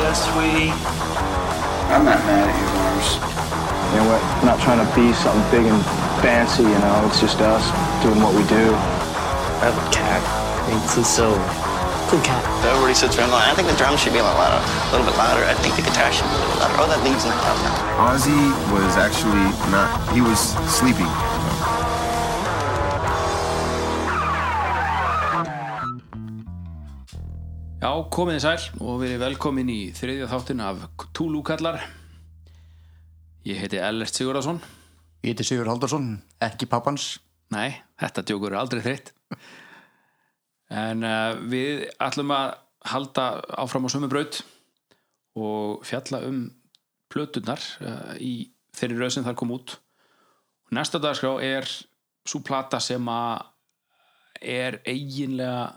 Yeah, sweetie. I'm not mad at you, Lars. You know, we're not trying to be something big and fancy, you know, it's just us doing what we do. I have a cat. It's just so cool cat. Everybody sits around going, I think the drums should be a little louder, a little bit louder. I think the guitar should be a little louder. Oh, that lead's not loud enough. Ozzy was actually not, he was sleeping. Já, komið þið sæl og verið velkomin í þriðja þáttin af Túlúkallar. Ég heiti Ellert Sigurðarsson. Ég heiti Sigur Haldarsson, ekki pappans. Nei, þetta djókur er aldrei þreytt. En uh, við ætlum að halda áfram á sömu braut og fjalla um plötunar uh, í þeirri rauð sem þar kom út. Næsta dagskrá er svo plata sem að er eiginlega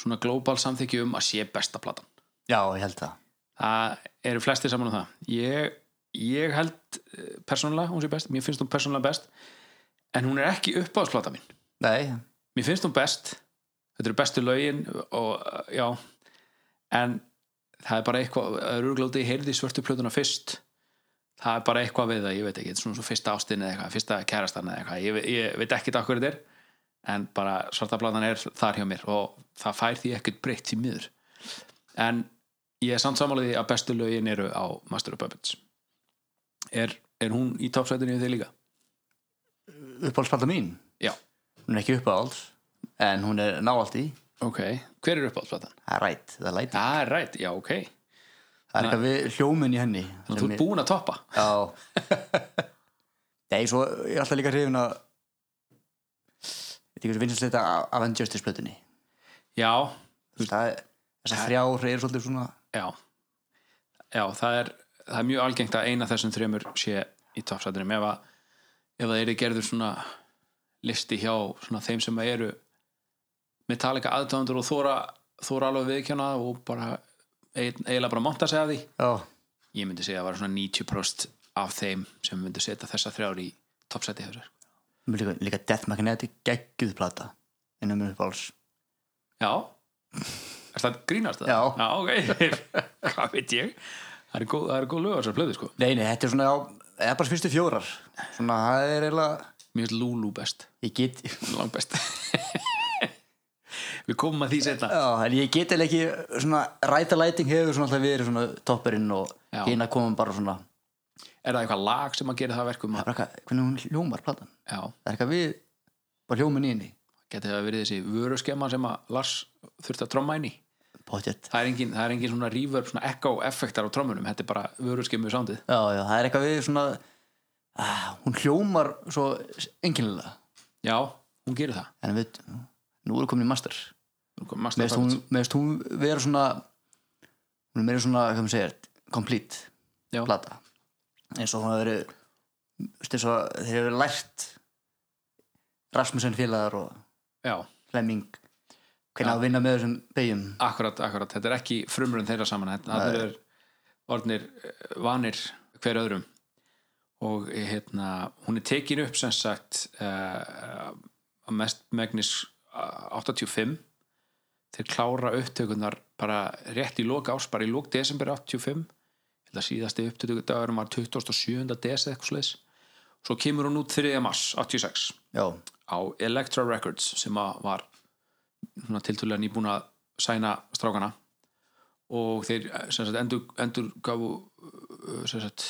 svona glóbal samþykju um að sé besta platan. Já, ég held það. það eru flestir saman um það ég, ég held eh, persónulega hún sé best, mér finnst hún persónulega best en hún er ekki uppáðsplata mín Nei, mér finnst hún best þetta eru bestu lögin og eh, já en það er bara eitthvað örugláti, ég heyrði svörtu plötuna fyrst það er bara eitthvað við það, ég veit ekki þetta er svona svo fyrsta ástin eða eitthvað, fyrsta kærastan eða eitthvað ég, ve- ég veit ekki það hverju þetta er en bara svarta platan er þar hjá mér og það fær því ekkert breytt því miður en ég er samt samanlega því að bestu lögin eru á Master of Puppets er, er hún í toppsætinu í þig líka? uppáhaldsplata mín. Já, Hún er ekki uppáhalds, en hún er náallt í. ok Hver er uppáðsplatan? Það er rætt, það er læti. Það er rætt, já ok Þannig Það er eitthvað við hljómin í henni. að þú sem ert ég- búin að toppa Já. Nei, svo ég er alltaf líka hrifin að, veit ekki hversu vinsast þetta Avengers til splötunni. Já, Það er, þessar þrjár er svolítið svona, já Já, það er, það er mjög algengt að eina af þessum þremur sé í toppsætinu ef að, ef það eru gerður svona listi hjá svona þeim sem eru Metallica aðtöfundur og þóra þóra alveg viðkjána og bara eiginlega bara monta sig að því já, ég myndi segja að það var svona 90% af þeim sem myndi setja þessa þrjár í toppsæti þessar Mér líka, líka Death Magnetic gegguð plata. En um uppáhalds. Já, er það grínast það? Já. ok, hvað veit ég Það eru góð, það eru góð lög á þessar plöðu sko Nei, nei, þetta er svona, já, eða bara fyrstu fjórar. Svona, það er eiginlega, Mér finnst Lulu best, ég get, langt best Við komum að því setna Já, en ég get eða ekki svona rætalæting hefur svona alltaf verið svona toppurinn og Já. hérna komum bara svona það Er það eitthvað lag sem að gera það að verkum? er bara eitthvað, hvernig hún hljómar platan Já, það er eitthvað við, bara hljómin í henni geti það verið þessi vöruskemma sem að Lars þurfti að tromma inn í potjett, Það er engin, það er engin svona reverb, svona echo effektar á trommunum Þetta er bara vöruskemmu sándið já já, það er eitthvað við svona ah, hún hljómar svo enginlega, Já, hún gerir það en við nú erum komin í master, Master meðist hún, meðist hún vera svona hún er meira svona, hvað maður segir complete Já. plata eins og hún hefur verið þú veist, eins og þeir hefur lært Rasmussen félagar og Já, Flemming hvernig á að vinna með þessum beigjum akkurat, akkurat, þetta er ekki frumrun þeirra saman, þetta þetta er orðnir eh, vanir hver öðrum og eh, hérna hún er tekin upp sem sagt uh, að mest megnis eh, 85 þeir klára upptökunar bara rétt í lok árs, bara í lok desember 85 þetta síðasti upptökudagurum var 27. des eitthvað sliðis svo kemur hún út 3. mars 86 já, á Elektra Records sem að var svona tiltölulega nýbúin að sæna strákana og þeir eh, sem sagt endur, endur gafu sem sagt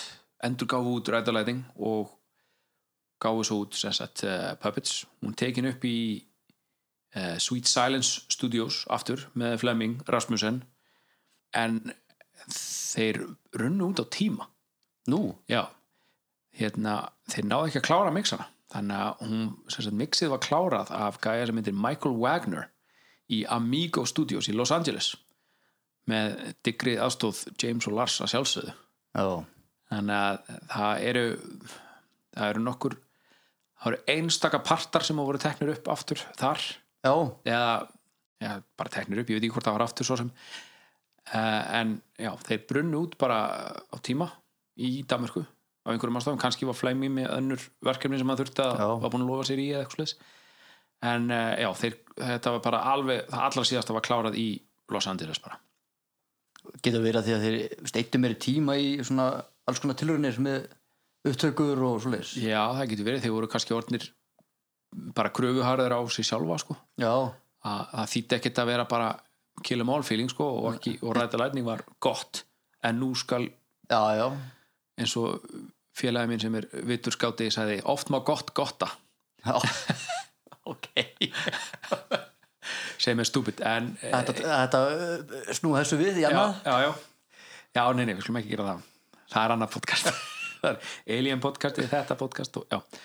endur gafu út rætalæting og gafu svo út sem sagt uh, Puppets, hún tekin upp í uh, Sweet Silence Studios aftur með Fleming Rasmussen en þeir runnu út á tíma nú, Já, hérna, þeir náðu ekki að klára mixana þannig að hún, sem sagt, mixið var klárað af gæja sem heitir Michael Wagner í Amigo Studios í Los Angeles með digrið aðstóð James og Lars að sjálfsögðu já, þannig að það eru það eru nokkur það eru einstaka partar sem voru teknir upp aftur þar já eða já, bara teknir upp, ég veit ekki hvort það var aftur svo sem uh, en já, þeir brunnu út bara á tíma í Danmörku á einhverjum ástafum, kannski var Flæmi með önnur verkefni sem hann þurfti að Já. var búin að lofa sér í eða eitthvað slags en eh, uh, já, þeir, þetta var bara alveg það allra síðasta var klárað í Los Angeles bara getur verið að því að þeir steittu meiri tíma í svona alls konar tilraunir með upptökur og svoleiðis já, það getur verið, þeir voru kannski orðnir bara kröfuharður á sig sjálfa sko. já, að það þýtti ekkert að vera bara kill em all feeling sko, og, ekki, og ræta lætning var gott en nú skal já, já eins og félagi minn sem er vittur skáti sagði oft má gott gotta Já. ok sem er stúpid en eh, þetta, þetta uh, snúa þessu við í annað já, já, já, nei, nei, við skulum ekki gera það það er annað podcast það er Alien podcast, þetta podcast og, já.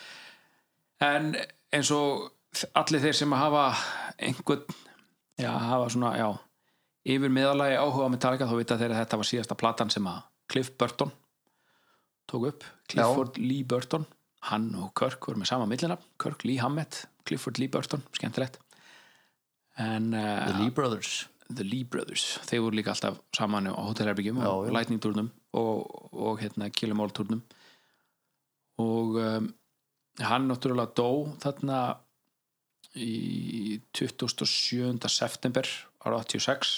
en eins og allir þeir sem hafa einhvern já, hafa svona, já yfir meðalagi áhuga á Metallica þá vita þeir að þetta var síðasta platan sem að Cliff Burton tók upp Clifford Lee Burton hann og Kirk voru með sama millinafn Kirk Lee Hammett, Clifford Lee Burton skemmtilegt en The uh, Lee Brothers The Lee Brothers þeir voru líka alltaf saman á hótelherbyggjum og Já, já. lightning-turnum og, og hérna, killamál-turnum og um, hann náttúrulega dó þarna í 27. september ára 86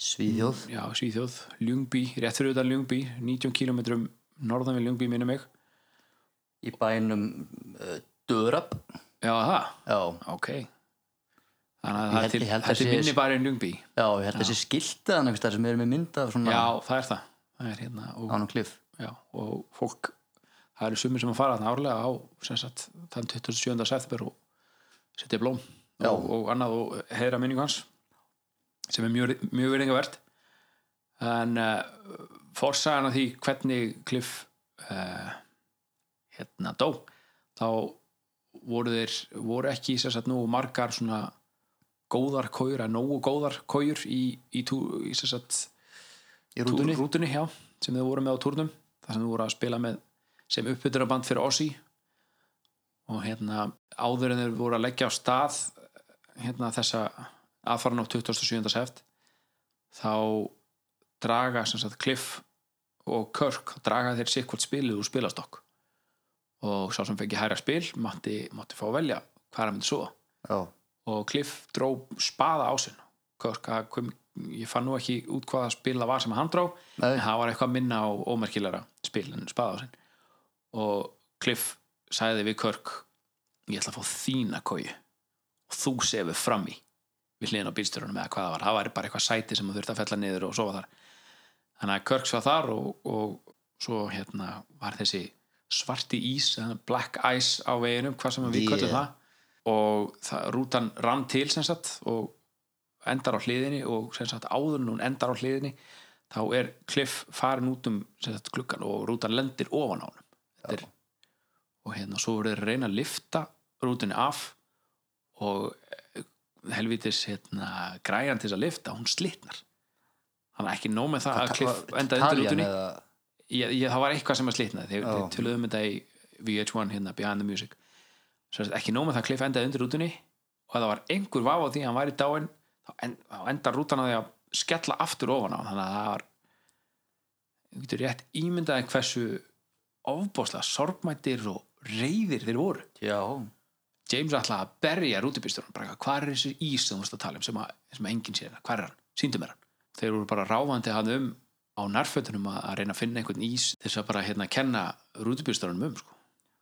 Svíðjóð já, Svíþjóð, Ljungby, rétt fyrir utan Ljungby 19 km norðan við Ljungby minni mig, í bænum uh, Dörab já það já, ok þannig að Ég það held- er til, ég held að þetta er sé- minni bara en Ljungby já, já, ég held þessi skiltaðan einhvers staðar sem er með mynda svona það er það það er hérna og án og kliff já, og fólk það eru sumir sem að fara þarna árlega á sem sagt, þann 27. september og setja blóm Já. og, og annað og heiðra minningu hans sem er mjög, mjög verðingavert en uh, forsagan af því hvernig Cliff uh, hérna dó þá voru þeir voru ekki sem sagt nú margar svona góðar kójur, að nógu góðar kójur í, í, tú, í sem sagt í rútunni, rútunni rútunni já, sem þau voru með á turnum þar sem þau voru að spila með sem uppbytunarband fyrir Ossi og hérna áður en þau voru að leggja á stað hérna þessa aðfaran á 27. seft þá draga sem sagt Cliff og Kirk draga þeir sér hvort spilið úr spilastokk og sá sem fengi hæra spil mátti, mátti fá að velja hvað er að myndi svo já, og Cliff dró spaða á sin Kirk, að kom, ég fann nú ekki út hvaða spil það var sem hann dró Nei. en það var eitthvað minna og ómerkilega spil en spaða á sin og Cliff sagði við Kirk ég ætla að fá þína kóju og þú sefur fram í við hliðin á bílstjórunum eða hvað það var það var bara eitthvað sæti sem þú þurfti að fella niður og sofa þar þannig að Kirk svo þar og, og svo hérna var þessi svarti ís eh, black ice á veginum, hvað sem við Yeah. köllum það og það, rútan rann til sem sagt og endar á hliðinni og sem sagt áður en hún endar á hliðinni þá er Cliff farin út um sem sagt klukkan og rútan lendir ofan á honum Þetta er, og hérna svo voru þeir að reyna að lifta rútinni af og eh, helvítis hérna, græjan til þess að lifta, hún slitnar þannig að ekki nóg með það að Cliff endaði undir Talían rútinni eða- ég, ég, það var eitthvað sem að slitnaði þegar Já. þeir töluðum um þetta í VH1 hérna Behind the Music Svo að ekki nóg með það Cliff endaði undir rútunni og ef það var einhver vafa á því að hann væri dáin þá, en, þá endar rútan að því að skella aftur ofan á hann, þannig að það var þú getur rétt ímyndaði hversu ofbóðslega sorgmættir og reyðir þeir voru já, James ætlaði að berja rútubýsturinn bara eitthvað, hvað er þessi ís sem þú veist að tala um sem, að, sem að enginn sér, hvað er hann, síndum er hann þeir voru bara ráfandi hann um á nærfötunum að, að reyna að finna einhvern ís til þess að bara hérna kenna rútubýsturinn um sko.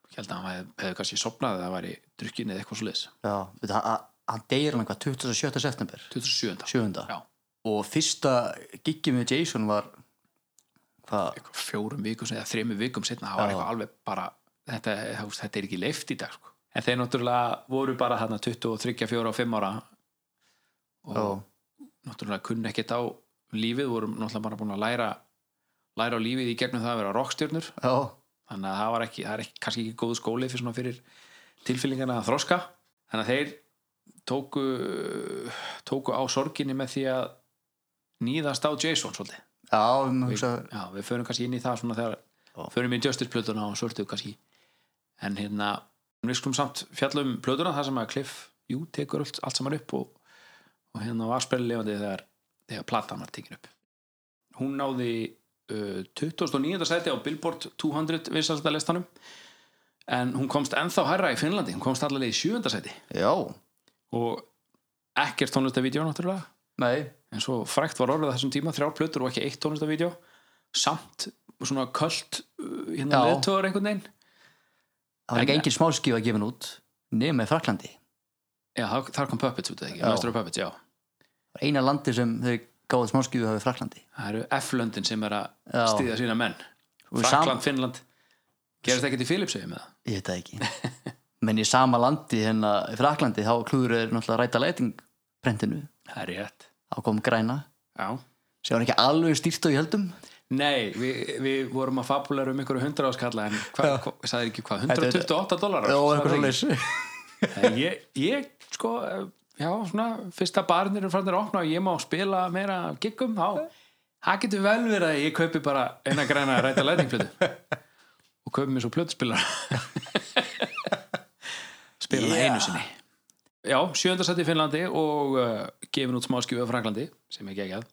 ég held að hann hef, hefði kannski sopnað eða væri drukkin eða eitthvað svo liðs já Veit, hann- hann- hann deyir hann eitthvað 27. september 27. 7. Já, og fyrsta giggi með Jason var hvað, eitthvað fjórum vikum eða þremur vikum setna, það var Já. eitthvað alveg bara þetta, þú veist, þetta er ekki leift í dag sko. en þeir náttúrulega voru bara þarna 23, 4 og 5 ára og já, náttúrulega kunni ekkert á lífið, vorum náttúrulega bara búin að læra læra á lífið í gegnum það að vera rockstjörnur, já, þannig að það var ekki það er ekki, kannski ekki góð skóli fyrir svona fyrir tilfyllingarna að þroska þannig að þeir tóku tóku á sorginni með því að nýðast á Jason svolítið já, um við, hugsa já, við förum kannski inn í það svona þegar förum í Justice plötuna og svörtu kannski en hérna, við skulum samt fjallum plötuna þar sem að Cliff jú, tekur allt, allt saman upp og, og hérna var sprellifandi þegar, þegar platan var tekin upp hún náði uh, 2009. sæti á Billboard 200 vinsælsta listanum en hún komst ennþá hærra í Finnlandi hún komst allavega í 7. sæti já, og ekkert tónlistavídeó náttúrulega Nei, en svo frækt var orðið á þessum tíma þrjár plötur og ekki eitt tónlistavídeó samt svona köld uh, hérna Já. leðtöður einhvern veginn það var En- ekki engin smáskífa gefin út nema í Fraklandi já, þar, þar kom Puppets út eða ekki, Já. Master of Puppets, já eina landi sem þau gáðu smáskífu hafi Fraklandi það eru F-löndin sem er að Já. stíða sína menn Og Frakland, sam- Finnland gerist ekkert í Filipsauði með það ég veit það ekki menn í sama landi hérna í Fraklandi þá klúður er náttúrulega ræta leiting prentinu, það er rétt þá kom græna já. sem var ekki alveg stýrt og ég heldum nei, við, við vorum að fabulega um ykkur hundra áskalla en hvað, hva, sagði ekki hvað, 128 dólarar og Sagði eitthvað það svo ekki? leys En ég, ég sko eh, já, svona, fyrsta barnir er farnir að opna og ég má spila meira af giggum þá, það getur vel verið að ég kaupi bara eina græna ræta lætingplötu og kaupi mér svo plötuspilar spila hana einu sinni já, sjöndarsætti í Finnlandi og uh, gefin út smáskjöfu af Fraklandi sem ekki ekki að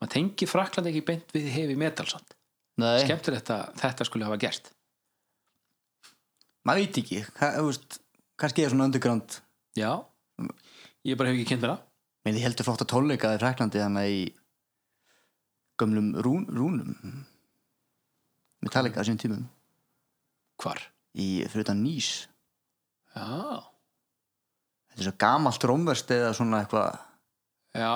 maður tengi Fraklandi ekki beint við hefi metalsand Eh. Nei, skemmtilegt að þetta skulle hafa gerst maður veit ekki Hva- þú veist, kannski er svona underground já, ég bara hef ekki kynnt mér það menn þið heldur flott að tónleika í Fraklandi þannig í gömlum rún, rúnum Metallica á sínum tímum hvar? í fyrir utan nýs já, þetta er svo gamalt rómverst eða svona eitthvað já,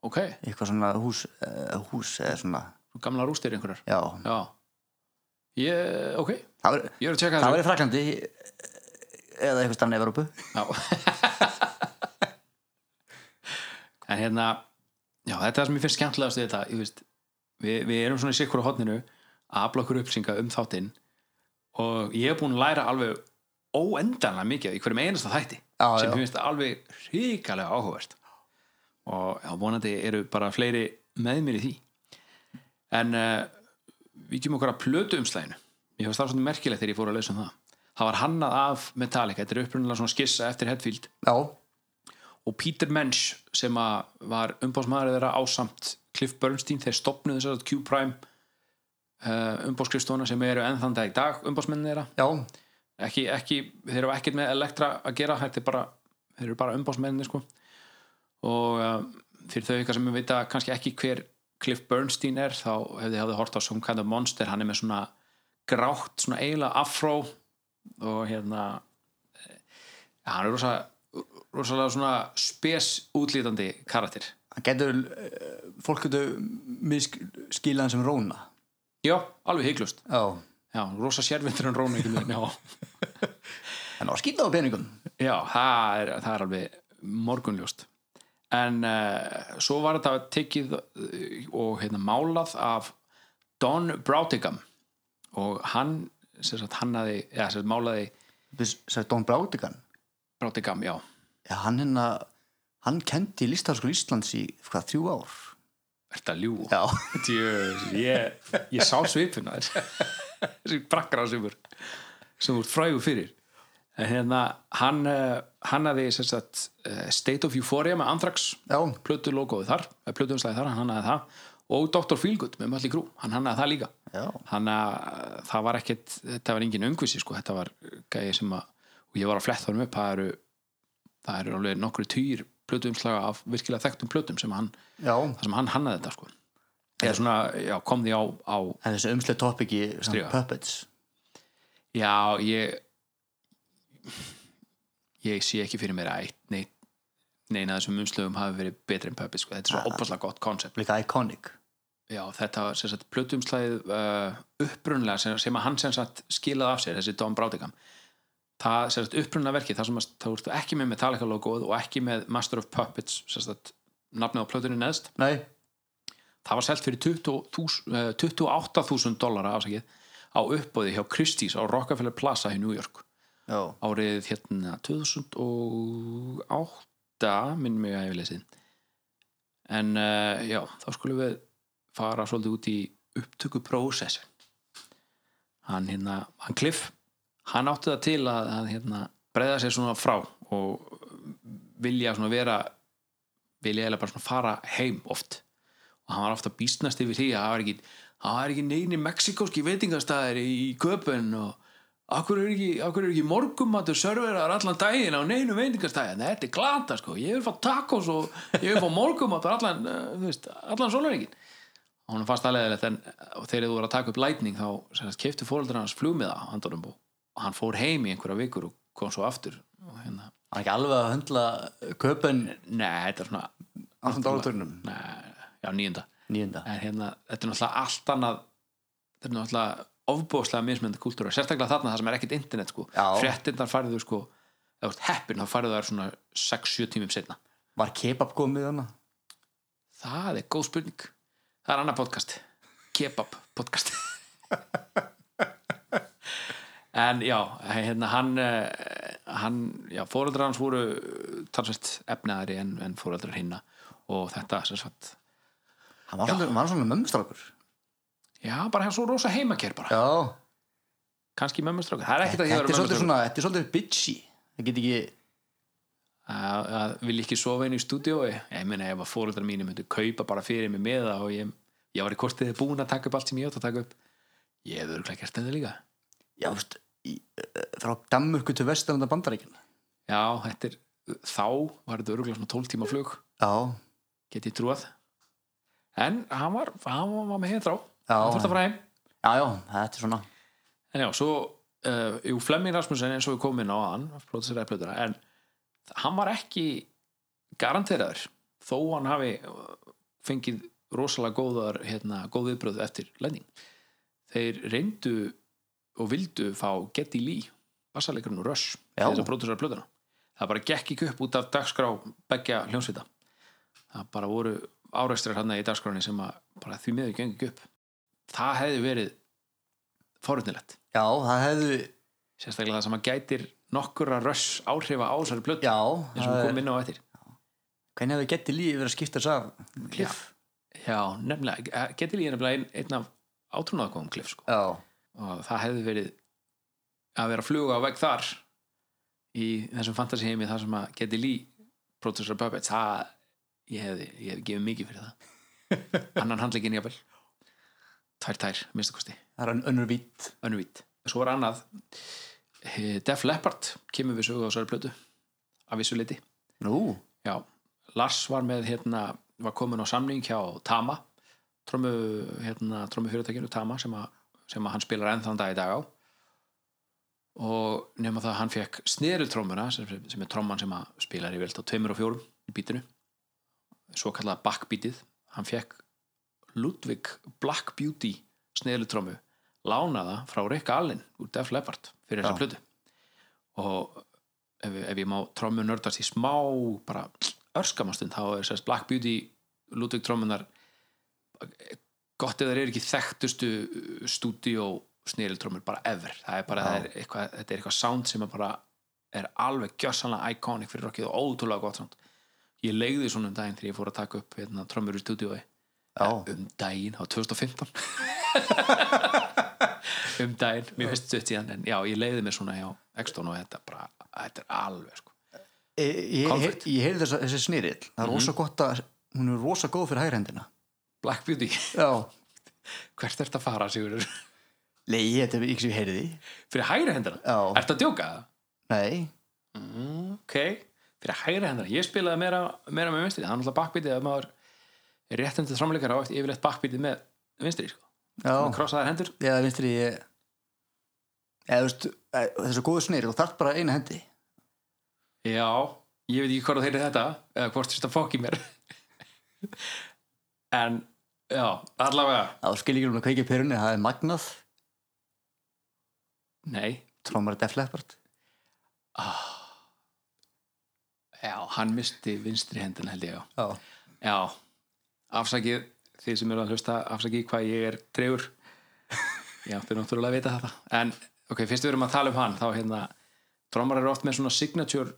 ok eitthvað svona hús, uh, hús eða svona, gamla rústir einhverjar já já, ég, ok það var, ég er að tjekka það var þessu í Fraklandi eða eitthvað stann í Evrópu já. en hérna já, þetta er það sem ég finnst skemmtilegast við þetta ég veist, við, við erum svona í sikkur á hotninu að afla okkur upplýsinga um þáttinn og ég er búin að læra alveg óendanlega mikið í hverjum einasta þætti Já, sem já. finnst alveg hrikalega áhugavert og já, vonandi eru bara fleiri með mér í því en uh, við kemum okkur að plötu umslæginu ég fannst það svona merkilegt þegar ég fór að lesa um það það var hannað af Metallica, þetta er upprunnilega svona skissa eftir Hetfield já, og Peter Mensch sem að var umbásmaður þeirra ásamt Cliff Bernstein, þeir stopnuðu þess að Q-Prime uh, umbáskristona sem eru enn þann dag í dag umbásmenn þeirra já, ekki, ekki, þeir eru ekkert með Elektra að gera þetta er bara, þeir eru bara umbásmenni sko. og uh, fyrir þau ykkar sem vita kannski ekki hver Cliff Bernstein er þá hefði hafði hort á Some Kind of Monster hann er með svona grátt, svona eiginlega afró og hérna eh, hann er rosa, rosalega svona spes útlítandi karakter það getur uh, fólk getur miskilaðan sem róna já, alveg hygglust já, já, rosa sérvindur en rónu já, en á skýta á peningum Já, það er, það er alveg morgunljóst en uh, svo var þetta tekið eh, og hérna, málað af Don Broutigam og hann sem sagt, hannaði, eða sem sagt, málaði sagði Don Brádigan Broutigam, já, já, hann hérna hann kendi listaháskóla Íslands í hvað, þrjú ár þetta ljú já, Djöfis, ég, ég sá svipuna þér þessi brakkar á svipur sem úr frægur fyrir en hérna, hann uh, hannaði sem sagt, eh, State of Euphoria með Anthrax já, plötu logoðu þar, plötuumslæði þar, hann hannaði það og Dr. Feelgood með Mölli Grú, hann hannaði það líka já, hann að það var ekkit þetta var engin öngvisi sko, þetta var gæði sem að, og ég var að fletta honum upp það eru, það eru alveg nokkru týr plötuumslaga af virkilega þekktum plötum sem hann, já það sem hann hannaði þetta sko eða svona, já, kom því á, á en þessi umslega topiki Stríga. um, Puppets já, ég ég sé ekki fyrir mér að eitt, neitt, neina þessum umslögum hafi verið betri en pöppi, sko, þetta er svo opaslega gott koncept líka iconic Já, þetta sem sagt plötumslæðið uh, upprunlega sem, sem að hann sem sagt skilaði af sér, þessi Don Brátigam það sem sagt upprunlega verkið það sem að það voru ekki með Metallica logoð og ekki með Master of Puppets sem sagt nafnið á plötunni neðst, nei, það var selt fyrir 20.000, eh, 28.000 dollara afsakið á uppbóði hjá Christie's á Rockefeller Plaza í New York já, árið hérna 2008 minn mig að ég vil lesið en uh, já, þá skulum við fara svolítið út í upptökuprósessin hann hérna, hann Cliff hann átti það til að, að hérna, breyða sér svona frá og vilja svona vera vilja eða bara svona fara heim oft og hann var ofta býstnast yfir því að það var ekki, það var ekki neini mexikóski veitingastæðir í köpun og Akkur er ekki, akkur er ekki morgumatur serverar allan daginn á neinu veitingastæðin þetta er glata sko, ég vil fá tacos og ég vil fá morgumatur allan eh, þú veist, allan sólaringin hún fannst aðlega en eh, og þegar þú voru að taka upp lightning þá keftu fóreldur hans flugmiða handunum og og hann fór heim í einhverja vikur og kom svo aftur og hérna, hann er ekki alveg að höndla köpun nei, þetta er svona á svona dálaturnum nei, já, nýjunda nýjunda en hérna, þetta er náttúrulega allt annað þetta er náttúrulega ofbóðslega mismyndi kultúra, sérstaklega þarna það sem er ekkit internet sko, Já. fréttindar færðu sko ef þú ert heppin þá færðu þær svona 6-7 tímum setna, var kebab komið hann það er góð spurning það er annað podcast kebab podcast en já hérna hann, eh, hann já, fóreldrar hans voru talsveit efnaðari en, en fóreldrar hinna og þetta sem sagt hann var svona, hann var svona mömmustrákur já, bara hann svo rosa heimaker bara já kannski mömmustrákur, það er ekkert að ég þetta er vera svolítið mömmustrákur svona þetta er svolítið bitchy það get ekki að, að vil ekki sofa inn í stúdiói ég meina ef að fóreldrar mínir myndu kaupa bara fyrir mig með það og ég, ég var í kortið búin að taka upp allt sem ég átt að taka upp ég hefur örugglega gert þetta líka já þú veist í, uh, frá Danmörku til vestarlanda bandaríkina já, þetta er, þá var þetta örugglega svona 12 tíma flug já get ég trúað en hann var, hann var með heitrá Já, hann þurfti að fara heim já já þetta er svona en já, svo uh, jú, Flemming Rasmussen eins og við komum inn á hann pródusera plötuna, en hann var ekki garanteraður þó hann hafi uh, fengið rosalega góðar hérna, góð viðbröð eftir lending þeir reyndu og vildu fá Getty Lee bassarleikurinn og Rush Já. þess að pródusera plötuna það bara gekk ekki upp út af dagskrá begja hljónsvita það bara voru áreistrar hann í dagskráni sem að bara því miður gengi ekki upp það hefði verið forutnilegt já það hefðu sérstaklega það sem að gætir nokkura röss áhrifa á þessari plötu já eins og við það komum er- inn á eftir hvernig hefðu getið lífið verið að skipta þess af kliff já, nefnilega, getur líka nefnilega ein, einn af átrúnaðgóðum klif sko. já og það hefði verið að vera að fluga á vegg þar í þessum fantasíheimi þar sem að geti lí Protestor Puppets það, ég hefði, ég hefði gefið mikið fyrir það annan handlegin jafnvel tær tær, minnstakosti það er ön- önnur vít önnvít. Svo er annað eh, Def Leppard kemur við sögu á þessari plötu af vissu leiti. nú Já, Lars var með hérna, var komin á samling hjá Tama trómu, hérna, trómu fyrirtækinu Tama sem, að, sem að hann spilar ennþann dag í dag á og nema það að hann fekk snerutrómuna sem, sem er tróman sem að spilar yfirleitt á tveimur og fjórum í bítinu svo kallaða backbítið hann fekk Ludwig Black Beauty snerutrómu lánaða frá Rick Allen úr Def Leppard fyrir þessa Já. plötu og ef, ef ég má trómu nördast í smá bara örskamastund þá er sérst Black Beauty Ludwig trómunar gott ef þeir eru ekki þekktustu uh, stúdíó sneriltrómur bara ever það er bara, það er eitthvað, þetta er eitthvað sound sem er bara er alveg gjössanlega iconic fyrir rockið og ótrúlega gott sound ég leigði svona um daginn þegar ég fór að taka upp hérna, trómur í stúdíói já um daginn á 2015 um daginn, mér finnst þetta síðan en já, ég leiði mér svona hjá Exton og þetta bara, þetta er alveg sko. ég, E, ég, Comfort. ég, ég heyrði þessa, þessi snirill það er rosa gott að hún er rosa góð fyrir hægrændina Black Beauty, já hvert ert að fara Sigurður? leiði þetta er ekki sem ég heyrði fyrir hægri hendina? Já. Ertu að djóka það? nei ok, fyrir hægri hendina ég spilaði meira, meira með vinstri það er náttúrulega bakbítið að maður er réttandi framleikar á eftir yfirleitt bakbítið með vinstri sko. já maður krossaðar hendur Já, vinstri ég eða, þú veist, eh, þessu góðu snýri þú þarft bara eina hendi já, ég veit ekki hvort þeirri þetta eða hvort þetta fók í mér en já, allavega þá skil ekki um að kveikja perunni, það er magnað nei, trómar Def Leppard já, hann misti vinstri hendina held ég já já, Já, afsakið þið sem eru að hlusta, afsakið hvað ég er trefur Já, þau náttúrulega að vita þetta En, ok, fyrst við erum að tala um hann þá hérna, trommar eru oft með svona signature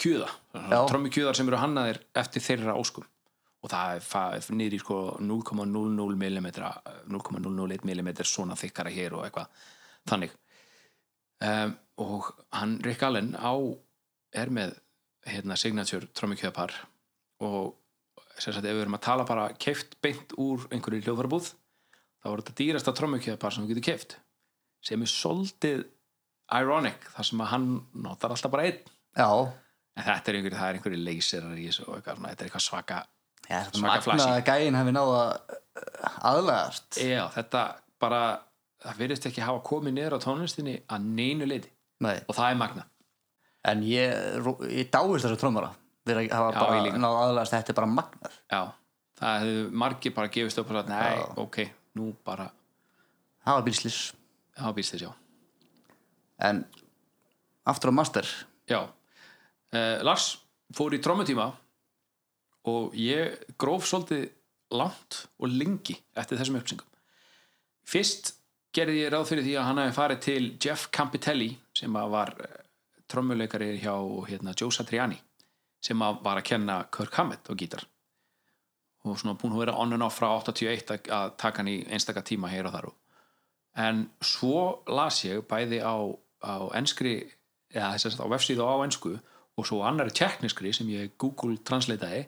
kjöða Já. trommi kjöðar sem eru hannaðir eftir þeirra óskum og það er fa- niður í sko 0,00 mm 0,001 mm svona þykkara hér og eitthvað þannig um, og hann Rick Allen á er með hérna, signature trommikjöðpar og sem sagt ef við erum að tala bara keift beint úr einhverju hljóðvarabúð þá er þetta dýrasta trommukjöðpar sem þú getur keift sem er soldið Ironic, þar sem að hann notar alltaf bara einn já, en þetta er einhverjir, það er einhverjir leysirar í þessu og eitthvað, svona, þetta er eitthvað svaka já það er Svaka magna að flashy. gæin hefði náða uh, aðlagast Já, þetta bara, það virðist ekki hafa komið niður á tónlistinni að neinu leiti Nei. og það er magna en ég, ró- ég dáist þessu trómara þegar að hafa Já, ég líka. bara náða aðlagast þetta er bara magnar Já, það hefðu margir bara gefist upp og sagt, nei, Já. ok, nú bara það var bílslis hafa býst þess, já en aftur á master Já, uh, Lars fór í trommutíma og ég gróf svolítið langt og lengi eftir þessum uppsingum. Fyrst gerði ég ráð fyrir því að hann hafi farið til Jeff Campitelli sem að var eh, trommuleikari hjá hérna, Joe Satriani sem að var að kenna Kirk Hammett og gítar og svona búin að vera on and off frá 81 að- að taka hann í einstaka tíma hér og þar og en svo las ég bæði á, á enskri eða þess að á vefsíðu og á ensku og svo annari tekniskri sem ég Google translataði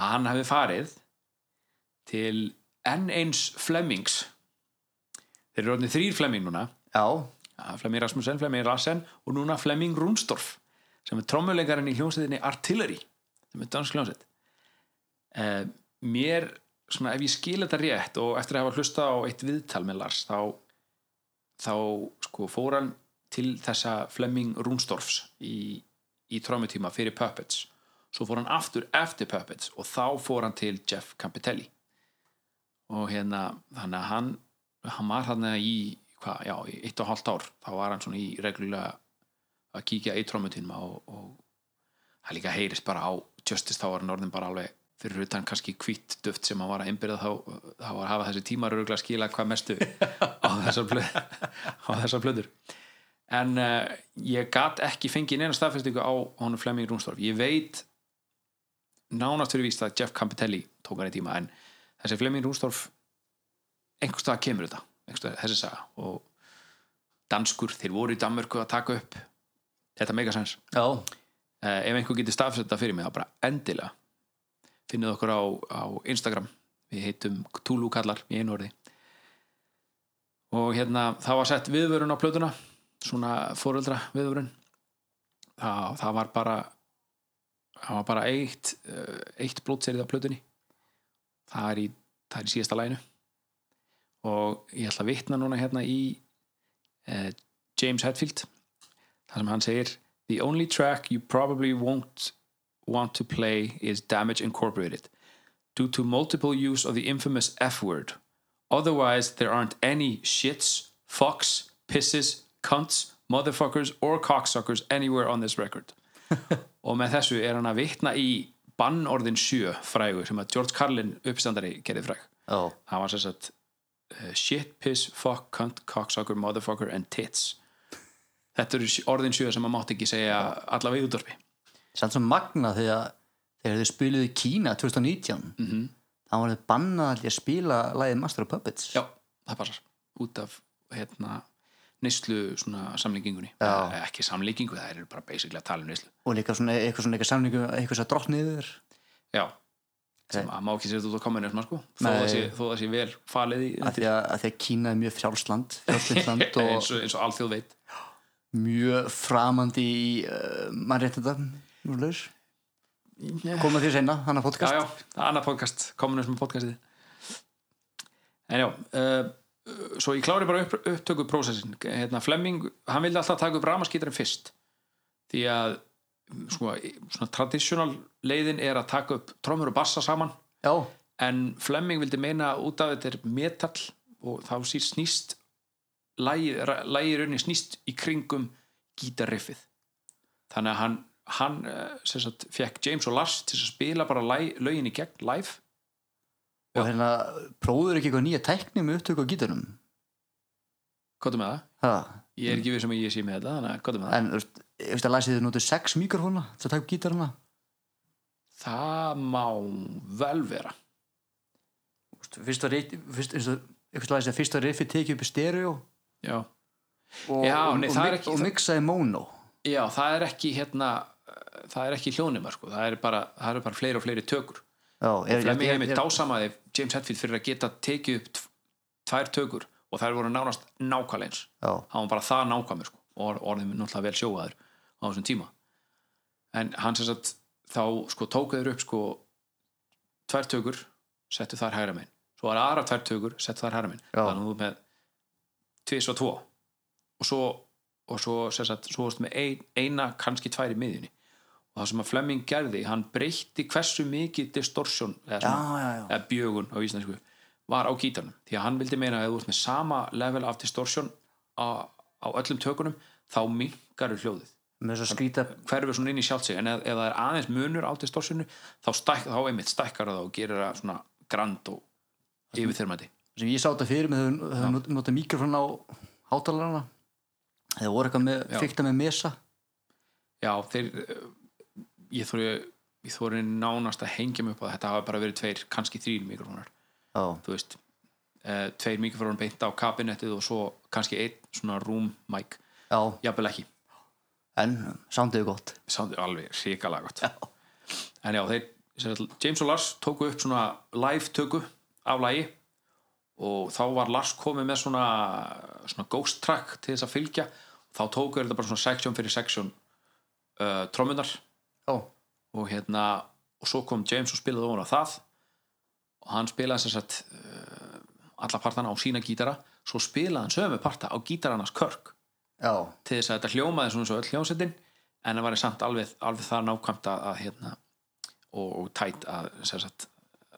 að hann hafi farið til enn eins Flemings þeir eru orðinni þrýr Flemming núna já, Ja, Flemming Rasmussen, Flemming Rassen og núna Flemming Rúnstorf sem er trommuleikarinn í hljómsveitinni Artillery sem er dansk hljómsveit eh, mér, svona ef ég skil þetta rétt og eftir að hafa hlusta á eitt viðtal með Lars þá, þá sko fór hann til þessa Flemming Rúnstorfs í, í trommutíma fyrir Puppets svo fór hann aftur eftir Puppets og þá fór hann til Jeff Campitelli og hérna þannig að hann, hann var hann í hva, já, í eitt og hálft ár þá var hann svona í reglulega að kíkja í trómutíma og, og það líka heyrist bara á Justice þá var hann orðin bara alveg fyrir utan kannski hvítt duft sem hann var að einbyrða þá, þá var að hafa þessi tímar öruglega að skila hvað mestu á þessar blöð á þessar blöður en uh, ég gat ekki fengið neina staðfestingu á honum Flemming Rúnstorf ég veit nánast fyrir víst að Jeff Campitelli tók hann í tíma en þessi Flemming Rúnstorf einhverstað kemur þetta einhverstað, þessi saga og danskur, þeir voru í Danmörku að taka upp þetta megasens já, uh, ef einhver getur staðfæst þetta fyrir mig þá bara endilega finnið okkur á, á Instagram við heitum Tulu kallar í einu orði og hérna það var sett viðvörun á plötuna svona fóreldra viðvörun það, það var bara það var bara eitt eh, eitt blótserið á plötunni það er í, það er í síðasta læginu og ég ætla að vitna núna hérna í uh, James Hetfield þar sem hann segir The only track you probably won't want to play is Damage Incorporated due to multiple use of the infamous F word. Otherwise, there aren't any shits, fucks, pisses, cunts, motherfuckers or cocksuckers anywhere on this record. og með þessu er hann að vitna í bannorðin sjö frægu sem að George Carlin uppstandari gerði fræg. já, Það var sem sagt uh, shit, piss, fuck, cunt, cocksucker, motherfucker and tits. Þetta eru sj- orðin sjö sem maður mátt ekki segja allavega í útdorfi. samt sem magna því að þegar þau spiluðu í Kína 2019 mm -hmm. þá var þau bannað allir að spila lagið Master of Puppets Já, það passar út af hérna neyslu svona samlíkingunni Já. Eh, ekki samlíkingu, það eru bara basically að tala um neyslu og líka svona eitthvað svona eitthvað samningu eitthvað svo drottniður já, sem Nei. að má ekki sér út á kommunism sko, þó Nei. það sé, þó það sé vel falið í af því að, að því að Kína er mjög frjálsland frjálsland eins og og, eins og alþjóð veit mjög framandi í uh, mannréttinda núleis koma því senna, hann að já, podcast já, það er annað podcast, kommunism podcastið en já uh, svo ég klári bara upp, upptöku prósessin, hérna Flemming hann vildi alltaf taka upp ramaskítarinn fyrst því að mm, sko, svona traditional leiðin er að taka upp trommur og bassa saman já, en Flemming vildi meina að út af þetta er metall og þá sír snýst lægir raunin snýst í kringum gítarriffið þannig að hann, hann eh, sem sagt, fekk James og Lars til að spila bara læg, lögin í gegn live og hérna prófður ekki eitthvað nýja tækni með upptöku á gítunum hvað er með það? ha. Ég er ekki við sem ég sé með þetta þannig að hvað er með það? en þú veist, ég veist að læsið þið notuð sex mikrofóna til að taka gítarana Það má vel vera fyrst var eitt fyrst, eins og- einhvers lagið sem fyrst var riffi tekið upp í stereo Já, og, Já, og, og, nei, það er mik- ekki- og mixaði mono Já það er ekki hérna eh, það er ekki hljónumar sko það eru bara, það eru bara fleiri og fleiri tökur já, er, Fleming hefði dásamaði James Hetfield fyrir að geta tekið upp tv- tvær tökur og þær voru nánast nákvæmleins já, hann var bara það nákvæmur sko. og orðið náttúrulega vel sjóaður á þessum tíma en hann sem sagt þá sko tókaður upp sko tvær tökur, settu þar hægra megin svo var aðra tvær tökur, settu þar hægra megin Já. þannig að þú ert með tvis og tvo og svo, og svo sem sagt, svo varstu með ein, eina kannski tvær í miðjunni og það sem að Fleming gerði, hann breytti hversu mikið distortion eða, svona, Já, já, já. eða bjögun á íslensku var á gítarnum, því að hann vildi meina að ef þú ert með sama level af distortion á, á öllum tökunum, þá minkaru hljóðið með þess að skrýta hverfur svona inn í sjálfsig en ef, ef það er aðeins munur á distorsinu þá, stæk, þá einmitt stækkar það og gerir það svona grand og yfirþyrmandi sem ég sá þetta fyrir með þau- þau not- notað mikrofón á hátalarana þau voru eitthvað með Já. fyrta með mesa já þeir eh, ég þóri ég þóri nánast að hengja mig upp á það þetta hafa bara verið tveir, kannski þrír mikrofónar já, þú veist eh, tveir mikrofónar beint á kabinettið og svo kannski einn svona room mic já, jafnvel ekki en soundið er gott Sound- alveg hrikalega gott en já, þeir, sem sagt, James og Lars tóku upp svona live töku af lagi og þá var Lars komið með svona, svona ghost track til þess að fylgja þá tóku þeir þetta bara svona section fyrir section uh, trommunar já, og hérna og svo kom James og spilaði ofan á það og hann spilaði sem sagt uh, alla partana á sína gítara svo spilaði hann sömu parta á gítararnas körk já, til þess að þetta hljómaði svona svo öll hljómsettin en það var samt alveg, alveg það nákvæmt að, að hérna og, og tætt að sem sagt,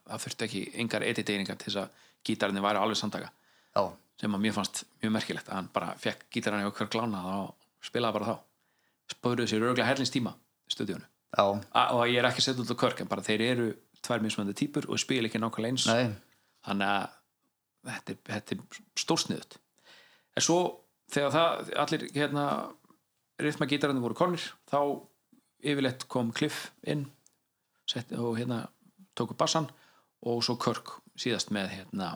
það þurfti ekki engar editeiningar til þess að gítarinn væri alveg samtaka já, sem að mér fannst mjög merkilegt að hann bara fekk gítarinn í okkur glána og spilaði bara þá spöruðu sér örglega herlins tíma í stúdíónu já A- og ég er ekki að setja út á körk en bara þeir eru tvær mismöndi típur og spila ekki nákvæmlega eins nei, þannig að þetta, er- þetta er stórsniðut en svo þegar það allir hérna rithmagítararnir voru konir þá yfirleitt kom Cliff inn sett, og hérna tóku bassan og svo Kirk síðast með hérna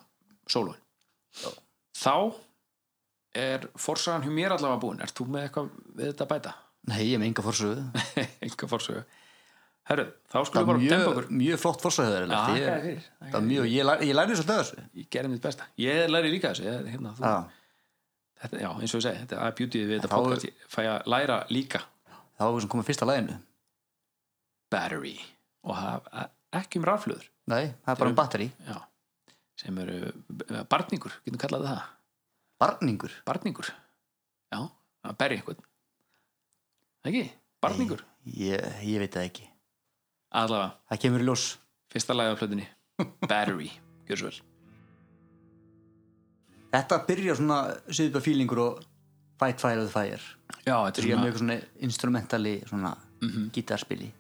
sólóin þá er forsagan hjá mér allavega búin ert þú með eitthvað við þetta að bæta? nei, ég er með enga fórsöðu eitthvað forsaga herru, þá það skulum við var bara dempa okkur mjög, mjög flott fórsöðu Já, það þakka þér fyrir. Þakka var mjög, ég lærði, ég lærði svolítið af þessu ég gerði mitt besta, ég læri líka þessu ég, hérna, þú, já, þetta, já, eins og ég segi, þetta er beauty við þetta Þá- podcast, ég fæ að læra líka það var sem komið fyrsta læginu battery og hafa ekki um raflöður nei, það er bara um batteri, já, sem eru eh, barningur, getum kallað það barningur barningur, já, að berja einhvern ekki, barningur ég, ég veit það ekki, allavega, það kemur í ljós fyrsta lagið á plötunni battery, gjör svo vel þetta byrjar svona sviðbjörn fílingur og fight fire with fire já, þetta er byrja með svona eitthvað svona Mhm. instrumentali svona gítarspili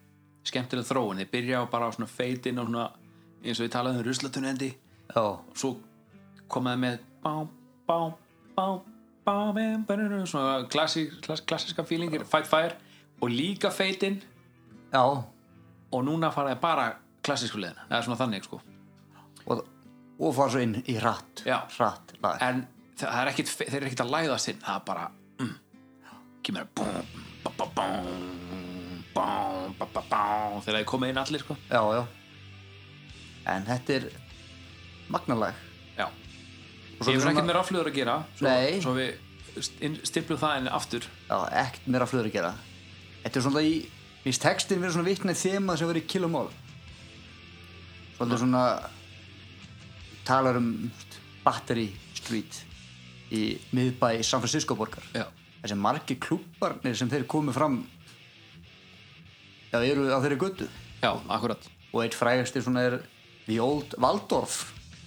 skemmtileg þróun þið byrja á bara á svona feitin og svona eins og við talaðum um ruslatunendi já, svo komaði með bám, bám, bám, bám bám, bám, svona klassík, klass, klassiska fílingir, fight fire og líka feitinn já og núna faraði bara klassísku leðina, eða svona þannig sko og, og fara svo inn í hratt Já. hratt lag en þa- það er ekkit, þeir eru ekkit að læðast inn það er bara mm, kemur að bám, bám, bám, bám, bám, bám, bám, bám þegar þeir koma inn allir sko já, já en þetta er magnalag já, og ég er verð ekkit með rafluður að gera svo, Nei. svo við st- stimplum það inn aftur já, ekkert meira flöður að gera þetta er svona í minnst textin verið svona vitnað þema sem verið í kilomál svona svona talar um battery street í miðbæ í San Francisco borgar já, þessi margi klúbarnir sem þeir komu fram já, eru á þeirri götu já, akkurat og eitt frægasti svona er The Old Waldorf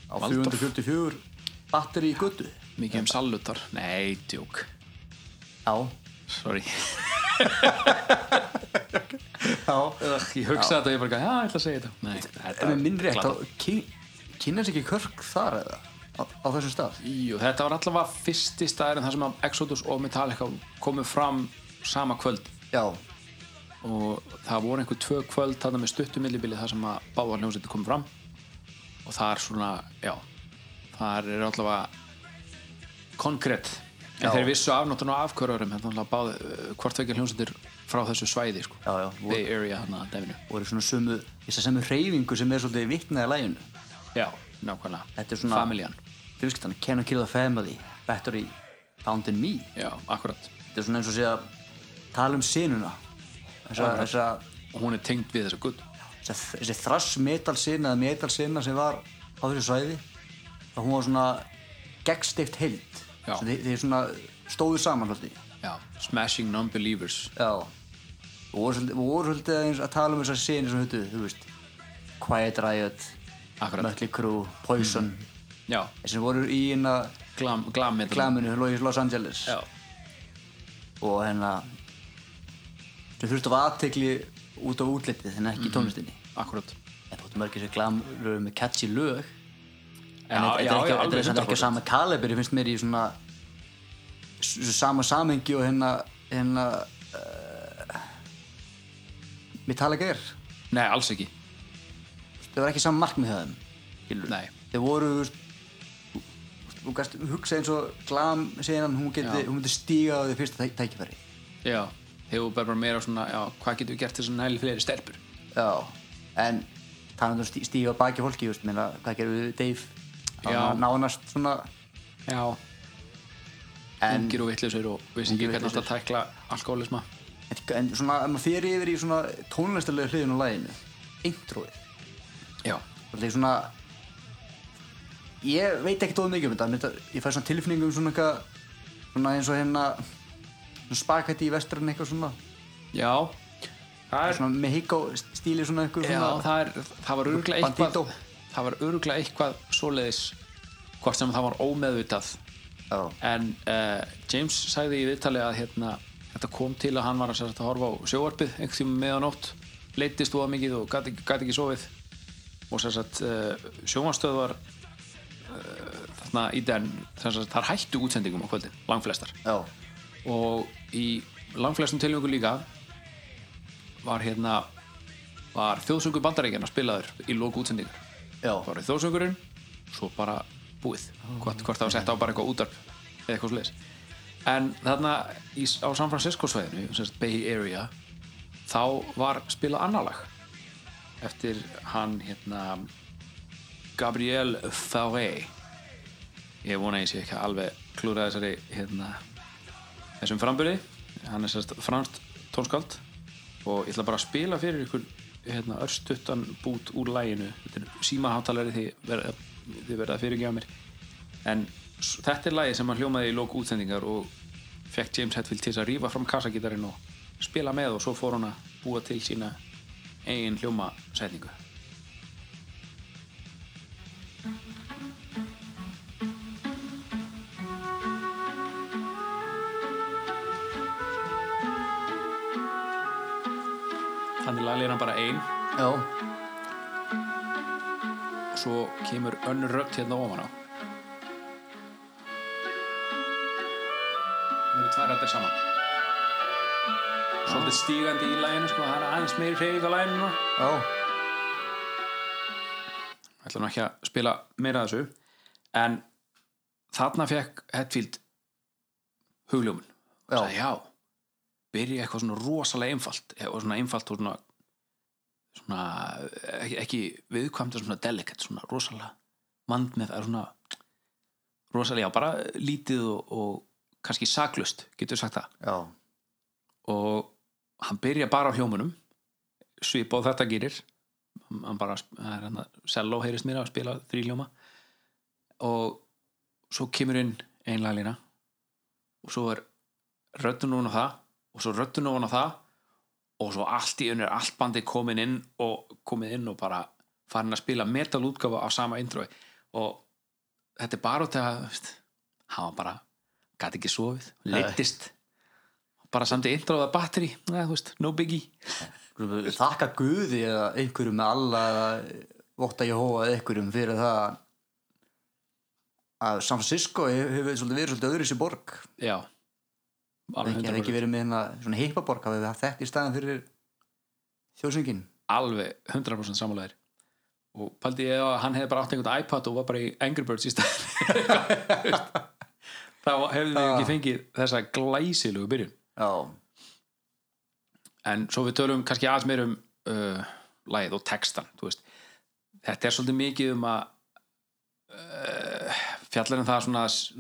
á Waldorf. 444 batteri í götu mikið um salutar, nei, djúk já, sorry já ég hugsaði þetta og ég bara, já, ég ætla að segja þetta Nei, þetta ef við minn rétt, glatað. þá kyn- kynnas ekki Körk þar eða á, á þessum stað Jú, þetta var allavega fyrsti staðurinn þar sem að Exodus og Metallica komu fram sama kvöld já, og það voru einhver tvö kvöld þarna með stuttum millibili þar sem að báðar hljómsveitir komu fram og það er svona, já þar er allavega konkrétt en Já. þeir vissu afnáttan á afkörðurum hérna allavega báð, hvort vekja hljómsveitir frá þessu svæði sko, Já, já. Bay Area hérna að definu og eru svona sömu þess að semu hreyfingu sem er svolítið vitnað í læginu já, nákvæmlega, Þetta er svona- familjan þú veist hann, Can I Kill the Family Battery Found in Me já, akkurat þetta er svona eins og sé að tala um sinuna þessa, þessa, og hún er tengd við þessa gutt þessa, þessi thrash metal sina eða metal sina sem var á þessu svæði og hún var svona gegnstift heild Já. Svo þeir, þeir svona stóðu saman svolítið já, Smashing Non-Believers já og voru svolítið- voru svolítið aðeins að tala um þessar sinir sem höfðu, þú veist Quiet Riot, Akkurat. Mm. Mötley Crüe, Poison já, þessi voru í hérna glam, glam metal glaminu Logis Los Angeles já, og hérna þau þurftu að aðtekli út á útlitið en Mm-hmm. ekki í tónlistinni akkurat en þóttu mörgir sér glamur með catchy lög en Já, þetta- þetta er já, já, ekki, þetta alveg er samt ekki 100%. sama kalibri finnst mér í svona s- s- sama samengi og hérna hérna uh, Metallica er nei, alls ekki, þau var ekki saman markmið hjá þeim nei þau voru þú veist, þú- þú gæst hugsa eins og glam síðan hún geti, Já. hún geti stíga á því fyrsta tæ- tækifæri Já, hefur bara bara meira svona, já, hvað getum við gert þess að næli fleiri stelpur? Já, en talandum um stí, stífa baki fólki, just, minna, hvað gerum við við Dave? Hann Já. var Nánast svona Já. en, Ungir og vittlisur og vissi ekki Ungir og hvernig átt að tækla alkoholisma. en svona, ef maður fyrir yfir í svona tónlistarlega hliðin á læginu introið, Já. það er svona ég veit ekkert of mikið um þetta, mér þetta ég fæ svona tilfinningu um svona eitthvað svona eins og hérna svona spagetti í vestran eitthvað svona, Já. Það er, svona með higg á stíli svona eitthvað já, svona það er, það var öruglega eitthvað, Bandito. það var öruglega eitthvað svoleiðis, hvort sem það var ómeðvitað. Já. En uh, James sagði í viðtali að hérna, þetta kom til að hann var að, sem sagt að horfa á sjóarpið einhvern tíma um meðanótt, leittist þú að mikið og gæti ekki, gat ekki sofið. Og sem sagt, uh, sjónvarstöðvar eh, þarna í den sem sagt, þar hættu útsendingum á kvöldin, langflestar já, og í langflestum tilhengu líka var hérna var þjóðsöngur bandaríkjana spilaður í lóku útsendingar já, það var þjóðsöngurinn, svo bara búið hvort, hvort það var sett á bara eitthvað útarp eða eitthvað sliðis en þarna í, á San Francisco svæðinu sem sagt Bay Area þá var spilað annar lag eftir hann hérna Gabriel Fauré ég vona að ég sé ekki alveg klúra þessari hérna þessum framburði hann er sérst franskt tónskáld og ég ætla bara að spila fyrir ykkur hérna, örstuttan bút úr læginu þetta er símaháttalari því verða, þið verða að fyrirgefa mér en s- þetta er lægi sem hann hljómaði í lók útsendingar og fekk James Hetfield til þess að rífa fram kassagítarinn og spila með og svo fór hann að búa til sína eigin hljómasetningu þannig lagði hann bara ein já, og svo kemur önnur rödd hérna ofan á það eru tvær rættir saman svolítið stígandi í læginu sko, það er aðeins meiri hreyfing á læginu núna já, ætla nú ekki að spila meira af þessu en þarna fekk Hetfield hugljómun Já. sagði já byrja eitthvað svona rosalega einfalt og svona einfalt og svona, svona ekki, ekki viðkvæmt og svona delicate, svona rosalega mand með það svona rosalega, já bara lítið og, og kannski saklust, getur sagt það já, og hann byrja bara á hljómunum svipa og þetta gerir hann bara, það er hann að selló heyrist mér að spila þrýljóma og svo kemur inn einlega lína og svo er röddun ofan á það og svo röddun ofan á það og svo allt í önur, allt bandið komin inn og komið inn og bara farin að spila metalútgáfa af sama introi og þetta er bara út af að veist, hann var bara gæti ekki sofið, leittist bara samt í introða batteri neða, þú veist, no biggie Skulum við þakka Guði eða einhverjum með alla eða votta Jóhóa eða einhverjum fyrir það að San Francisco hefur hef svolítið verið svolítið öðru sér borg já alveg, ekki, hef ekki 100%. verið með hérna svona hippaborg hafið við haft þetta í staðan fyrir þjóðsöngin alveg 100% samanlegaðir og paldi ég að hann hefði bara átt einhvern iPad og var bara í Angry Birds í stað þá hefði við Ah. ekki fengið þessa glæsilugu byrjun já, en svo við tölum kannski aðeins meir um uh, lagið og textan þú veist. þetta er svolítið mikið um að um uh, fjallar en það svona s-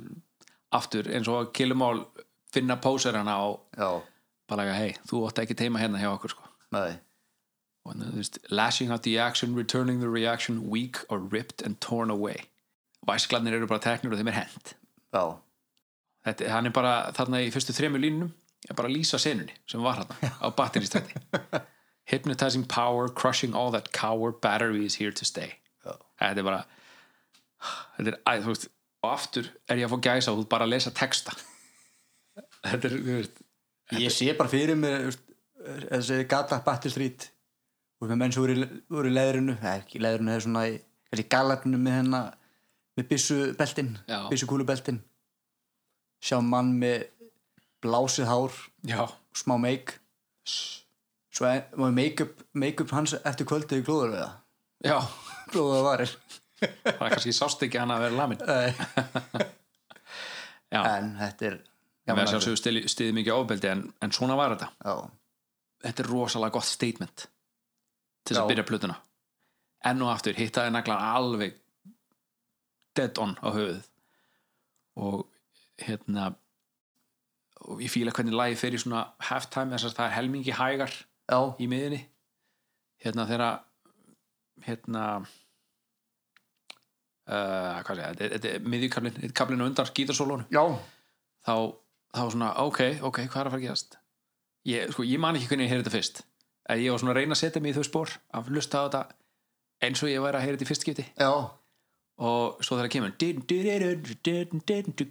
aftur eins og Killemál finna póserana og já, bara laga, hei, þú átt ekki teima hérna hjá okkur sko. nei og þannig, þú veist, lashing out the action returning the reaction weak or ripped and torn away væsklarnir eru bara teknir og þeim er hent já, Þetta, hann er bara þarna í fyrstu þremur línum er bara að lýsa senunni sem var þarna á batteristætti hypnotizing power, crushing all that cower battery is here to stay þetta er bara þetta er, æ, þú veist, og aftur er ég að fá gæsa og þú bara að lesa texta þetta er, þú veist ég sé bara fyrir mér þessi gata Battle Street og með menn sem voru, í- voru í leðrinu eða ekki í leðrinu, það er svona í kannski galarnu með hennar með byssubeltin, Já. byssukúlubeltin sjá mann með blásið hár, já, smá meik svo e, er- var make-up make-up hans eftir kvöldið í glóður eða já, blóðuða varir það er kannski sást ekki hann að vera lamin Nei. já, en þetta er við að að þessu. sjálfsögum stiði, stiði mikið ofbeldi en, en svona var þetta já, þetta er rosalega gott statement til þess Já. að byrja plötuna enn og aftur hittaði naglan alveg dead on á höfuð og hérna og ég fíla hvernig lagið fer í svona halftime þess að það er helmingi hægar já, í miðinni hérna þegar hérna uh, hvað segja, þetta er- þetta er miðjúkablin kablinu undan gítarsólónu já, þá, þá svona, ok, ok, hvað er að fara að gerast ég, sko, ég man ekki hvernig ég heyrði þetta fyrst að ég var svona að reyna að setja mig í þau spór að lusta á þetta eins og ég væri að heyra þetta í fyrst skipti já og svo þegar það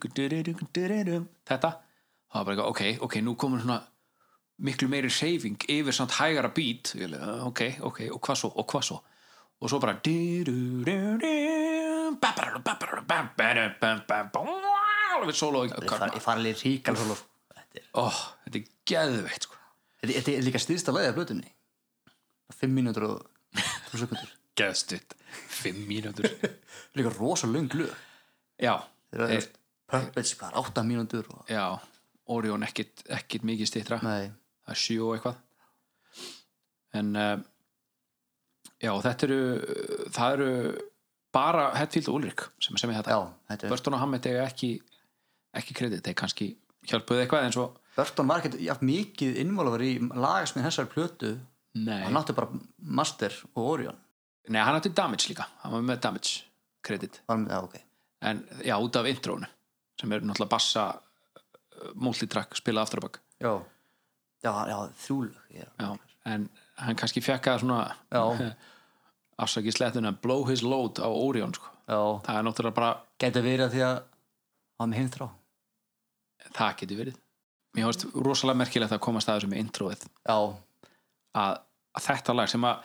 kemur þetta, þá var bara eitthvað, ok, ok nú komur svona miklu meiri shaving yfir samt hægara beat Ég alveg, "Ah, ok, ok, og hvað svo, og hvað svo og svo bara alveg solo ég fari, ég fari líka ríkan svolítið þetta er oh, þetta er geðveikt sko. Þetta þetta er líka stýrsta lagið af blötunni 5 mínútur og 3 sekundur geðstutt, fimm mínútur Líka rosa löng lög já, Þegar Eh, það Puppets bara 8 mínútur og... já Orion ekkit, ekkit mikið stýttra Nei, það er sjö og eitthvað en uh, já, þetta eru það eru bara Hetfield og Ulrik sem sem er já, þetta þetta er Burton og Hammett eiga ekki ekki kredit, þeir kannski hjálpuðu eitthvað en svo, Burton var ekkert jafn mikið innmálavar í lagasmið þessar plötu nei Hann átti bara Master og Orion nei, hann átti damage líka, hann var með damage kredit, Var með það, ok en já, út af intrónu sem er náttúrulega bassa uh, multitrack spilað aftur á bak Já, já, já þrjú lög ég er- já, en hann kannski fekk að svona Já. afsaki slettuna blow his load á Orion sko. Já, það er náttúrulega bara, gæti verið að því að Hann var með heimþrá það getur verið mér finnst rosalega merkilegt að komast að þessu með introið Já, að, að þetta lag sem að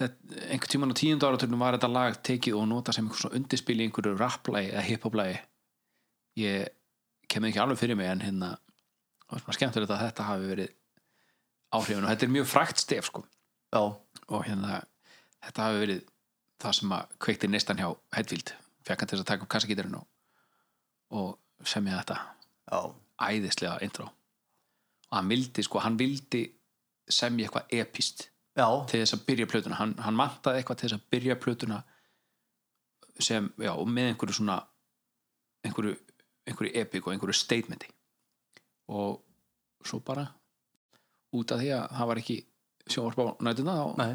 þetta, einhvern tímann á tíundu áraturnum var þetta lag tekið og notað sem einhver svona undirspil í einhverju rapplagi eða hiphoplagi ég kem ekki alveg fyrir mig en hérna það var svona skemmtilegt að þetta hafi verið áhrifin og þetta er mjög frækt stef sko já, og hérna þetta hafi verið það sem að kveikti neistan hjá Hedvild fekk hann til þess að taka upp kassagítarinn og, og semja þetta já æðislega intro og hann vildi sko, hann vildi semja eitthvað epist Já, til þess að byrja plötuna hann, hann mantaði eitthvað til þess að byrja plötuna sem, já, og með einhverju svona einhverju, einhverju epik og einhverju statementi og svo bara út af því að það var ekki sjónvarp á nætuna þá nei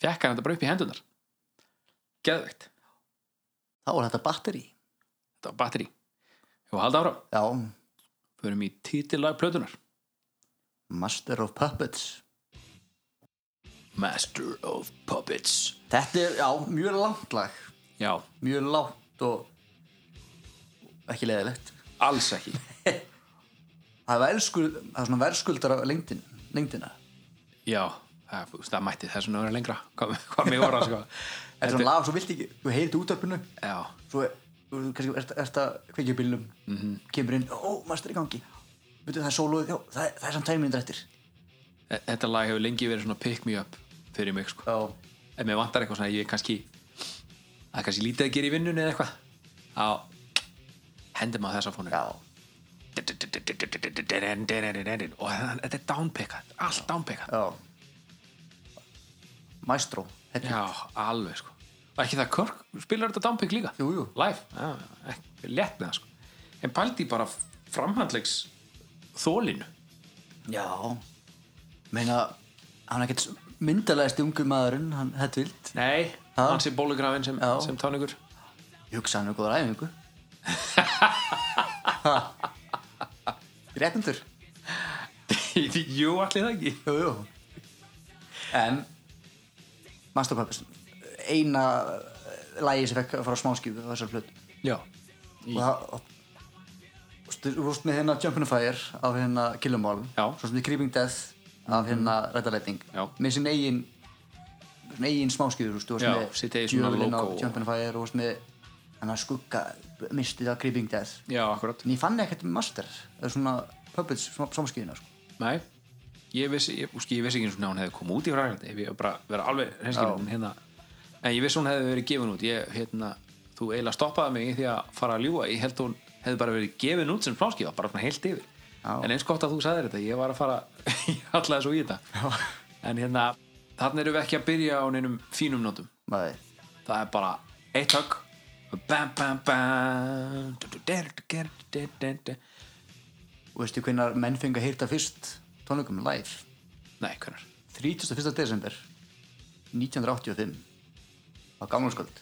fekk hann þetta bara upp í hendunar geðvegt, Þá var þetta batteri þetta var batteri og halda ára, Já, förum í títillag plötunar Master of Puppets Master of Puppets Þetta er, já, mjög langt lag já, Mjög langt og ekki leiðilegt alls ekki Það er, verðskuld, það er svona verðskuldar af lengdin, lengdina já, það, þú veist, það mætti þess að vera lengra hvað, hvað mig voru að sko Þetta er svona lag, svo vilt ekki, þú heyrið útvarpinu já, Svo, er- þú kannski ert, ert að kveikja upp bílnum Kemur inn, ó, master í gangi Veitu, það er sóluð, já, það, er- það er samt tæmið eftir e- þetta lag hefur lengi verið svona pick me up fyrir mig sko, Já, ef mér vantar eitthvað svona ég kannski, það er kannski lítið að gera í vinnunni eða eitthvað á, hendum á þessa fónu já, og það- þetta er downpickað allt downpickað já Maestro, þetta já, alveg sko og ekki það Körk spilar þetta downpick líka Jú, jú. live, já, ekki, létt með það sko en pældi bara framhandlegs þólinu Já Meina, hann er ekkert myndalægst ungu maðurinn, hann Hedvild Nei, Ha? hans er bólugrafin sem, Já. sem táningur Ég hugsa hann er góður æfingu Réttundur Jú, allir það ekki Jú, jú En Master Puppets Eina lægi sem fekk að fara á smáskjöfu á þessar hlut Já, og það og stu- Þú veist með hérna Jumpin' Fire af hérna Killum All Já. Mhm. Svo sem þið Creeping Death af hérna Red Lighting Já. Með sin eigin sin eigin smáskjöfur Þú Já, veist sitt eigið með svona djöfulinn á logo og- Jumpin' Fire og þú veist með hann að skugga mistið af Creeping Death já, akkurat En ég fann ekkert master eða svona puppets samskiðina sko. Nei, ég vissi, ég, úst, ég vissi ekki einu sinni að hún hefði komið út í fræðan ef ég bara vera alveg reynskilin hérna. en ég vissi hún hefði verið gefin út ég, hérna, þú eiginlega stoppaði mig í því að fara að ljúga, ég held hún hefði bara verið gefin út sem smáskifa, bara svona heilt yfir Já. en eins gott að þú sagðir þetta, ég var að fara ég hallaði svo í þetta Já. en hérna, þarna erum við ekki að byrja á neinum fínum nótum, Maður, það er bara eitt högg bam bam bam Du, du, der, du, ger, du, der, der. og veistu hvenar menn fengi að heyrta fyrst tónleikum live? nei, hvernig 31. desember 1985 á gammalsköld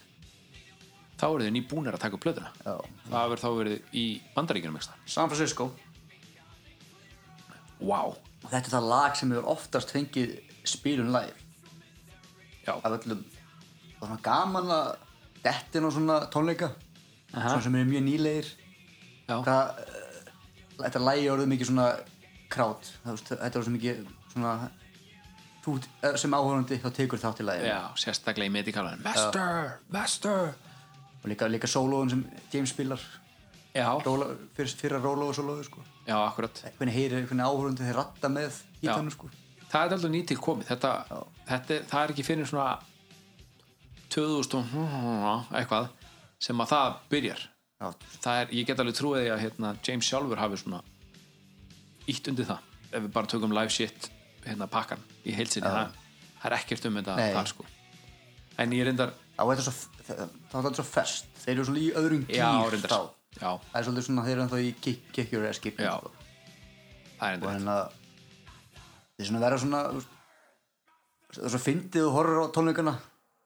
þá eru þau nýbúnir að taka upp plötuna Já. það hefur þá verið í bandaríkjunum ekki San Francisco það wow. og þetta er það lag sem hefur oftast fengið spilun live Já. af öllum og svona gaman að dettin og svona tónleika svona sem eru mjög nýlegir Já. það eh, þetta lagi orðið mikið svona krát Það, þú veist, þetta er orðið mikið svona þú eh, sem áhörandi þá tekur þátt í lagi Já, sérstaklega í medikalanum master, master og líka, líka sólóðun sem James spilar já, róla, fyrir, fyrir að róla og sólóðu sko. já, akkurat hvernig heyrir, hvernig áhörandi þeir ratta með í Já. tannu sko það er alltaf nýtil komið þetta, þetta, er- það er ekki fyrir svona 2000 og eitthvað sem að það byrjar Já. það er, ég get alveg trúið því að hérna, James sjálfur hafi svona ítt undir það ef við bara tökum live shit hérna pakkan í heilsinni það, það er ekkert um þetta Nei. þar sko en ég reyndar, þá er þetta svo, það, það er þetta svo fest þeir eru svona í öðrum gýr já reyndar þá já, það er svolítið svona þeir eru ennþá í kick, kick your ass kick Já. sko. það er og reyndar rétt. hérna þeir svona vera svona þú veist, það er svo fyndið og horror á tónleikana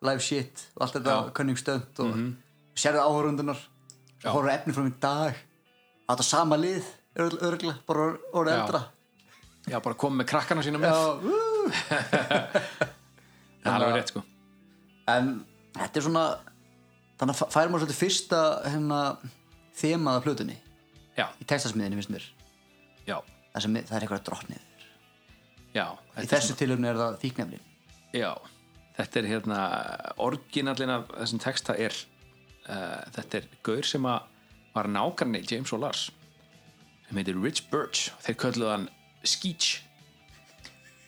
live shit og allt þetta Já. Mhm. kunningstönd og mm -hmm. sérðu áhörundunar og horfur efni frá í dag þetta sama lið örgla, bara orðið Já. eldra já, bara komið með krakkana sína með Já, ú. það er alveg rétt sko en þetta er svona þannig að færum við svolítið fyrsta hérna, þemaða plötunni já, í textasmiðinni finnst mér já, það, sem, það er eitthvað drottnið já í þetta er þessu tilöfni er það þýknefnin Já, þetta er hérna orginallin af þessum texta er uh, þetta er gaur sem að var nákarni James og Lars sem heitir Rich Birch þeir kölluðu hann Skeech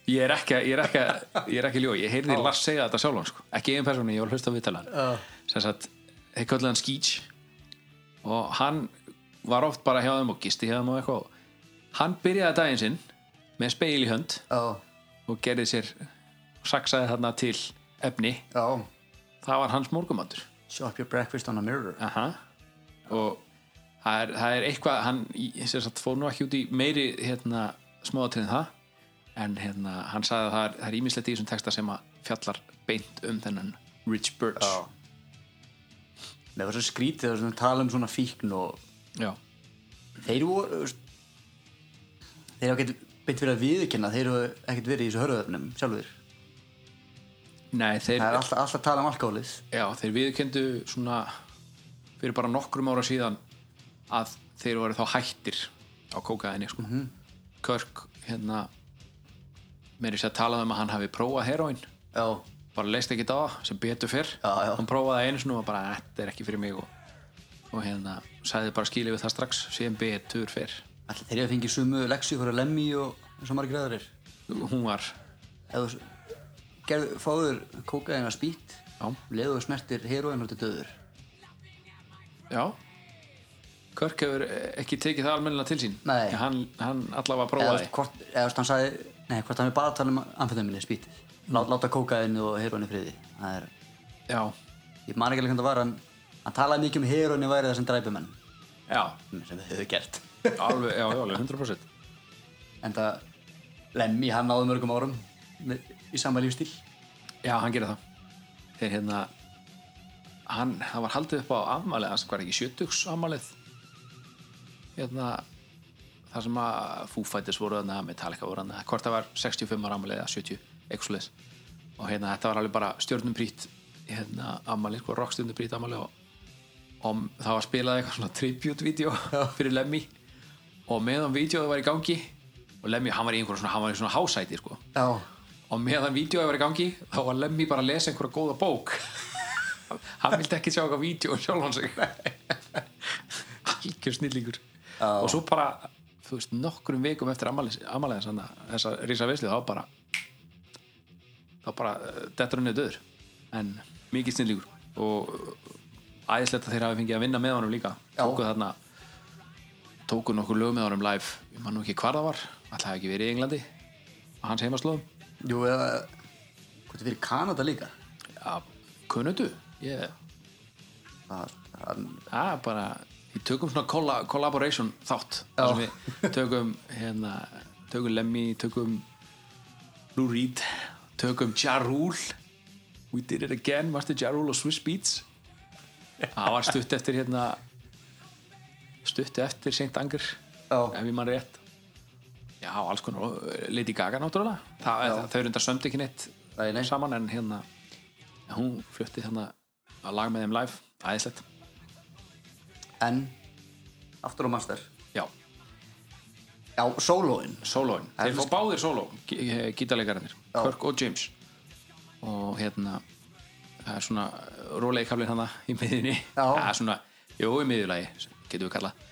Ég er ekki, að- ég er ekki, að- ég er ekki ljó ég heyrði Lars segja þetta sjálfan sko. ekki einn persónu, ég var að hlusta á viðtalan uh. sem sagt, þeir kölluðu hann Skeech og hann var oft bara hjá þeim og gisti hjá þeim og eitthvað hann byrjaði daginn sinn með speil í hönd já, og gerði sér saksaði þarna til efni já það var hans morgumandur shop your breakfast on a mirror Aha. og það er, það er eitthvað hann í- sem sagt, fór nú ekki út í meiri hérna, smáðatrið en það en hérna, hann sagði að það er- það er ímislegt í þessum texta sem að fjallar beint um þennan Rich Birch já með þessu skrítið og svona tala um svona fíkn og Já. þeir voru þú veist, þeir hafa ekkert beint verið að viðkynna þeir hafa ekkert verið í þessu hörðöfnum sjálfur Nei, þeir, það er alltaf, alltaf að tala um alkohólið já, þeir viðkendu svona fyrir bara nokkrum ára síðan að þeir voru þá hættir á kókaðinni sko. Mhm. Körk hérna meiri sér að tala um að hann hafi prófað heroin já, bara leist ekki á það sem betur fyrr Já, já. hann prófaði það einu sinni og bara þetta er ekki fyrir mig og, og hérna sagði bara skilja við það strax sem betur fyrr alltaf þeir hafa fengið sumu leksju fyrir að lemmi og eins og margir aðrir hún var eða þú gerðu, fáður kókaðina spýtt Já. leðu smertir heroin og þetta döður já Körk hefur ekki tekið það almennilega til sín Nei. hann, hann eða allavega sko. þú prófaði veist, hvort, eða þú veist, hann sagði nei, hvort hann er bara að tala um amfetaminni spýti Lát, láta kókaðinu og heroinu friði það er, já, ég man ekki alveg hvernig það var hann, hann talaði mikið um heroinu væri það sem dræpi menn já sem við höfum gert alveg, já, já, alveg 100% en það Lemmi, hann náði mörgum árum með, í sama lífstíl Já, hann gerir það þegar hérna hann, hann var haldið upp á afmælið hans hvað er ekki, sjötugs afmælið hérna þar sem að Foo Fighters voru þarna Metallica voru þarna, hvort það var 65 ára afmælið eða 70, eitthvað svoleiðis og hérna þetta var alveg bara stjörnum prýtt hérna afmælið, sko, rockstjörnum prýtt afmælið og, og það var spilað eitthvað svona tribute-vídeó fyrir Lemmy og meðan vídeóið var í gangi og Lemmy, hann var í einhverjum svona, hann var í svona hásæti, sko Já, og meðan vídeoið var í gangi þá var Lemmy bara að lesa einhverja góða bók hann vildi ekki sjá eitthvað vídeo sjálf hann sig algjör snillingur og svo bara, þú veist, nokkrum vikum eftir amalegins hann þess að rísa veislu þá bara þá bara eh, dettur hann niður döður en mikið snillingur og æðislegt að þeir hafi fengið að vinna með honum líka Já. tókuð þarna tókuð nokkur lög með honum live ég man nú ekki hvar það var, alltaf ekki verið í Englandi á hans heimaslóðum jú, eða hvort er fyrir Kanada líka Já, kunnundu yeah. það, Ah, hann, Það er Ah, bara Við tökum svona colla, collaboration þátt þar sem Já. Við tökum hérna, tökum Lemmy, tökum Lou Reed tökum Ja Rule We did it again, varstu Ja Rule og Swiss Beats Það var stutt eftir hérna stutt eftir Saint Anger Já. ef ég mann rétt Já, alls konar, og eh, Lady Gaga náttúrulega Þa, þau eru enda sömd ekki neitt Nei, nei. saman en hérna en hún flutti hérna að lag með þeim live æðislegt, en aftur á master já, já, sólóin sólóin þeir fór Æðislegt. báðir sóló, gítarleikarinnir sko- Já. Kirk og James og hérna það er svona róleikaflin hana í miðinni Já. það er svona, jú, í miðjulagi getum við kallað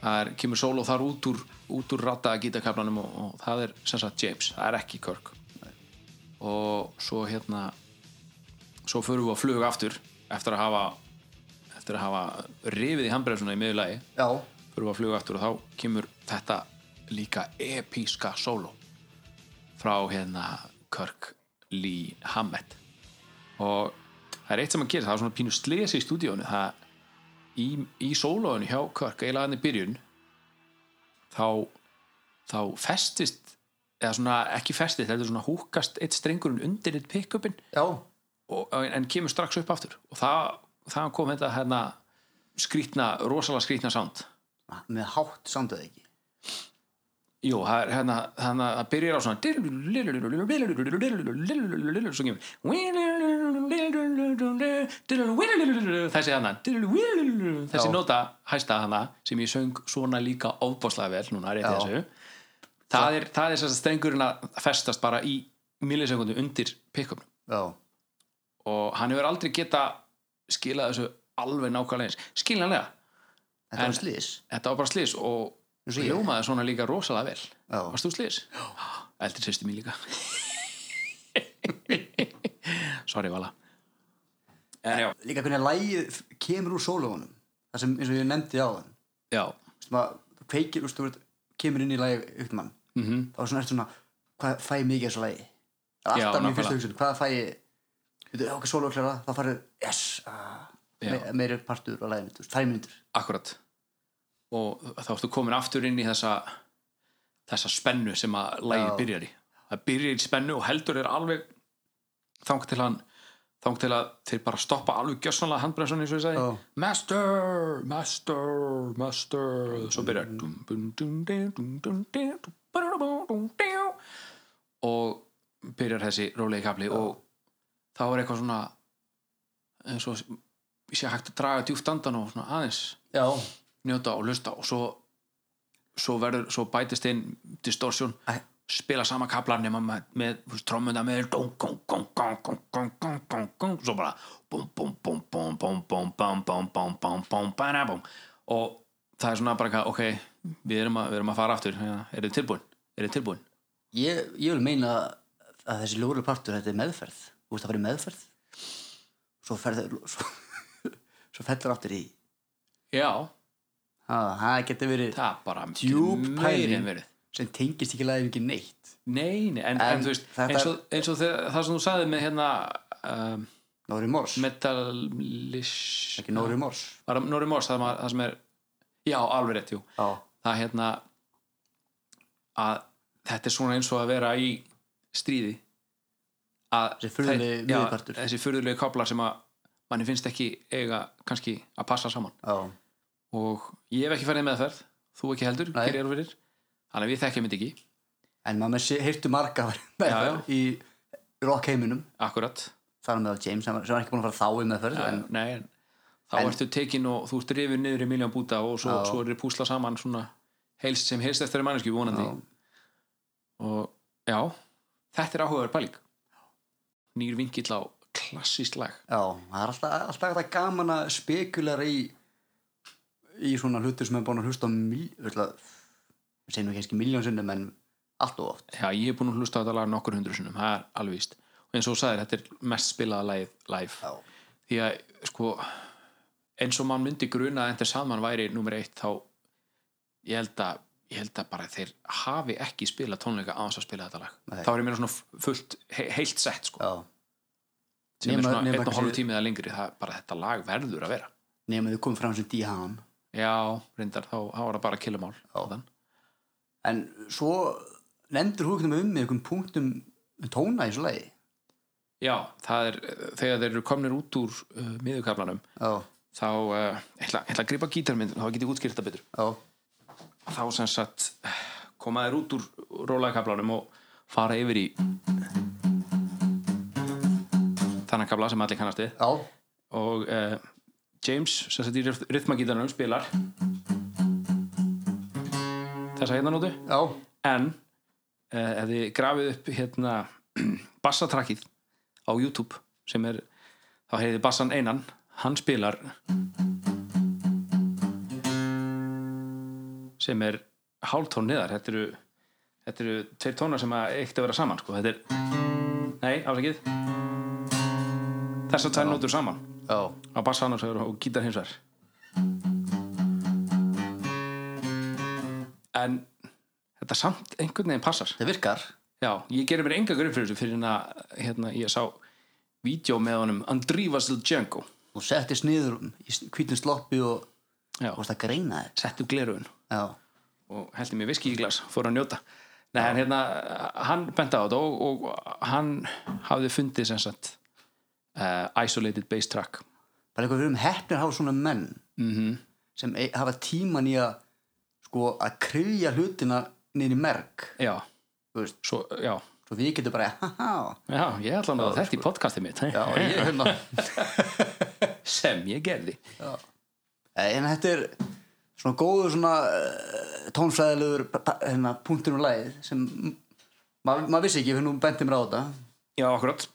það er, kemur sóló þar út úr, út úr rata gítarkaflanum og, og það er sem sagt James, það er ekki Kirk og svo hérna svo förum við á flug aftur eftir að hafa eftir að hafa rifið í handbremsuna í miðjulagi já, fyrir að fluga aftur og þá kemur þetta líka epíska sóló frá hérna Kirk Lee Hammett og það er eitt sem að gera það var svona pínu slesi í stúdíónu það í, í sólóinu hjá Kirk eiginlega hann í byrjun þá, þá festist eða svona ekki festist þetta er svona húkast eitt strengurinn undir eitt pick-upin já, og, en kemur strax upp aftur og það, það kom þetta hérna skrýtna, rosalega skrýtna sound með hátt samtöð ekki Jú, það er hérna, þannig að það byrjar á svona svo kemur þessi hana þessi nota hæsta hana sem ég söng svona líka ofbáslega vel núna rétt í Já. þessu það er, það er þess að strengurinn að festast bara í millisekundu undir pick-upnum já, og hann hefur aldrei geta skilað þessu alveg nákvæmlega eins skiljanlega, þetta En- var slís þetta var bara slís og Eins og ég. hljómaði svona líka rosalega vel já, Varst þú slis? Já. Eldri sýsti mín líka. Sorry, Vala. En já. líka hvernig lægið kemur úr sólóinum það sem, eins og ég nefndi á hann Já. þú kveikir, þú veist, kemur inn í lægi upp mann Mm þá er svona, ertu svona hvað fæ ég mikið af þessu lægi það er Já, alltaf mér fyrsta nákvæmlega. hugsun, hvað fæ ég veitu, já, ok, sólóklæra, þá farið yes, ah, Já. me, meiri partur á læginu, þú veist, þær myndur Akkurat. Og þá ertu komin aftur inn í þessa, þessa spennu sem að lægið Já. byrjar í. Það byrjar í spennu og heldur er alveg þang til hann þang til að þeir bara stoppa alveg gjössanlega handbremsun eins og ég sagði Já. Master, Master, Master svo byrjar dum, dum, dum, dum, dum, dum, dum, dum, dum, dum, dum, og byrjar þessi rólegi kafli og þá er eitthvað svona eins og ég sé hægt að draga djúpt andan og svona aðeins já, njóta og lusta og svo, svo, verður, svo bætist inn distortion, spila sama kaplar nema með, með þú veist, trommuna með dong, gong, gong, gong, gong, gong, gong, gong, gong, svo bara bum, bum, bum, bum, bum, bum, bum, bum, bum, bum, bum, bana, bum og það er svona bara eitthvað, ok, við erum að, við erum að fara aftur, ja, er þið tilbúin? Er þið tilbúin? ég, ég vil meina að þessi ljóru partur, þetta er meðferð þú veist, það farið meðferð svo ferður svo, svo fellur aftur í Já, Ha, það getur verið það er bara Djúp meiri en pæling. verið sem tengist ekki læginu ekki neitt Nei, nei, en, en, En þú veist, þetta- eins og, eins og þegar, það sem þú sagði með hérna um, Nóri Mors, metalish ekki Nóri Mors var það Nóri Mórs, það, maður- það sem er já, alveg rétt, jú já, það er hérna að þetta er svona eins og að vera í stríði að Þessi furðulegi þær- já, miðjupartur. þessi furðulegi kaplar sem að manni finnst ekki eiga kannski að passa saman já, og ég hef ekki farið með það þú ekki heldur, Nei. hér eru fyrir þannig að við þekkjum þetta ekki, en maður heyrtu marga Já, meðferð í rockheiminum akkurat þar með að James sem sem var ekki búin að fara þá í meðferð Já, en nei, en þá en- ertu tekin og þú ert rifið niður í miljón búta og svo, Já. svo er þið púsla saman svona heilst sem heilst eftir mannesku vonandi Já. og já, þetta er áhugaður pæling nýr vingill á klassískt lag já, það er alltaf, alltaf þetta gaman að spekulara í í svona hlutir sem er búin að hlusta á mil, ætla, við segjum ekki miljón sinnum en allt og oft já, ég hef búin að hlusta á þetta lag nokkur hundru sunnum það er alveg víst og eins og þú sagðir, þetta er mest spilaða lagið live já, því að sko eins og mann myndi gruna að þetta saman væri nummer eitt þá ég held að, ég held að bara þeir hafi ekki spila tónleika á þess að spila þetta lag Nei. þá er ég meira svona fullt he heilt sett sko, já sem nema- er svona nema einn og kannski- hálfu tímið að lengri það er bara þetta lag verður að vera nema þau komum fram sem D-Ham já, reyndar, þá, þá var það bara killamál áðan. en svo lendur húknum um með einhverjum punktum tóna í svo leið já, það er þegar þeir eru komnir út úr uh, miðukaflanum já, þá, uh, ég ætla, ég ætla að gripa gítarmynd þá get ég útskýrt það betur já, þá sem sagt eh, koma þér út úr rólakablanum og fara yfir í þannig kabla sem allir kannast við já, og uh, James sem sagt í rithmagítanum spilar þessa hérna nótu já, en uh, ef þið grafið upp hérna bassatrakkið á YouTube sem er, þá heyrið bassan einan hann spilar sem er hálftón niðar þetta eru, þetta eru tveir tónar sem að eitt að vera saman sko. þetta er, nei, afsakið þessar tvær nótur saman já, á bassa annars vegar og gítar hins vegar en þetta samt einhvern veginn passar það virkar já, ég gerir mér enga grunn fyrir þessu fyrir en að hérna, ég sá vídeo með honum Andrívas til Django þú settist niður í hvítum sloppi og já, vorst að greina þetta sett upp gleruðun já, og heldur mér viski í glas, fór að njóta Nei, en hérna, hann benti á þetta og, og hann hafði fundið sem sagt uh, isolated bass track bara eitthvað við erum hefnir að hafa svona menn Mhm. sem e hafa tíman í að sko að kryfja hlutina niður í merg já, þú veist, svo, já, svo við getum bara haha, já ég ætla að þetta í podcastið mitt sko. já, ég hérna sem ég gerði Eh, en þetta er svona góður svona uh, tónfræðilegur pa- pa- hérna, punktur um lagið sem m- maður maður vissi ekki fyrir nú benti mér á þetta já, akkurat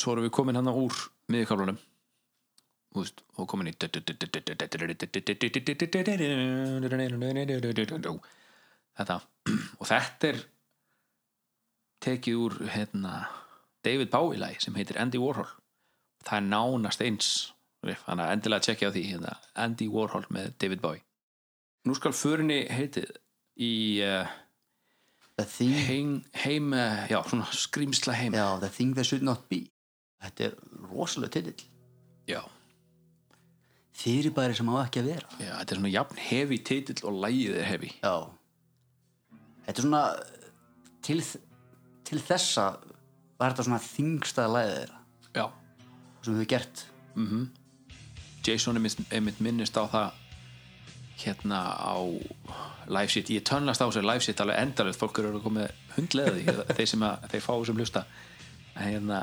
svo erum við komin hann úr miðjökaflunum veist, og komin í þetta og þetta er tekið úr hérna, David Bowie lagi sem heitir Andy Warhol það er nánast eins riff, þannig að endilega tjekkja á því hérna, Andy Warhol með David Bowie nú skal förinni heitið í uh, The Thing, heim, heim eh, já, svona skrýmsla heim já, The Thing That Should Not Be þetta er rosalega titill Já. fyrirbæri sem á ekki að vera Já, þetta er svona jafn hefi titill og lægið er hefi Já Þetta er svona til, til þessa var þetta svona þingstaða læðið þeirra Já. sem þau gert Jason einmitt, einmitt minnist á það hérna á live shit, ég tönnast á sér live shit alveg endalegt, fólk eru að koma með hundleði þeir sem að, þeir fá sem hlusta en hérna,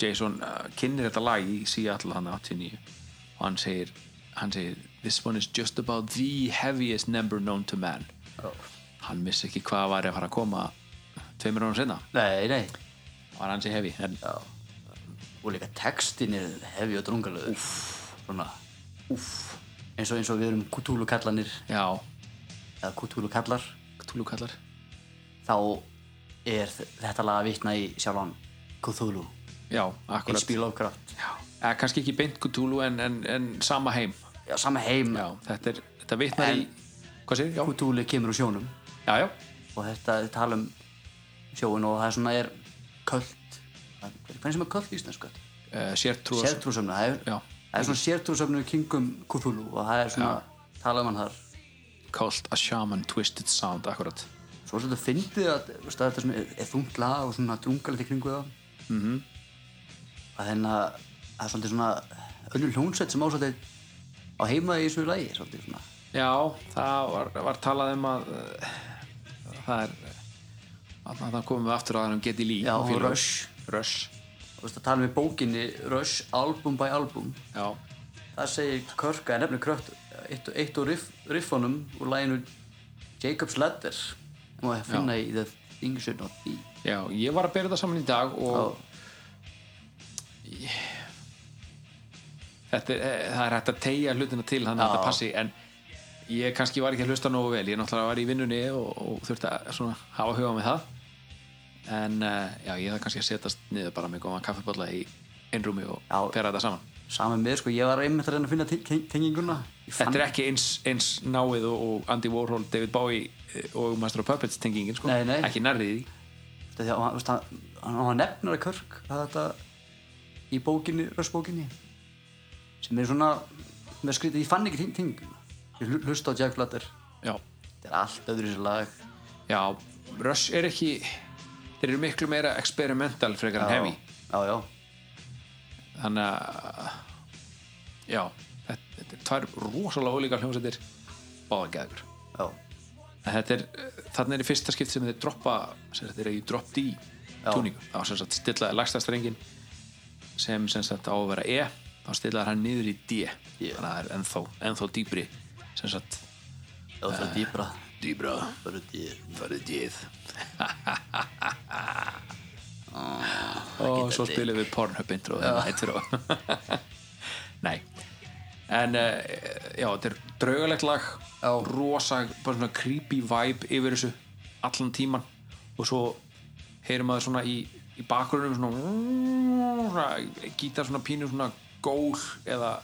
Jason uh, kynir þetta lag í Seattle hann 89 og hann segir, hann segir this one is just about the heaviest number known to man hann missi ekki hvað var að fara að koma tveimur árum senna, Nei, nei var hann sé hefi en Já. og líka textin er hefi og drungalöður svona Úff. eins og eins og við erum kutúlukallanir já, eða kutúlukallar Túlukallar þá er þ- þetta lag að vitna í sjálfan Cthulhu, Já, akkurat H.P. Lovecraft Já. Eh, Kannski ekki beint Cthulhu en, en, en sama heim Já, sama heim, Já, þetta, er, þetta vitnar En- í Hvað sér? Já, Cthulhu kemur úr sjónum já, já, og þetta er tala um sjóin og það er svona er köld hvernig sem er köld í íslensku uh, sértrú sértrúsöfnu það Já. er, það er svona sértrúsöfnu kringum Cthulhu og það er svona talað um hann þar Cult a shaman twisted sound, akkurat svo er svolítið að fyndið að þú veist, að þetta sem er, er þungt lag og svona drungalegt í kringu það mm -hmm. að hérna það er svolítið svona önnur hljónsveit sem á svolítið á heima í þessu lagi svolítið svona Já, það var, var talað um að uh, það er að það komum við aftur að hann um Getty Lee Já, og Fílar. Rush. Rush, og þú veist að tala með bókinni Rush album by album já, það segir Körk að nefnir krökt eitt, eitt og riff, riffunum úr laginu Jacob's Ladder og að finna í The Things You're Not Be já ég var að bera þetta saman í dag og og þetta, er- eh, það er hægt að tegja hlutina til þannig að Já. þetta passi en ég kannski var ekki að hlusta nógu vel ég náttúrulega var í vinnunni og, og þurfti að svona, hafa huga með það en uh, já, ég þarf kannski að setjast niður bara með góðan kaffibólla í einrúmi og Já. bera þetta saman saman með sko, ég var einmitt að reyna að finna te- te- tenginguna Ég fann- Þetta er ekki eins, eins náið og, og Andy Warhol, David Bowie eh, og Master of Puppets tengingin sko. Nei, nei. ekki nærrið því Þetta er- hann- þú veist, hann, hann, hann nefnir að Körk að þetta í bókinni, rössbókinni sem er svona með skrítið, ég fann ekki teng- tenginguna ég hlu- hlusta á Jack Blatter Já, þetta er allt öðru sér lag já Rush er ekki þeir eru miklu meira experimental frekar en heavy já, já, þannig að já, þetta, þetta er tvær rosalega ólíkar hljómsættir báða geður já, þetta er, þarna er í fyrsta skipt sem þeir droppa sem sagt, þeir eru í drop D túningu, þá sem sagt stillaði lagstastrengin sem sem sagt á að vera E þá stillaði hann niður í D Yeah. þannig að það er ennþá, ennþá dýbri sem sagt já, Eh. það er dýbra dýbra, það er dýr farið dýð og svo spilum við Pornhub intro þennan eittur og nei en uh, já, þetta er draugalegt lag Já. rosa, bara svona creepy vibe yfir þessu allan tíman og svo heyrum maður svona í, í bakgrunum svona, svona gítar svona pínu svona gól eða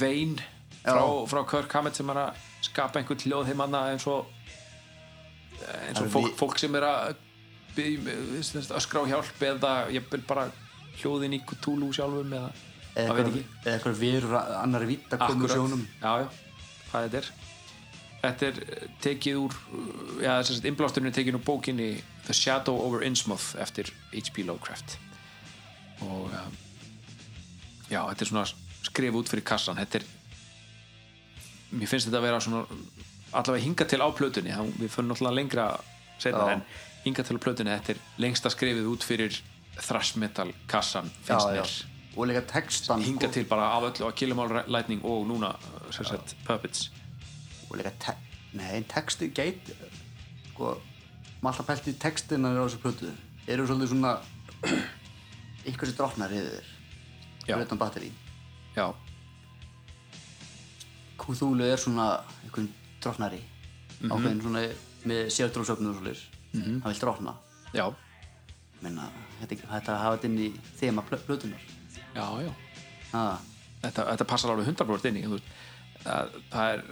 vein frá, frá Kirk Hammett sem er að skapa einhvern hljóð þeim annað eins og eins Það og er fólk, vi- fólk sem er að bygg, öskra á hjálp eða ég vil bara hljóðin í Cthulhu sjálfum eða eða það veit ekki eitthvað- eða eitthvað verur annar vitt að koma úr Akkúrat. sjónum já, já, hvað þetta er þetta er eh, tekið úr eh, já, þess að innblásturinn er tekið úr bókinni The Shadow over Innsmouth eftir H.P. Lovecraft og eh, já, þetta er svona skrif út fyrir kassan þetta er mér finnst þetta að vera svona allavega hinga til á plötunni þá- við förum náttúrulega lengra setna Já. en hinga til á plötunni, þetta er lengsta skrifið út fyrir thrash metal kassan já, finnst já, mér og líka textan hinga sko. til bara af öllu að Killamál Lightning og núna uh, sem sagt Puppets og líka te nei, texti gæt sko, maður alltaf pælt í textina á þessu plötu eru svolítið svona eitthvað sem drotnar yfir Já. þér utan batteri já, Cthulhu er svona eitthvað drotnari Mhm. ákveðin svona með sérdrófsöfnum og svolítið mm -hmm. hann vil drotna já, Minna, þetta, þetta hafa þetta inn í þema plö- plötunar já, já ha, þetta, þetta passar alveg 100% inn í þú veist. það, það er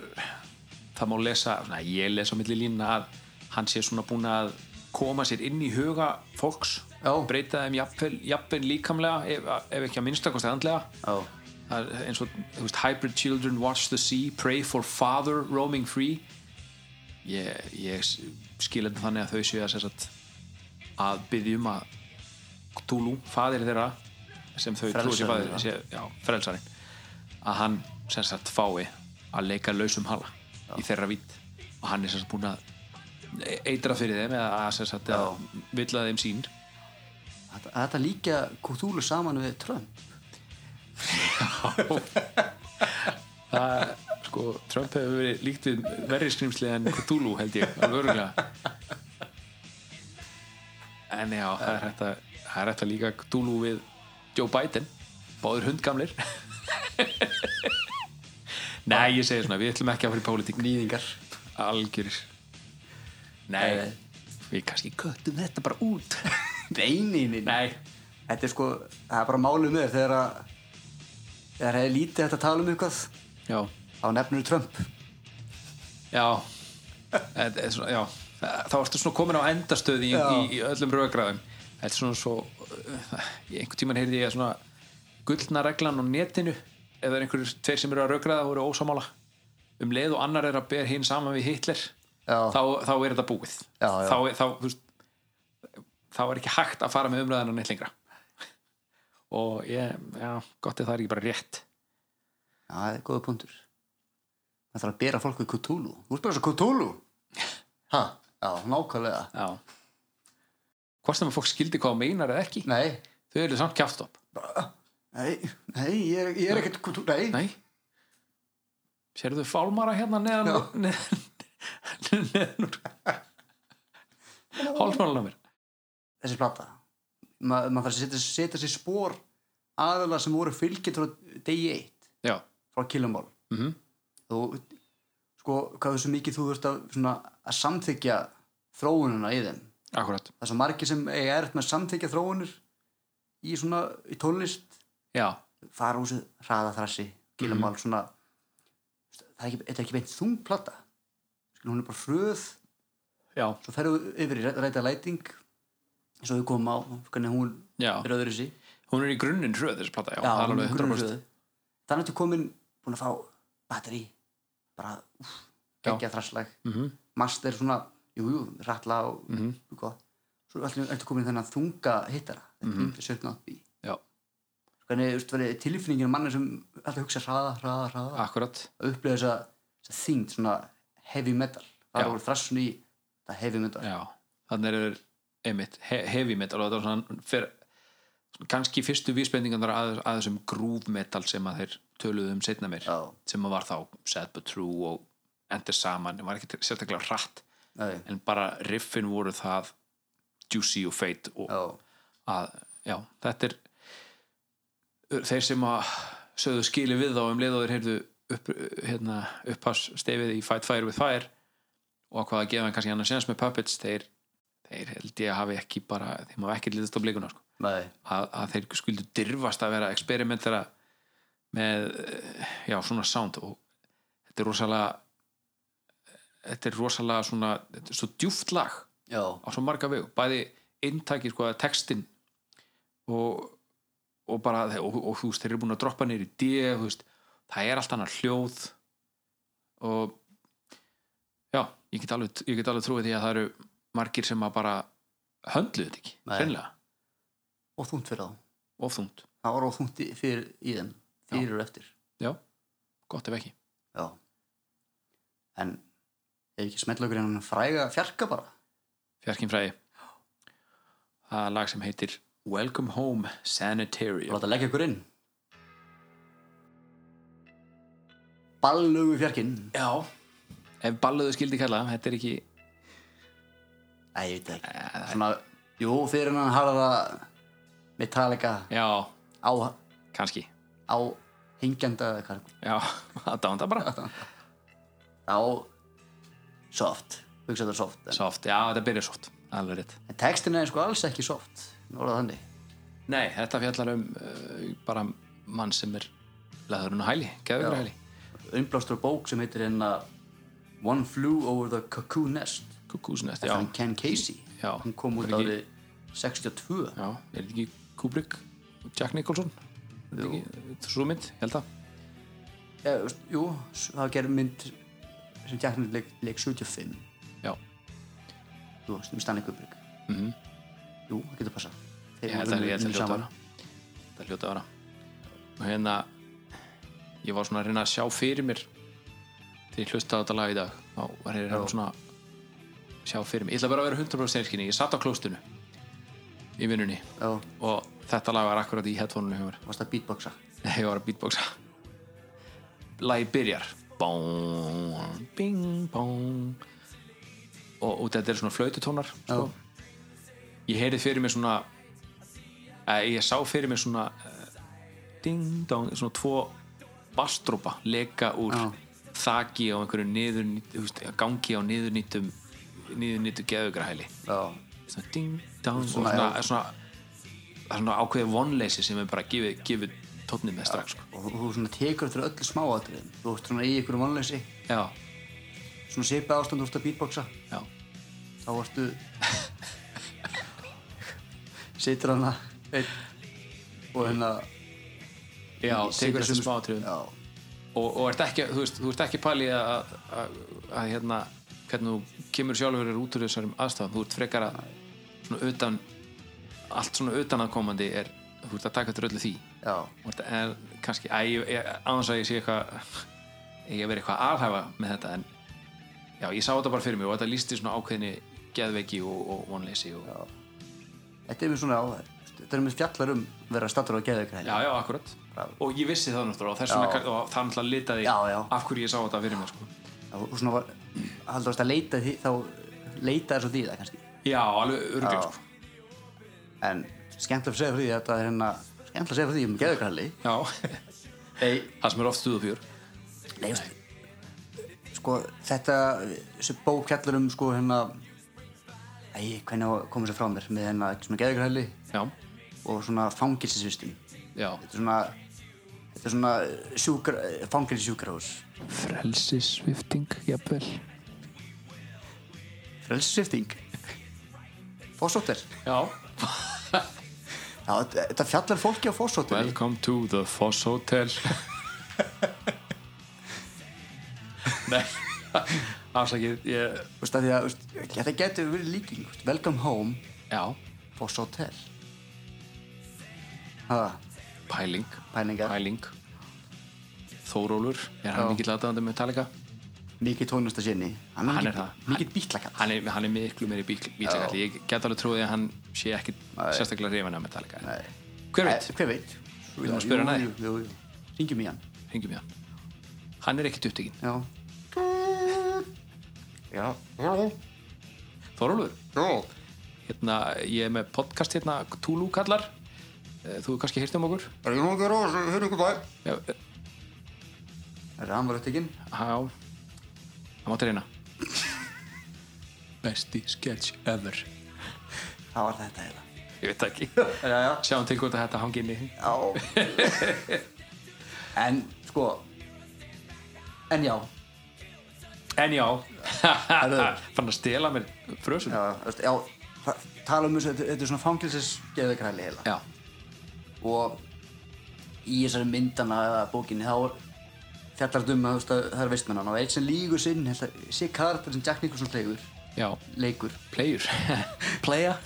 það má lesa, svona, ég lesa á milli línuna að hann sé svona búin að koma sér inn í huga fólks Já. breyta þeim jafnvel, jafnvel líkamlega ef, ef ekki að minnstakosti andlega á, það er eins og þú veist, hybrid children watch the sea, pray for father roaming free ég, ég skil þetta þannig að þau séu að, sem sagt, að byggjum að Cthulhu, fadir þeirra sem þau trúi sér Frelsarinn fadir þeirra. sé, já, frelsarinn að hann sem sagt fái að leika lausum hala í þeirra vitt og hann er sem sagt búin að eitra fyrir þeim eða að sem sagt að vilja þeim sín þetta, þetta líka Cthulhu saman við Trump það, sko, Trump hefur verið líkt við verri skrimsli en Cthulhu held ég, alveg örgulega en já, það er hægt að það er hægt að líka Cthulhu við Joe Biden, báður hundgamlir nei, ég segi svona, við ætlum ekki að fara í pólitík nýðingar algjörir nei, við kannski köttum þetta bara út beinin nei, þetta er sko, það er bara málið með þér þegar að þegar hefði lítið hægt að tala um eitthvað já þá nefnir Trump Já, Þetta er svona, já. Þa- þá ertu svona komin á endastöð í, Já. í, í öllum rauðgræðum Þetta er svona svo í einhvern tímann heyrði ég að svona gullna reglan á netinu ef það er einhverjir tveir sem eru að rauðgræða og eru ósámála um leið og annar er að ber hinn saman við Hitler Já. þá, þá er þetta búið Já, já. Þá, er- þá, þú veist, þá er ekki hægt að fara með umræðan og neitt lengra og ég, já, gott ef það er ekki bara rétt Já, það er góða punktur Það þarf að bera fólk við Cthulhu Þú ert bara svo Cthulhu Ha, já, nákvæmlega já hvort sem að fólk skildi hvað þú meinar eða ekki Nei, þau eru samt kjáftopp nei, nei, ég er, ég er ekkert Cthulhu Nei, nei, sérðu fálmara hérna neðan Já. neðan, neðan úr hálfsmálan á mér þessi plata Ma, maður þarf að setja, setja sér spór aðalega sem voru fylgjit frá degi 1 já, frá Killamál Mhm. og sko, hvað þessu mikið þú þurft að, svona, að samþykja þróununa í þeim akkurat það er svo margir sem eiga erft með að samþykja þróunir í svona í tónlist já, farhúsið, hraðaþrassi Gillamál svona það er ekki, þetta er ekki beint þungplata Skil, hún er bara fröð já, svo ferðu yfir í ræta læting eins og við komum á hvernig hún já er öðru sí hún er í grunninn hröð þessi plata, já, það er alveg 100% þannig að þú komin búin að fá batteri bara úf, Já. geggja þrasslag Mhm. master svona, jú, jú, ratla og Mhm. gott svo allir ertu komin þennan þunga hittara þetta mm -hmm. sjöfna upp í Mhm. já, hvernig þú veist, verið tilfinningin af manni sem alltaf hugsa hraða, hraða, hraða akkurat að upplega þessa, þessa þyngd svona heavy metal Já. það voru þrassun í það heavy metal Já, þannig er einmitt, he heavy metal og þetta var svona fer, kannski fyrstu vísbendingarnar að, að þessum groove metal sem að þeir töluðu um setna mér Já. sem að var þá Sad But True og Endur Saman, það var ekki sérstaklega hratt Nei. en bara riffin voru það juicy og feit og Já. að, já, þetta er þeir sem að sögðu skili við þá um leið og þeir heyrðu upp, hérna, upphass stefið í Fight Fire with Fire og hvað að gefa hann kannski annars séns með Puppets þeir, þeir held ég að hafi ekki bara þeim hafi ekki litast á blikuna sko. Nei. að, að þeir skuldu dyrfast að vera experimentera með eh, já, svona sound og þetta er rosalega þetta er rosalega svona þetta er svo djúft lag Já. á svo marga vegu, bæði inntæki sko, textin og, og bara og, og, og þú veist, þeir eru búin að droppa niður í D þú veist, það er allt annar hljóð og já, ég get alveg, ég get alveg trúið því að það eru margir sem að bara höndluðu þetta ekki, Nei. hreinlega og þungt fyrir þá of þungt, það var óþungt í- fyrir í þeim fyrir og eftir já, gott ef ekki Já. en ef ekki smetla okkur en fræga fjarka bara fjarkinn fræði það er lag sem heitir Welcome Home Sanitarium láta leggja okkur inn ballugu fjarkinn já, ef balluðu skildi kalla þetta er ekki, Æ, ég veit það ekki svona, jú, fyrir hann hafa það Metallica já, á, kannski á hengjanda eða hvað Já, aðdánda bara á soft hugsa þetta soft en, Soft, já þetta byrjar soft, alveg rétt en textin er sko alls ekki soft nú er það þannig Nei, þetta fjallar um uh, bara mann sem er leðurinn og hæli, geðugur hæli umblastur bók sem heitir hérna One Flew Over the Cuckoo Nest Kúkúsnest, já, eftir hann Ken Casey Já. hún kom út Er ekki- árið 62 já Er þetta ekki Kubrick, Jack Nicholson Er þetta ekki Svo mynd, ég held að Já, þú veist, jú, s- það gerði mynd sem tjeknir leik, leik 75 Já, þú veist, með Stanley Kubrick Mhm. jú, það getur passa ég held að ég held að hljóta vera Þetta er hljóta vera Og hérna Ég var svona að reyna að sjá fyrir mér Þegar ég hlustaði á þetta lag í dag Þá var ég að reyna svona að Sjá fyrir mér, ég ætla bara að vera 100% sérkinni Ég satt á klóstinu Í vinnunni já, og þetta lag var akkurat í headphone-unum hjá mér varst að beatboxa ég var að beatboxa lagi byrjar bóng, bing, bóng og, og þetta er svona flaututónar sko. ég heyri fyrir mér svona eh, ég sá fyrir mér svona eh, ding dong, svona tvo bassdrópa leka úr Já. þaki á einhverju niðurnýtt þú veist, gangi á niðurnýttum niðurnýttu geðugrahæli já, svona ding dong Svona, og svona, já. svona, það er svona ákveðið vonleysi sem er bara gefið, gefið tónnið með strax sko. og þú- þú svona tekur þetta öllu smáatriðum þú veist svona í ykkur vonleysi já, svona sipið ástand, þú veist að beatboxa já, þá vartu situr hann að og hérna já situr tekur þessum sömu- smáatriðum já, og, og ert ekki, þú veist, þú ert ekki pælið að, að, að hérna hvernig þú kemur sjálfur þér út úr þessum aðstæðum þú ert frekar að svona utan allt svona utanakomandi er þú ert að taka eftir öllu því já, Þú ert- en kannski æ, ég- ég- án þess að ég sé eitthvað ég verið eitthvað að alhæfa með þetta en já, ég sá þetta bara fyrir mig og þetta lísti svona ákveðinni geðveiki og, og vonleysi og, já. þetta er mér svona á þetta er mér fjallar um að vera stattur á geðveikra já, akkurat og ég vissi það náttúrulega og þess Já. vegna og það náttúrulega litaði Já, já. af hverju ég sá þetta fyrir mig sko. og svona var, haldur að leita því þá leita þess að því það kannski já, alveg örglega Já. sko. en skemmtilega að segja frá því að þetta er hérna skemmtilega að segja frá því um geðveikrahali já, nei, það sem er oft stuð og fjör Nei, veist, sko, þetta þessi bók fjallar um sko hérna æ, hvernig á að koma sér frá mér með hérna svona geðugræli já, og svona fangilsisvistum já þetta er svona þetta er svona sjúkra, fangilsisjúkrahús frelsisvifting, jafnvel frelsisvifting fósóttir já, Já, þetta þetta fjallar fólki á fósóttir welcome to the Foss Hotel nei afsakið, ég Því að veist, þetta getur verið líking veist, Welcome home, já, fósóttir Hæða, pæling pælingar pæling Þórólur, er hann Já. mikill aðdæðandi Metallica mikið tónlistasinni hann, Hann hann er er það. mikið- mikið bítlakall hann er, hann er miklu meiri bíklagalli ég get alveg trúið að hann sé ekki sérstaklega hrifin af Metallica Nei. hver veit, Eh, Hver veit? Við þurfum að spyrja hann að því. Jú, jú, jú. Ringjum í hann. hengjum ég hann hann er ekkit upptekinn Já. Já. Þorólfur hérna, ég er með podcast hérna Tulu kallar Eh, þú hefur kannski heyrt um okkur Er ég nú ekki ráð, hér ykkur bæ. já, eh, Er hann var upptekinn? já það mátti reyna besti sketch ever Það var þetta heila. ég veit það ekki Já, já. sjáum til hvort að þetta hangi inn í Já. en, sko, en já, en já, fann að stela mér frösun já, veist, já, það- tala um þessu, þetta- þetta er svona fangilsis geðvekræli heila. já, og í þessari myndana eða bókinni þá er fjallar þetta um að þú veist, að það er veistmennan og eitt sem lígur sinn, held að sé karakter sem Jack Nicholson leikur, já. leikur. player playa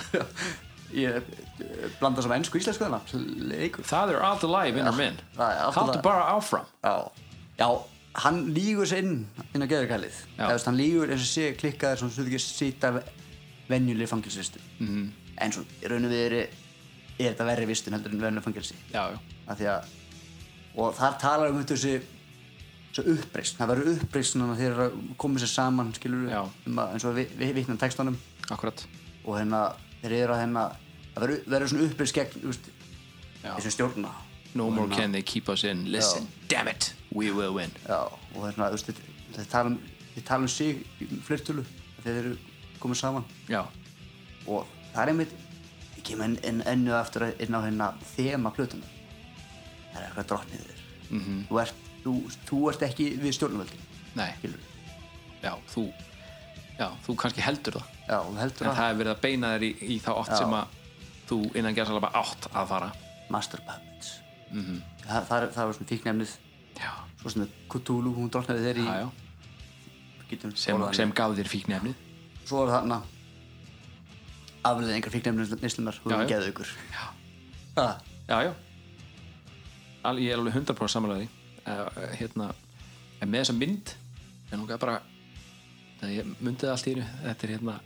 ég eh, blanda saman ennsku og íslensku þarna leikur það er alltaf live innar minn það er alltaf haldur live. bara áfram já, já hann lígur sér inn inn á geðurkælið Já. eða veist, hann lígur eins og sé klikkaður svona svo þú ekki sýta venjuleg fangilsvistu mm -hmm. en svo í raun og við er, er þetta verri vistun heldur en venjuleg fangilsi já, já, af því að og þar talar um þetta þessi þessi uppreist, það verður uppreist þegar þeir eru að koma sér saman skilur Já. um að, eins og við, við vitnum textanum akkurat og hérna þeir eru að hérna það verður- verður svona uppreist gegn þú veist, Já. þessum stjórna no more can they keep us in listen, damn it, we will win Já, og þarna, þú veist, þetta- þetta tala um, þetta tala um sig í fleirtölu þegar þeir eru komið saman já, og það er einmitt ég kem enn en, ennu aftur inn á hérna þema plötuna það er eitthvað drottnið þér -hmm. Mhm. þú, ert, þú, þú ert ekki við stjórnvöldi nei, skilur já, þú já, þú kannski heldur það já, þú heldur en að það er verið að beina þér í, í þá átt Já. sem að þú innan gerðs alveg átt að fara master puppets Mhm. -hmm. það, það, er- það var svona fíknefnið já, svo sem Cthulhu, hún drottnaði þeir í já, já. getum sem, orðað hana. sem gaf þér fíknefnið svo er þarna afleðingar fíknefnið nýslunar hún Já, er já. geðaukur já já, já Al, ég er alveg 100% samanlega því uh, hérna, en með þessa mynd en hún gaf bara það ég myndið allt í hennu, þetta er hérna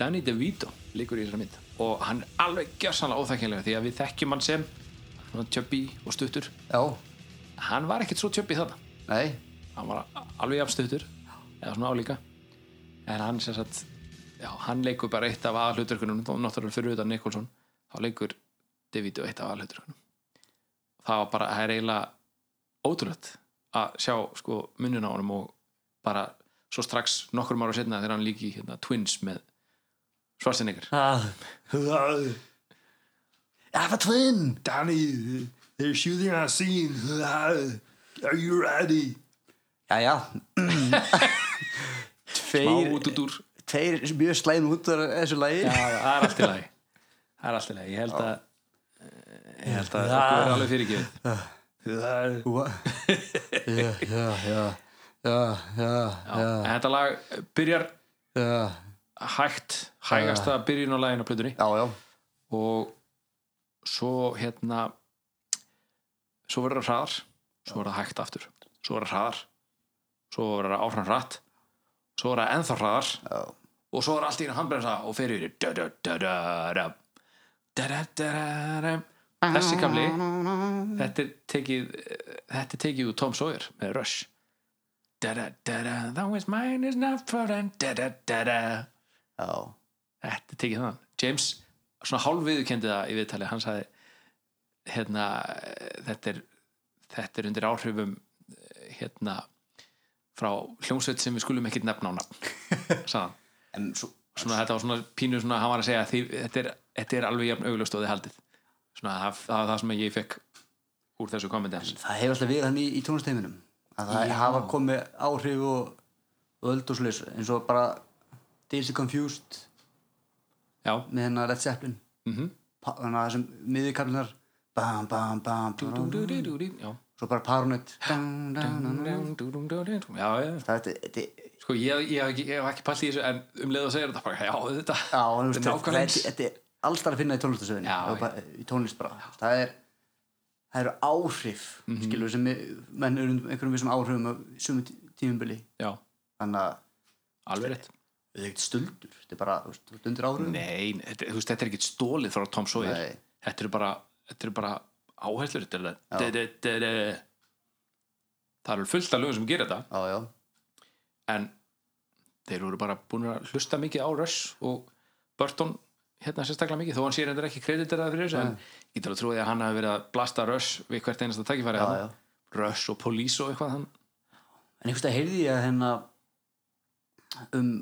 Danny DeVito líkur í þessari mynd og hann er alveg gjörsanlega óþekkilega því að við þekkjum hann sem svona tjöppi og stuttur já, hann var ekkert svo tjöppi þarna nei hann var alveg jafnstuttur eða svona álíka en hann sem sagt já, hann leikur bara eitt af aðhluturkunum og náttúrulega fyrir utan Nikolson þá leikur Davido eitt af aðhluturkunum það var bara, það er eiginlega ótrúlegt að sjá sko mununa á honum og bara svo strax nokkrum ára setna þegar hann líki hérna, Twins með Schwarzenegger Alpha Twin! Danny, they're shooting a scene. Are you ready? Jæja Má Tveir, út út úr tveir mjög slæm út af þessu lagi Já, já, það er allt í lagi Það er allt í lagi, ég held að ég held að það er alveg fyrirgefið Úa. Já, já, já Já, já, já En Þetta lag byrjar uh, hægt, hægasta byrjun á læginu á plötunni já, já, og svo hérna svo verður það hraðar svo verður það hægt aftur, svo verður það hraðar svo verður það áfram hratt svo verður það ennþá hraðar já. og svo er allt í einu handbremsa og fer yfir í da, da, da, da, da. Da, da, da, da, da. þessi kamli þetta er tekið eh, þetta er tekið úr Tom Sawyer með Rush da, da, da, da, though his mind is not foreign da, da, da, da. já. þetta er tekið þann James, svona hálfviðukendi það í viðtali hann sagði hérna, eh, þetta er þetta er undir áhrifum eh, hérna frá hljómsveit sem við skulum ekki nefna á nafn sagðan En, svo, svona, þetta var svona pínu svona, hann var að segja því, þetta, er, þetta er alveg jafn auglust og þið haldið svona, það, það var það sem ég fekk úr þessu kommenti hans það hefur alltaf verið hann í, í tónlisteiminum að það hafa komið áhrif og öld og slags eins og bara Daisy Confused já, með hennar Led Zeppelin Mhm. Pa- þannig að þessum miðurkaflinar bam bam bam bara- já. svo bara Paranoid Dun, dun, dun, dun. já, já. það er þetta er- sko ég, ég, hef ekki, ég hef ekki pælt í þessu en um leið að segja þetta bara, já, þetta Já, en þú veist, þetta er þetta nákvæmlega þetta- eins. þetta er alltaf að finna í tónlistasöðinni Já, já. Mhm. í tónlist bara það er það eru áhrif mm -hmm. skilur sem er- menn eru undir einhverjum vissum áhrifum af sumu tí- tímumbili já, þannig að alveg rétt þetta er ekkert stöldur þetta er bara þú veist, þú ert undir áhrifum nei, þetta, þú veist, þetta er ekki stólið frá Tom Sawyer Nei. þetta er bara, þetta er bara áherslur þetta er alveg- da, da, da, da. það eru fullt af lögum sem gerir þetta já, já, en þeir voru bara búin að hlusta mikið á Rush og Burton hérna sérstaklega mikið, þó hann sé hendur ekki krediteraði fyrir þessu, en ég getur að trúið að hann hafi verið að blasta Rush við hvert einasta tækifæri já, já. þarna. Rush og Police og eitthvað hann en einhvers veginn heyrði ég að hérna um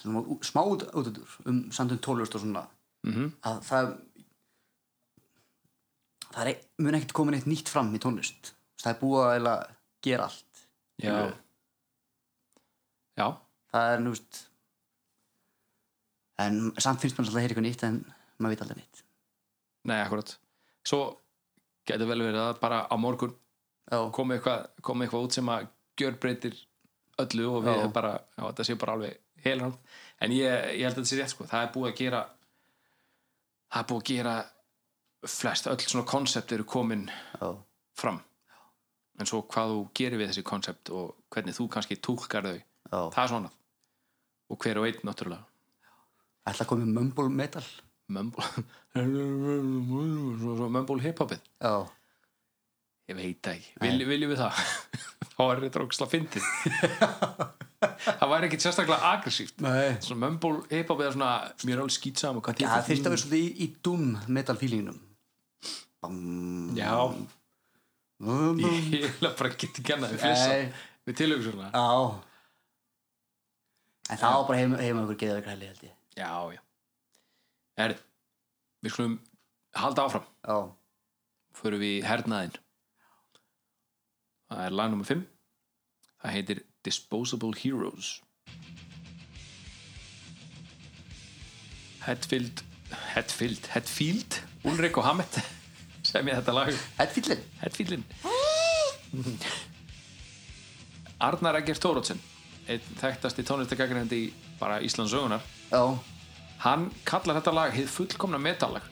svona, ú- smá út, útudur um samtum tólust og svona Mhm. -hmm. að það það er, e, mun ekkert koma neitt nýtt fram í tónlist það er búið að eiginlega gera allt já, já, það er núst en samt finnst mann alltaf að heyra eitthvað nýtt en maður veit aldrei nýtt nei, akkurat svo getur vel verið að bara á morgun já, komi eitthvað, komi eitthvað út sem að gjörbreytir öllu og við Já. bara, já, þetta sé bara alveg heilrænt, en ég, ég held að þetta sé rétt sko, það er búið að gera það er búið að gera flest, öll svona konsept eru komin já, fram en svo hvað þú gerir við þessi konsept og hvernig þú kannski túlkar þau já það er svona og hver og einn náttúrulega ætla að koma með mumble metal mömbul svo, svo mömbul hiphopið já, ég veit það ekki, Vilj, viljum við það þá er þetta ógislega fyndið það væri ekkit sérstaklega aggressíft nei svona mömbul hiphop eða svona mér er alveg skýtsam og hvað Já, það þurfti að þið vera svolítið í, í doom metal feelingnum Bam, já, bam, bam. ég ég ætla bara að geta ekki annað en flissa Nei, við tilögum svona Já En það var bara heima, heima ykkur geðaður græli held ég já, já er, við skulum halda áfram Já, förum við í hernaðinn það er lag nummer 5 það heitir Disposable Heroes Hetfield Hetfield, Hetfield Ulrik og Hammett sem ég þetta lag þetta fýllin Hetfieldin Arnar Egger Tórótsen einn þekktasti tónlistakakrendi bara Íslands sögunar Já, hann kallar þetta lag hið fullkomna metallag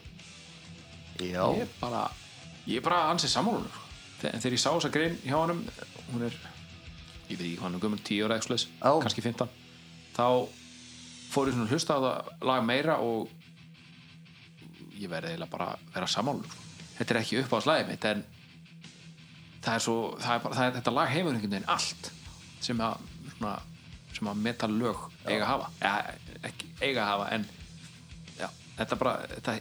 já, ég er bara ég er bara ansið sammálunum sko. þegar ég sá þessa grein hjá honum hún er, ég veit ekki hvað hann er gömur 10 ára eða eitthvað, Já. kannski 15 þá fór ég svona að hlusta á það lag meira og ég verði eiginlega bara að vera sammálunum þetta er ekki upp á slagið mitt en það er svo það er bara, það er, þetta lag hefur einhvern veginn allt sem að, svona, sem að metallög eiga að hafa ja, ekki eiga að hafa en já, þetta bara þetta,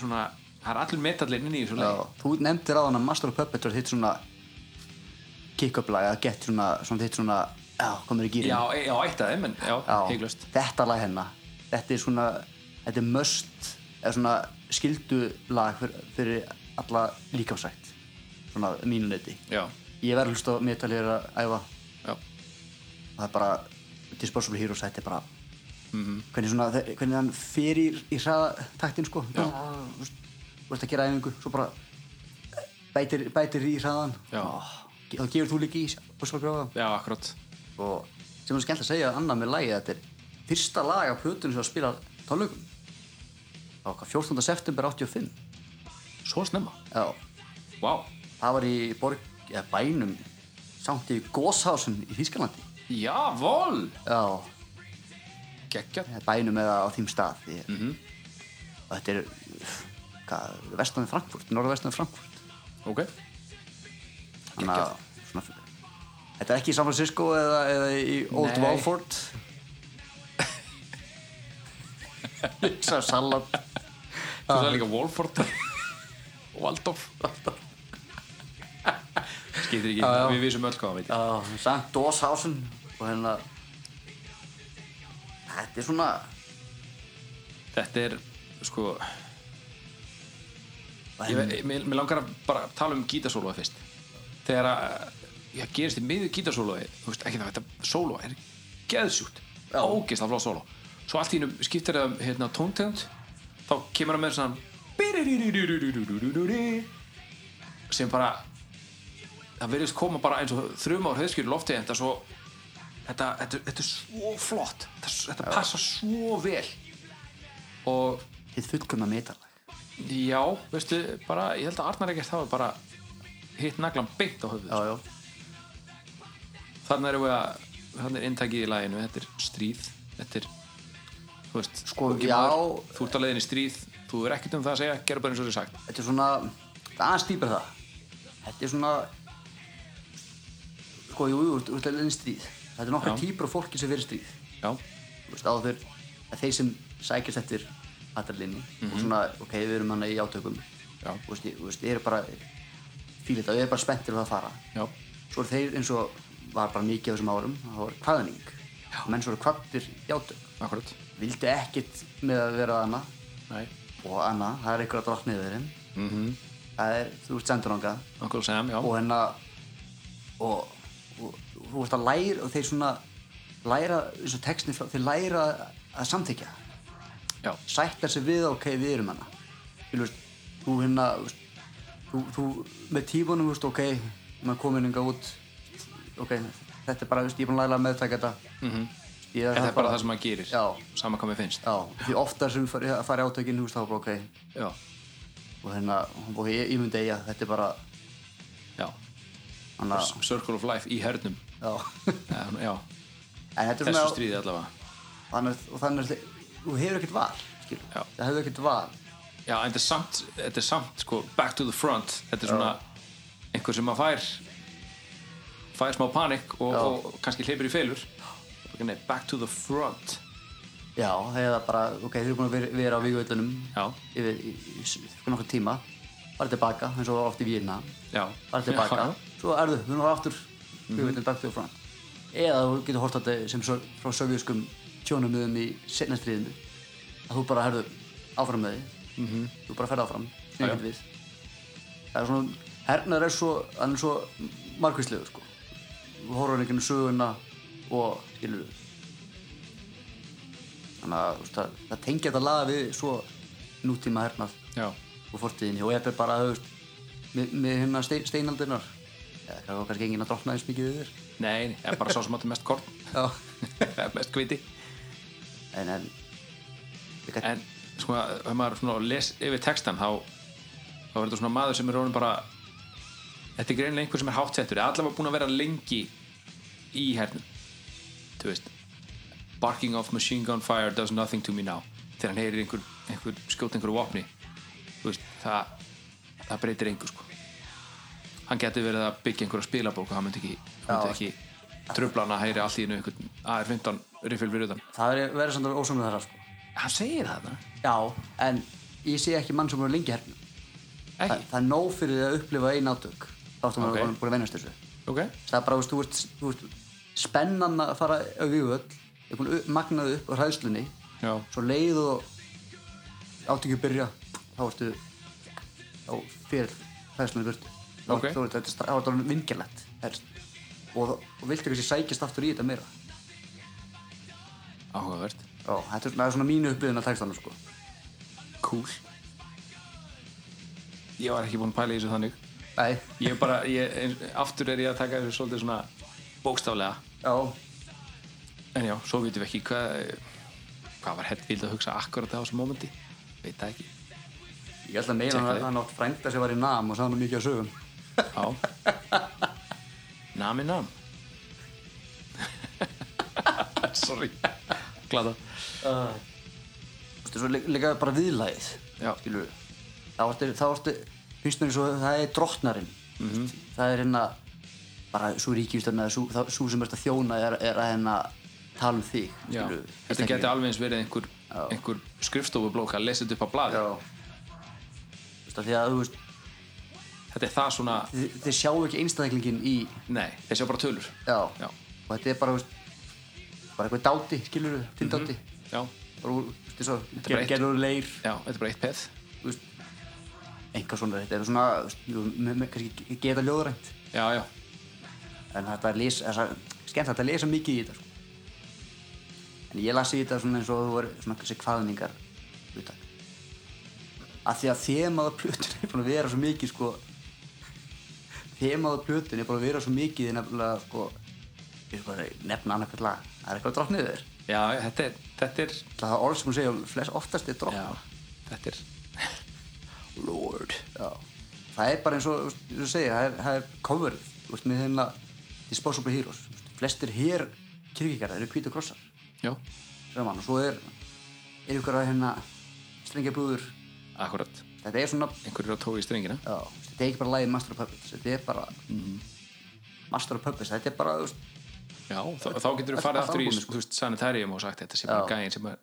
svona, það er allir metallinn inn í þessu já lagi Þú nefndir á hana Master of Puppets var þitt svona kick-up lag að gett svona, svona þitt svona Já, komur í gýrin já, e- já, eitt af þeim en já, heiklust þetta lag hennar Þetta er svona, þetta er möst eða svona skildu lag fyrir, fyrir alla líkafsætt svona að mínu neyti já, Ég verður hlust á metalir að æfa já, og það er bara Disposable Heroes þetta er bara hvernig, svona, þe- hvernig hann fer í, í hraðataktin sko bara, þú veist, þú veist að gera æfingu svo bara bætir, bætir í hraðan Já. og ge- þá gefur þú líka í og svo gráða já, akkurat og sem er skemmt að segja annað með lagi þetta er fyrsta lag af plötunum sem að spila tónleikum það var okkar 14. september 85 Svo snemma já, Vá það var í borg, eða bænum samt í Góshásum í Þýskalandi Já, vol já, Gekja eða bænum eða á þeim stað ég, og þetta er hvað, vestan við Frankfurt, norðvestan við Frankfurt Ok þannig að svona, þetta er ekki í San Francisco eða, eða í Old Nei. Walford Sá salat Svo það er líka Wolford Waldorf Skiptir ekki Við vissum öll hvað hann veit uh, St. Dorshausen og hérna þetta er svona Þetta er sko ég, en, ve- Mér mér langar að bara tala um gítasóloa fyrst Þegar að Já, gerist í miður gítasóloa Þú veist ekki það, þetta sóloa er geðsjútt Ógeðslega flá sólo Svo allt í hennum skiptir það um, hérna, tóntegund Þá kemur það með svona sem bara það verðist koma bara eins og þrjum ár höfðskjur lofti en þetta er svo þetta, þetta, þetta er svo flott þetta, þetta passa svo vel og þið fullkomna metarlag já, veistu, bara ég held að Arnar ekkert hafa bara hitt naglan beint á höfðu já, já, þannig erum við að þannig er inntakið í laginu, þetta er stríð þetta er, þú veist Sko, ungi já. maður, þú ert á leiðinni í stríð þú er ekkert um það að segja, gerðu bara eins og þér er sagt þetta er svona þetta er aðeins dýpar það þetta er svona sko, jú, jú, þú ert að leiðin stríð þetta er nokkra Já. týpur af fólki sem verið stríð já, þú veist, áður að þeir sem sækjast eftir aðarlinni og svona, ok, við erum hann í átökum Mhm. Já. þú veist, ég- þú veist, ég er bara fíl þetta, ég er bara spenntir að það fara já, svo eru þeir eins og var bara mikið á þessum árum, það var hvaðning menn svo eru hvattir í átök akkurat vildu ekkit með að vera annað nei, og annað, það er einhver að drátt niður þeim -hmm. Mhm. það er, þú ert sendur ánga akkurat sem, já, og hérna og, og, og þú ert að læra og þeir svona læra eins og textin, þeir læra að samþykja já, sætta sig við ok, við erum hana þú veist, þú hérna þú veist, þú, þú með tímanum, þú veist, ok maður komin inga út ok, þetta er bara, þú veist, ég er búin að læra að meðtaka þetta mm -hmm. ég Mhm. þetta er bara það sem maður gerir já, sama hvað mér finnst já, því oftar sem fari, að fara í átökin, þú veist, þá bara ok já, og hérna, og ég, ég myndi eiga þetta er bara, já. hann að Circle of Life í hernum já, já, já, en þetta er þessu svona stríði allavega þannig, og þannig að þið- þú hefur ekkert val skilur. Já. það hefur ekkert val já, en þetta er samt, þetta er samt sko, back to the front, þetta er svona einhver sem að fær fær smá panik og, Já. og kannski hleypur í feilur Nei, back to the front já, eða bara, ok, þið eru búin að vera, vera á vígvöldunum Já. yfir í, í, í nokkur tíma bara tilbaka, eins og oft í Vína já, bara tilbaka, Já, Mhm. svo erðu, við erum aftur vígvöldunum back to the front eða þú getur hort þetta sem svo, frá sovjöskum tjónumöðum í setnastriðinu að þú bara herðu áfram með þig -hmm. þú bara ferð áfram, snýr Mhm. Já, já. ekkert við það er svona, hernar er svo hann er svo margvíslegur sko þú horfður einhvern veginn söguna og skilur þannig að þú veist, það, það tengja þetta laga við svo nútíma hernað já, og fortíðinni og eða bara þú veist, með, með hérna stein, steinaldirnar eða það var kannski enginn að drotna eins mikið við þér nei, ég bara sá sem að þetta mest korn já mest kviti en, en, líka, en sko, ef maður svona les yfir textan þá, þá er þetta svona maður sem er rónum bara þetta er greinilega einhver sem er hátsettur eða allavega búin að vera lengi í hernum þú veist barking off machine gun fire does nothing to me now þegar hann heyrir einhver, einhver skjóta einhverju vopni þú veist, það, það breytir einhver sko hann getur verið að byggja einhverja spilabók og hann myndi ekki, hann myndi ekki tröfla hann að heyri allt í einu einhvern AR-15 riffil við utan það er- verður samt alveg ósumlega þar sko hann segir það þarna, já, en ég sé ekki mann sem voru lengi í hernum Þa, ekki, það er nóg fyrir þið að upplifa einn átök þá ertum Ok. við okay. búin að venjast þessu ok það er bara, þú veist, þú veist, þú veist spennan að fara á vývöld ég er búin að magnaði upp á hræðslunni já, svo leið og átökju byrja þá ertu á fyrir hræðslunni burt þá Ok. okay. þú veist, þetta er stra- þá er þetta vingjulegt og, og viltu kannski sækjast aftur í þetta meira áhugavert Já, þetta er, það er svona mínu uppliðin að textanum sko Cool Ég var ekki búinn að pæla í þessu þannig Nei, Ég bara, ég, eins- aftur er ég að taka þessu svolítið svona bókstaflega já, en já, svo veitum við ekki hvað hvað var Hetfield að hugsa akkurat á þessum momenti veit það ekki Ég held að meira Tjekka hann því. að hann átt frænda sem var í nam og sagði hann mikið að sögum já nami nam sorry glada Þú veist, svo lí- líka bara viðlæðið já, skilur þá ertu, þá ertu, finnst mér svo það er drottnarinn mm Mhm. -hmm. það er hérna bara svo ríkjustan eða svo, þá- sú sem ert að þjóna er, er að hérna tala um þig já. skilurðu. þetta Ekki- geti alveg eins verið einhver, einhver skrifstofublók að lesa þetta upp á blaði já Þú veist, af því að þú veist þetta er það svona, þið, þið sjáu ekki einstaklingin í nei, þessi var bara tölur já, Já. og þetta er bara þú veist, bara eitthvað dáti skilur við, til dáti já, bara úr, þú veist, er bara svo Mhm. eitt- gerður leir já, þetta er bara eitt peð þú veist, einhvað svona þetta er svona, þú veist, jú, me- me- kannski geta ljóðrænt já, já, en þetta er lýs, þessa, skemmt þetta er lýsa mikið í þetta sko. en ég lasi í þetta svona eins og þú voru svona þessi kvaðningar hlutak að því að þemaða plötun er búin að vera svo mikið sko þemaða plötun er búin að vera svo mikið í nefnilega sko ég sko nefna annað hvert lag það er eitthvað drátt niður já, þetta er þetta er, það er orð sem hún segja flest oftast er drátt já, þetta er lord Já. það er bara eins og þú veist, þú segir, það er, það er coverið þú veist, með hérna Disposable Heroes þú veist, flestir hér kirkigarðar eru hvíta krossar já, saman og svo er er ykkur að hérna strengja brúður akkurat, þetta er svona einhverjir á tói í strengina já, þetta er ekki bara lagið Master of Puppets þetta er bara Master of Puppets þetta er bara þú veist, Já, þá, þá getur þú öll- farið öll aftur í albúmin, sko. veist, sanitarium og sagt þetta sé bara Já. gæðin sem er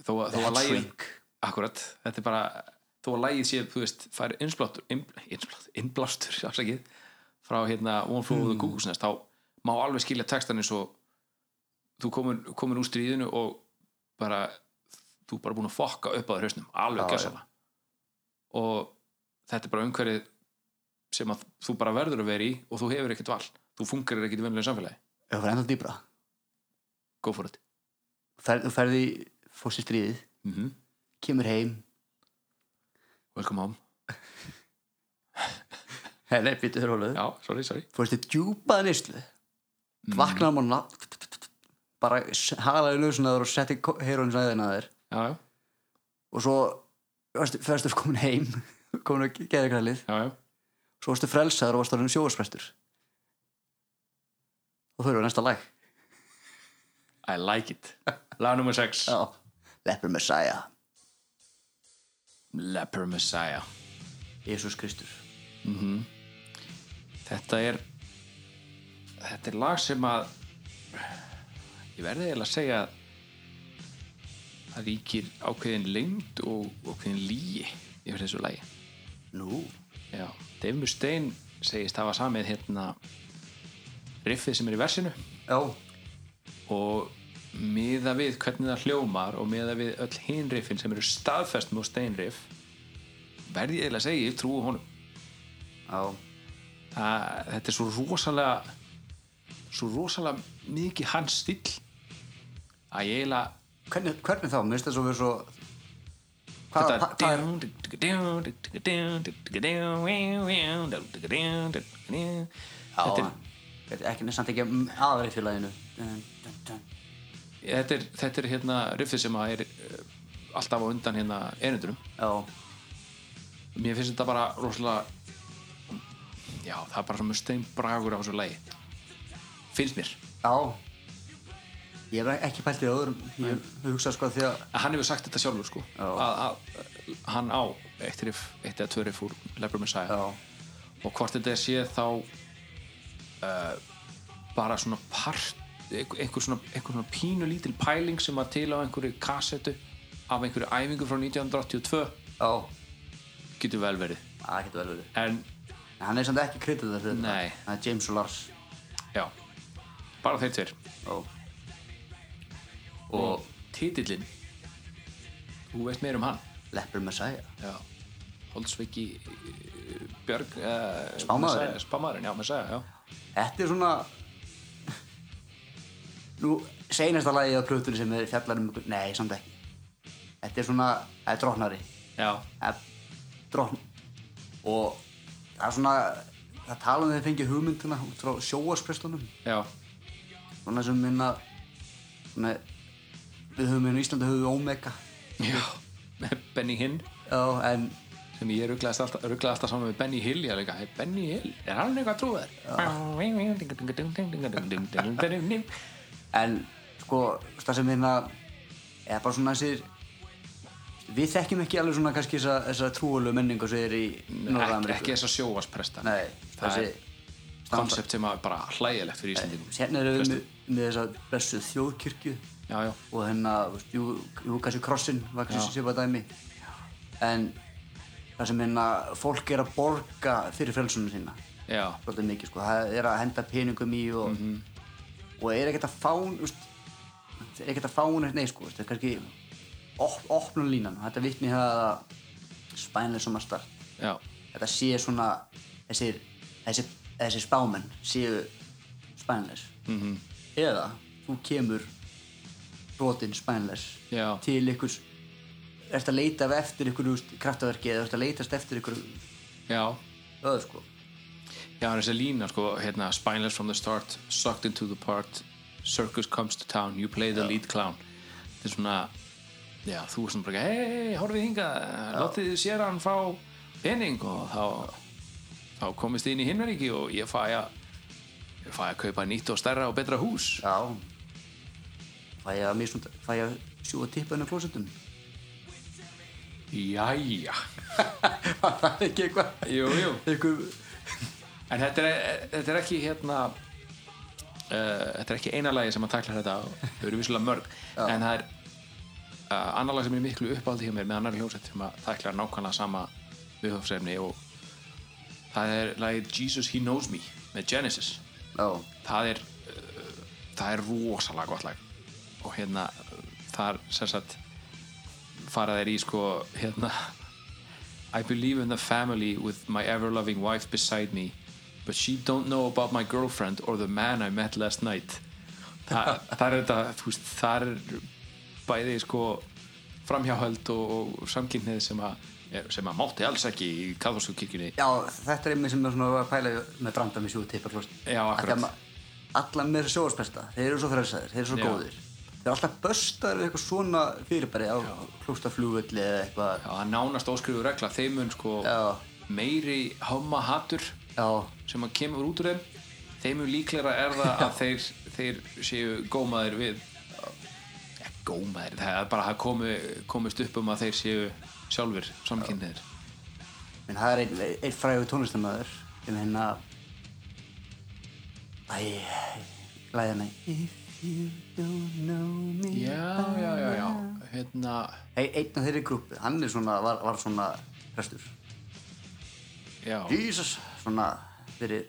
þó að, þó að lægið akkurat, þetta er bara þó að lægið sé, þú veist, fær innblástur innblástur, innblástur, afsakið frá hérna One Flow Hmm. of the Cuckoo's Nest þá má alveg skilja textan eins og þú komin, komin úr stríðinu og bara þú er bara búin að fokka upp á þér hausnum alveg Já, gæsala og þetta er bara umhverfið sem að þú bara verður að vera í og þú hefur ekkert val, þú fungerir ekkert í venlega samfélagi ef það er enda dýbra go for it Fer, þú ferði fórst í stríðið mm -hmm. kemur heim welcome home hei, nei, býttu þér hólaðu já, sorry, sorry fórst í djúpaða nýslu mm. vaknaði manna bara s- halaði lausunaður og setti heyrun sæðina þér já, já, og svo varstu- fyrstu komin heim komin að geða krælið já, já, svo varstu frelsaður og varstu orðin sjóðsprestur og þau eru næsta lag I like it lag nummer 6 já. Leppur Messiah Leper Messiah Jésús Kristur þetta er þetta er lag sem að ég verði eiginlega að segja að það ríkir ákveðin lengd og ákveðin lígi yfir þessu lagi nú, já, Dave Mustaine segist hafa samið hérna riffið sem er í versinu já, og miða við hvernig það hljómar og miða við öll hinn riffin sem eru staðfest mjög steinriff verð ég eiginlega að segja, ég trúi honum já það, þetta er svo rosalega svo rosalega mikið hans stíll að ég eiginlega hvernig, hvernig þá, minnst þess að vera svo hvað, hva, hva er þetta er já, ekki samt ekki aðrið félaginu Dun, dun, dun. þetta er, þetta er hérna riffið sem að er eh, alltaf á undan hérna erindurum já, mér finnst þetta bara rosalega já, það er bara svona stein bragur á þessu lagi finnst mér já ég hef ekki pælt í öðrum ég hugsa sko því að að hann hefur sagt þetta sjálfur sko Já. að, að, hann á eitt, riff, eitt eða tvö riff úr Leopard Messiah já, og hvort þetta er séð þá uh, bara svona part einhver einhver svona, einhver svona pínu lítil pæling sem að til á einhverju kassetu af einhverju æfingu frá 1982 já, getur vel verið það getur vel verið en En hann er samt ekki kryddið þar fyrir Nei. það er James og Lars já, bara þeir tveir og, og titillin þú veist meir um hann Leppur Messiah já. Holsveiki eh, Björg uh, Spámaðurinn. spámaðurinn, já, maður segja, já Þetta er svona Nú, seinasta lagið á plötunni sem er fjallar um ykkur Nei, samt ekki Þetta er svona, það er drotnari já, Það er drotn Og það er svona Það tala um þeir fengið hugmyndina út frá sjóasprestunum já, Svona sem minna með, við höfum hérna í Íslandi höfum við Omega já, með Benny Hinn já, en sem ég rugglaði alltaf, rugglaði alltaf saman með Benny Hill ég er líka, hey, Benny Hill, er hann eitthvað trúðar? en sko, það sem hérna eða bara svona þessir við þekkjum ekki alveg svona kannski þessa, þessa trúalegu menningu sem er í ekki, Norða-Ameríku ekki þess að sjóaspresta Nei, það þessi er koncept sem er bara hlægilegt fyrir Íslandingum hérna erum við með, með þessa blessu þjóðkirkju já, já, og hérna, þú veist, jú, jú kannski krossin var kannski Já. sér bara dæmi en það sem hérna fólk er að borga fyrir frelsunum sína já, svolítið mikið sko, það er að henda peningum í og, og er ekkert að fá þú veist, er ekkert að fá neitt nei sko, þú veist, það er kannski op, opnum línan, þetta vitni í það að spænlega sem að start já, þetta sé svona þessir, þessir, þessir spámenn séu spænleis -hmm. eða þú kemur brotinn spænleis Já. til ykkur ert að leita eftir ykkur kraftaverki eða ert að leitast eftir ykkur já öðu sko Já, það er þessi lína, sko, hérna Spineless from the start, sucked into the part Circus comes to town, you play the lead clown Þetta er svona Já, þú er svona bara, hei, hey, horfið hingað Látið þið sér hann fá pening og þá þá komist þið inn í hinveríki og ég fæ að ég fæ að kaupa nýtt og stærra og betra hús já fæ ég að, misnota, fæ ég að sjúa tippa hennar klósettum Jæja það er ekki eitthvað Jú, jú eitthvað En þetta er, þetta er ekki hérna uh, þetta er ekki eina lagi sem að takla þetta og þau eru vissulega mörg en það er uh, annar lag sem er í miklu uppáldi hjá mér með annar hljómsett sem að takla nákvæmlega sama viðhófsefni og það er lagið Jesus He Knows Me með Genesis já, það er uh, það er rosalega gott lag og hérna uh, þar sem sagt fara þeir í sko hérna I believe in the family with my ever loving wife beside me but she don't know about my girlfriend or the man I met last night Þa, það er þetta þú veist, það er bæði sko framhjáhöld og, og samkynnið sem að sem að mátti alls ekki í katholsku kirkjunni já, þetta er einmitt sem er svona að pæla í- með branda með sjúa tippa klósettum Já, akkurat. alla með sjóðspesta, þeir eru svo frelsaðir þeir eru svo Já. góðir þeir eru alltaf böstaður við eitthvað svona fyrirbæri á klóstaflugulli eða eitthvað Já, það er nánast óskrifu regla þeim mun sko Já. meiri homma hattur já, sem að kemur út úr þeim þeim mun líklega er það að þeir, þeir séu gómaðir við ja, gómaðir, það er bara að komi, komist upp um að þeir séu sjálfur samkynniðir menn það er einn ein frægur tónlistamöður sem hérna æ, læði hana If you don't know me Já, já, já, já hérna, hey, einn af þeirri grúpi, hann er svona var, var svona prestur já Jesus, svona fyrir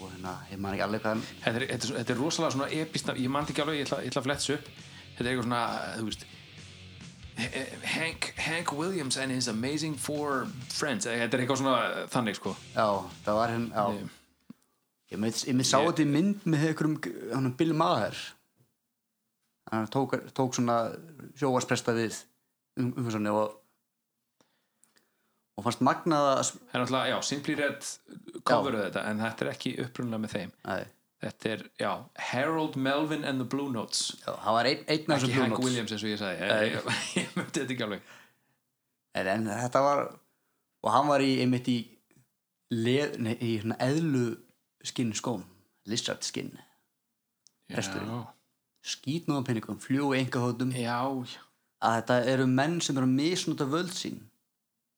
og hérna, ég man ekki alveg hvað hann þetta er, þetta er, þetta er rosalega svona epist ég mann ekki alveg, ég ætla, ég ætla að fletsa upp þetta er eitthvað svona, þú veist Hank, Hank Williams and his amazing four friends þetta er eitthvað svona þannig sko Já, það var henn já. Ég með, ég með sá Ég- þetta í mynd með einhverjum hann Bill Maher hann tók, tók svona sjóvarspresta við um, um svona og og fannst magnað að sp- það er náttúrulega, já, Simply Red coveruð þetta en þetta er ekki upprunlega með þeim Nei, þetta er, já, Harold Melvin and the Blue Notes já, það var ein, einn af ekki þessum Blue Hank Notes. Williams eins og ég sagði ég, ég, ég myndi þetta ekki alveg en, en þetta var og hann var í, einmitt í leð, nei, í svona eðlu skinn skóm, lizard skinn já, Presturinn. skýtnáðan penningum, fljú engahóttum já, að þetta eru menn sem eru að misnota völd sín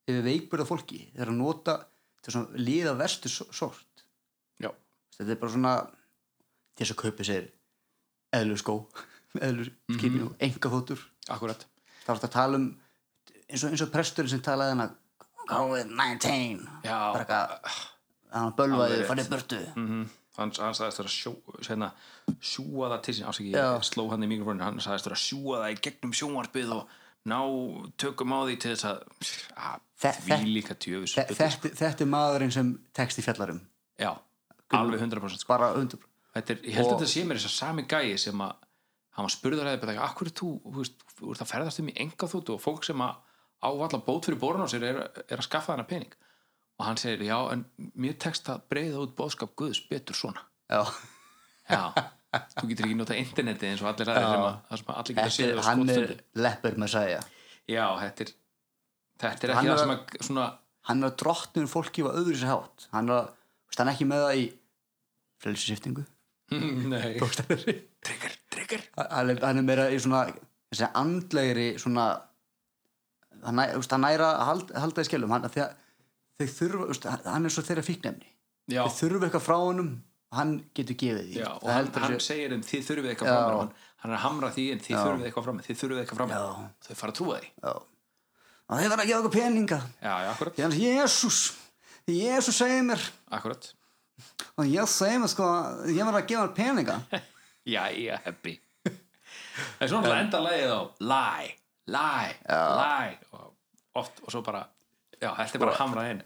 yfir veikburða fólki þeir eru að nota þetta er svona líða verstu so- sort já, þetta er bara svona til þess að kaupi sér eðlu skó eðlu skýrni og enga fótur akkurat þá er þetta að tala um eins og, eins og presturinn sem talaði hann að COVID-19 Já. bara eitthvað hann Alveg bölvaði, rétt. farið burtu -hmm. hann, hann sagðist vera að sjó, hérna, sjúa það til sín afsaki, Já. ég sló hann í mikrofónin hann sagðist vera að sjúa það í gegnum sjónvarpið og ná tökum á því til þess að Þe- þe- því líka tjöfus Þe- þetta, þetta er maðurinn sem texti fjallarum sko. já, alveg 100% sko. bara undur þetta er, ég held Og- að þetta sé mér þess að sami gæi sem að hann var spurður að þetta, akkur er þú þú veist, þú ert að ferðast um í enga þóttu og fólk sem að ávalla bót fyrir borun á sér er, er að skaffa þennan pening og hann segir, já, en mér tekst að breyða út bóðskap Guðs betur svona já, já, þú getur ekki nota interneti eins og allir aðrir sem að, það sem að allir geta Þetta séð er, á hann er skotstundu leppur með sæja já, þetta er þetta er Hann ekki það er- sem að svona, hann er að drottnum fólki var öðru sér hátt hann er, að, þú veist, hann er ekki með það í frelsisiftingu nei trigger, trigger hann er- hann er meira í svona þessi andlegri svona hann, næ- þú veist, hann næra að hald, halda í skellum hann, þegar, þau þurfa, þú veist, hann- hann er svo þeirra fíknefni já, þau þurfa eitthvað frá honum hann getur gefið því já, og Það hann, heldur hann sér- segir þeim þið þurfið eitthvað Já. fram með", hann, hann er að hamra því en þið þurfið eitthvað fram með, þið þurfið eitthvað fram með Já. þau fara að trúa því já. og þeir verða að gefa okkur peninga já, já, akkurat, þannig Jésús Jésús segir mér akkurat og ég segir mér sko að ég verða að gefa hann peninga Jæja, happy En svona um, enda lagið á Lie, lie, lie og oft og svo bara já, þetta er Sko, bara hamrað inn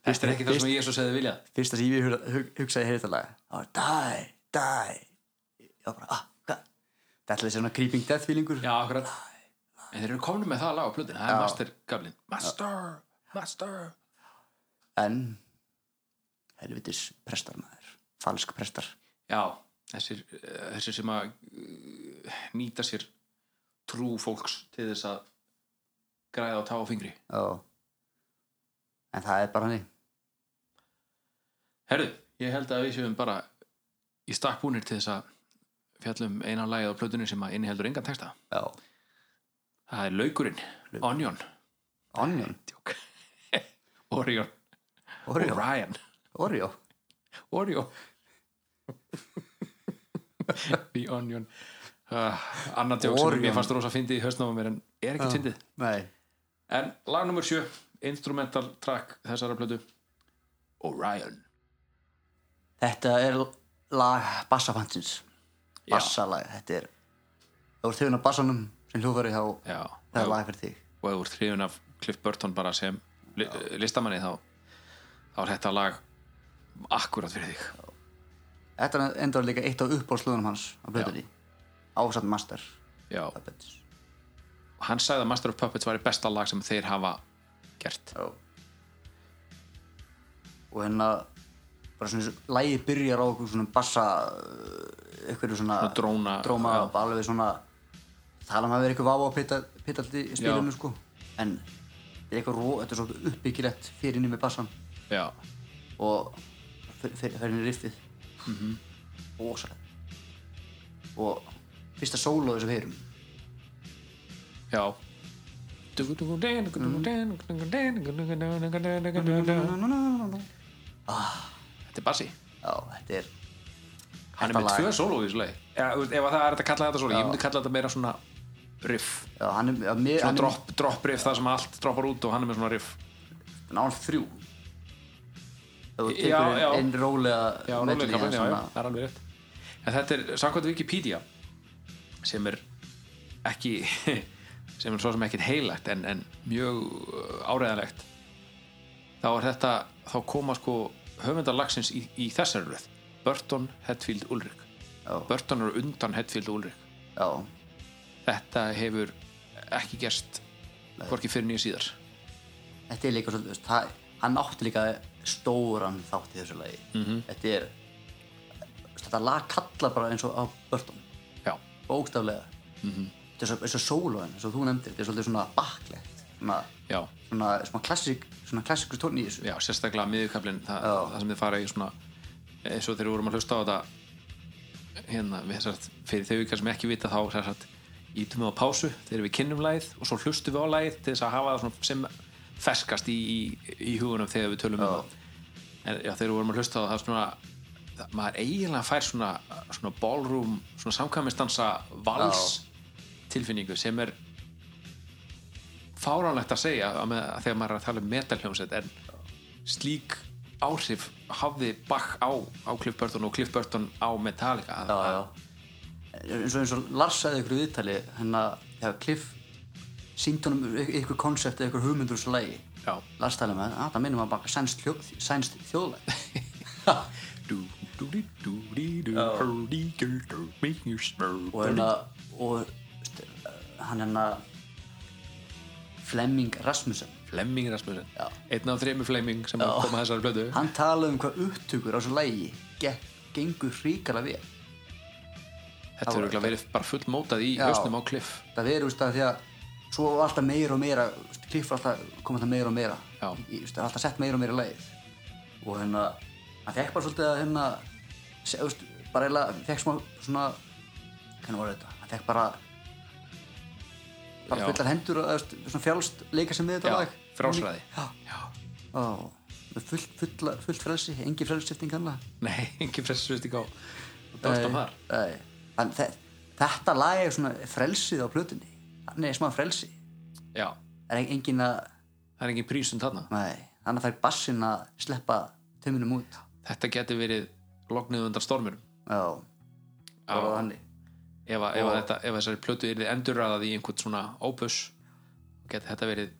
Þetta er ekki það sem Jésu segði vilja fyrsta sem ég hugla- hug- hugsaði hér þetta lag það var die, die ég var bara, ah, hvað þetta er svona creeping death feelingur Já, akkurat En þeir eru komin með það að laga plötin, það er master gablin Master, master en helvitis prestar maður falsk prestar Já, þessir, eh, þessir sem að eh, nýta sér trú fólks til þess að græða á tá á fingri Já. en það er bara hannig Herðu, ég held að við séum bara í stakk búnir til þess að fjallum eina lagið á plötunni sem að inniheldur engan texta. Já. Það er Laukurinn, Onion, Onion, Djók. Orion, Oreo, Orion, Oreo Oreo The Onion uh, Anna djók sem Orion. ég fannst rosa fyndið í höstnáma mér en er ekki fyndið. nei, En lag nummer sjö, instrumental track þessara plötu Orion þetta er lag bassafansins Já. bassalag, þetta er það voru þjóðin af bassanum sem hljófari þá Já, það er lag fyrir þig og ef þú ert hrifun af Cliff Burton bara sem li, eh, listamanni þá þá er þetta lag akkurat fyrir þig þetta er endaður líka eitt af uppbólslöðunum hans á blöðunni ásamt master já, Puppets hann sagði að Master of Puppets var í besta lag sem þeir hafa gert Já. og hérna bara svona lægi byrjar á okkur svona bassa uh, einhverju svona Svona dróna- dróma já. bara alveg svona tala um að vera eitthvað váa pita, pitaldi í spilinu Já. sko en þetta er eitthvað ró, þetta er svo uppbyggilegt fyrir inn í með bassan já, og fyrir inn í riffið mm Mhm. -hmm. og fyrsta sólóðu sem við heyrum já þetta er Bassi já, þetta er hann Þetta er með lag. tvö sóló í þessu lagi Já, þú veist, ef að það er hægt að kalla þetta sóló ég myndi kalla þetta meira svona riff já, hann er, já, mér, svona hann er drop, drop riff, það sem allt droppar út og hann er með svona riff nánast þrjú Ef þú Já, tekur já. einn- einn rólega Já, medley rólega eða kaflinn, já, já, svona- það er alveg rétt En þetta er samkvæmt Wikipedia sem er ekki sem er svo sem ekkert heilagt en, en mjög uh, áreiðanlegt þá er þetta þá koma sko höfundar lagsins í, í þessari röð Burton, Hetfield, Ulrik Já. Burton eru undan Hetfield og Ulrik já, Þetta hefur ekki gerst hvorki fyrir nýja síðar þetta er líka svolítið þú veist, það, hann átti líka stóran þátt í þessu lagi Mhm. -hmm. þetta er þú veist, þetta lag kalla bara eins og á börnum Já, bókstaflega Mhm. -hmm. þetta er svo, eins og sólóin, eins og þú nefndir þetta er svolítið svona baklegt svona, já, svona, svona klassik svona klassikur tónn í þessu já sérstaklega miðurkaflinn það, Já. það sem þið fara í svona eins og þegar við vorum að hlusta á þetta hérna, við, sagt, fyrir þau ykkar sem ekki vita þá sem sagt, ítum við á pásu þegar við kynnum lagið og svo hlustum við á lagið til þess að hafa það svona sem ferskast í, í, í hugunum þegar við tölum um það en já, þegar við vorum að hlusta á það, það svona, það, maður eiginlega fær svona, svona ballroom, svona samkvæmistansa vals tilfinningu sem er fáránlegt að segja að með, að þegar maður er að tala um metalhjómsveit en slík áhrif hafði Bach á, á Cliff Burton og Cliff Burton á Metallica að, já, já. Eins, og, eins og Lars sagði ykkur í viðtali hennar, þegar Cliff sínt honum y- ykkur konsept eða ykkur hugmyndur úr þessu lagi Já. Lars talaði með að það minnum að bara sænst, hljó, sænst þjóðlega Dú, dú, dú, dú, dú, dú, hurdy, gurdy, make you smell. og hérna og st- hann hennar Flemming Rasmussen Flemming Rasmussen Já. einn af þremur Flemming sem kom að þessari blödu hann talaði um hvað upptökur á þessu lagi gekk gengur ríkala vel Þetta hefur örugglega verið bara full mótað í Já. hausnum á kliff það verður, veist það, því að svo var alltaf meira og meira veist, kliff var alltaf komið alltaf meira og meira Já. Í- veist, það var alltaf sett meira og meira í lagið og hérna, hann fekk bara svolítið að hérna, se- veist, bara eiginlega hann fekk smá svona hvernig var þetta, hann fekk bara bara Já. fullar hendur og veist, svona fjálst leika sem við þetta Já, lag frjálsræði. já, já. Ó, full, full, fullt frelsi, engi frelsifting kannlega Nei, engin pressisvisting á Dálstam þar Nei, en þe þetta lag er svona frelsið á plötunni hann er smá frelsi Já, það er engin að það er engin prísund þarna nei, hann fær bassin að sleppa tömunum út Þetta geti verið loknið undan stormurum já, Já. það var þannig ef, að- ef, að Og- þetta, ef þessari plötu er þið endurraðað í einhvern svona opus geti þetta verið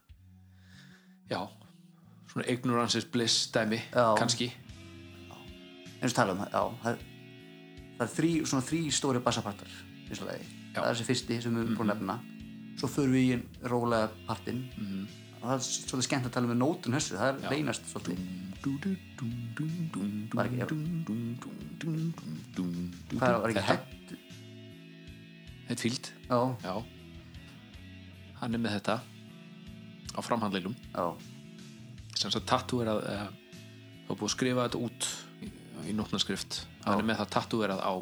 já, svona ignorances bliss dæmi, Já. kannski eins og tala um, já, það, það er þrý, svona þrý stóri bassapartar í þessu lagi, Já. Mhm. það er þessi fyrsti sem við erum búin að nefna svo förum við í einn rólega partinn og það er svolítið skemmt að tala um nótun þessu, það er reynast svolítið var ekki, hvað var ekki Þetta? hægt, þetta fíld, já, já hann er með þetta á framhandleilum já sem sagt tattoo er að eh, það er búið að skrifa þetta út í, í nótnaskrift, hann er með það tattoo er að á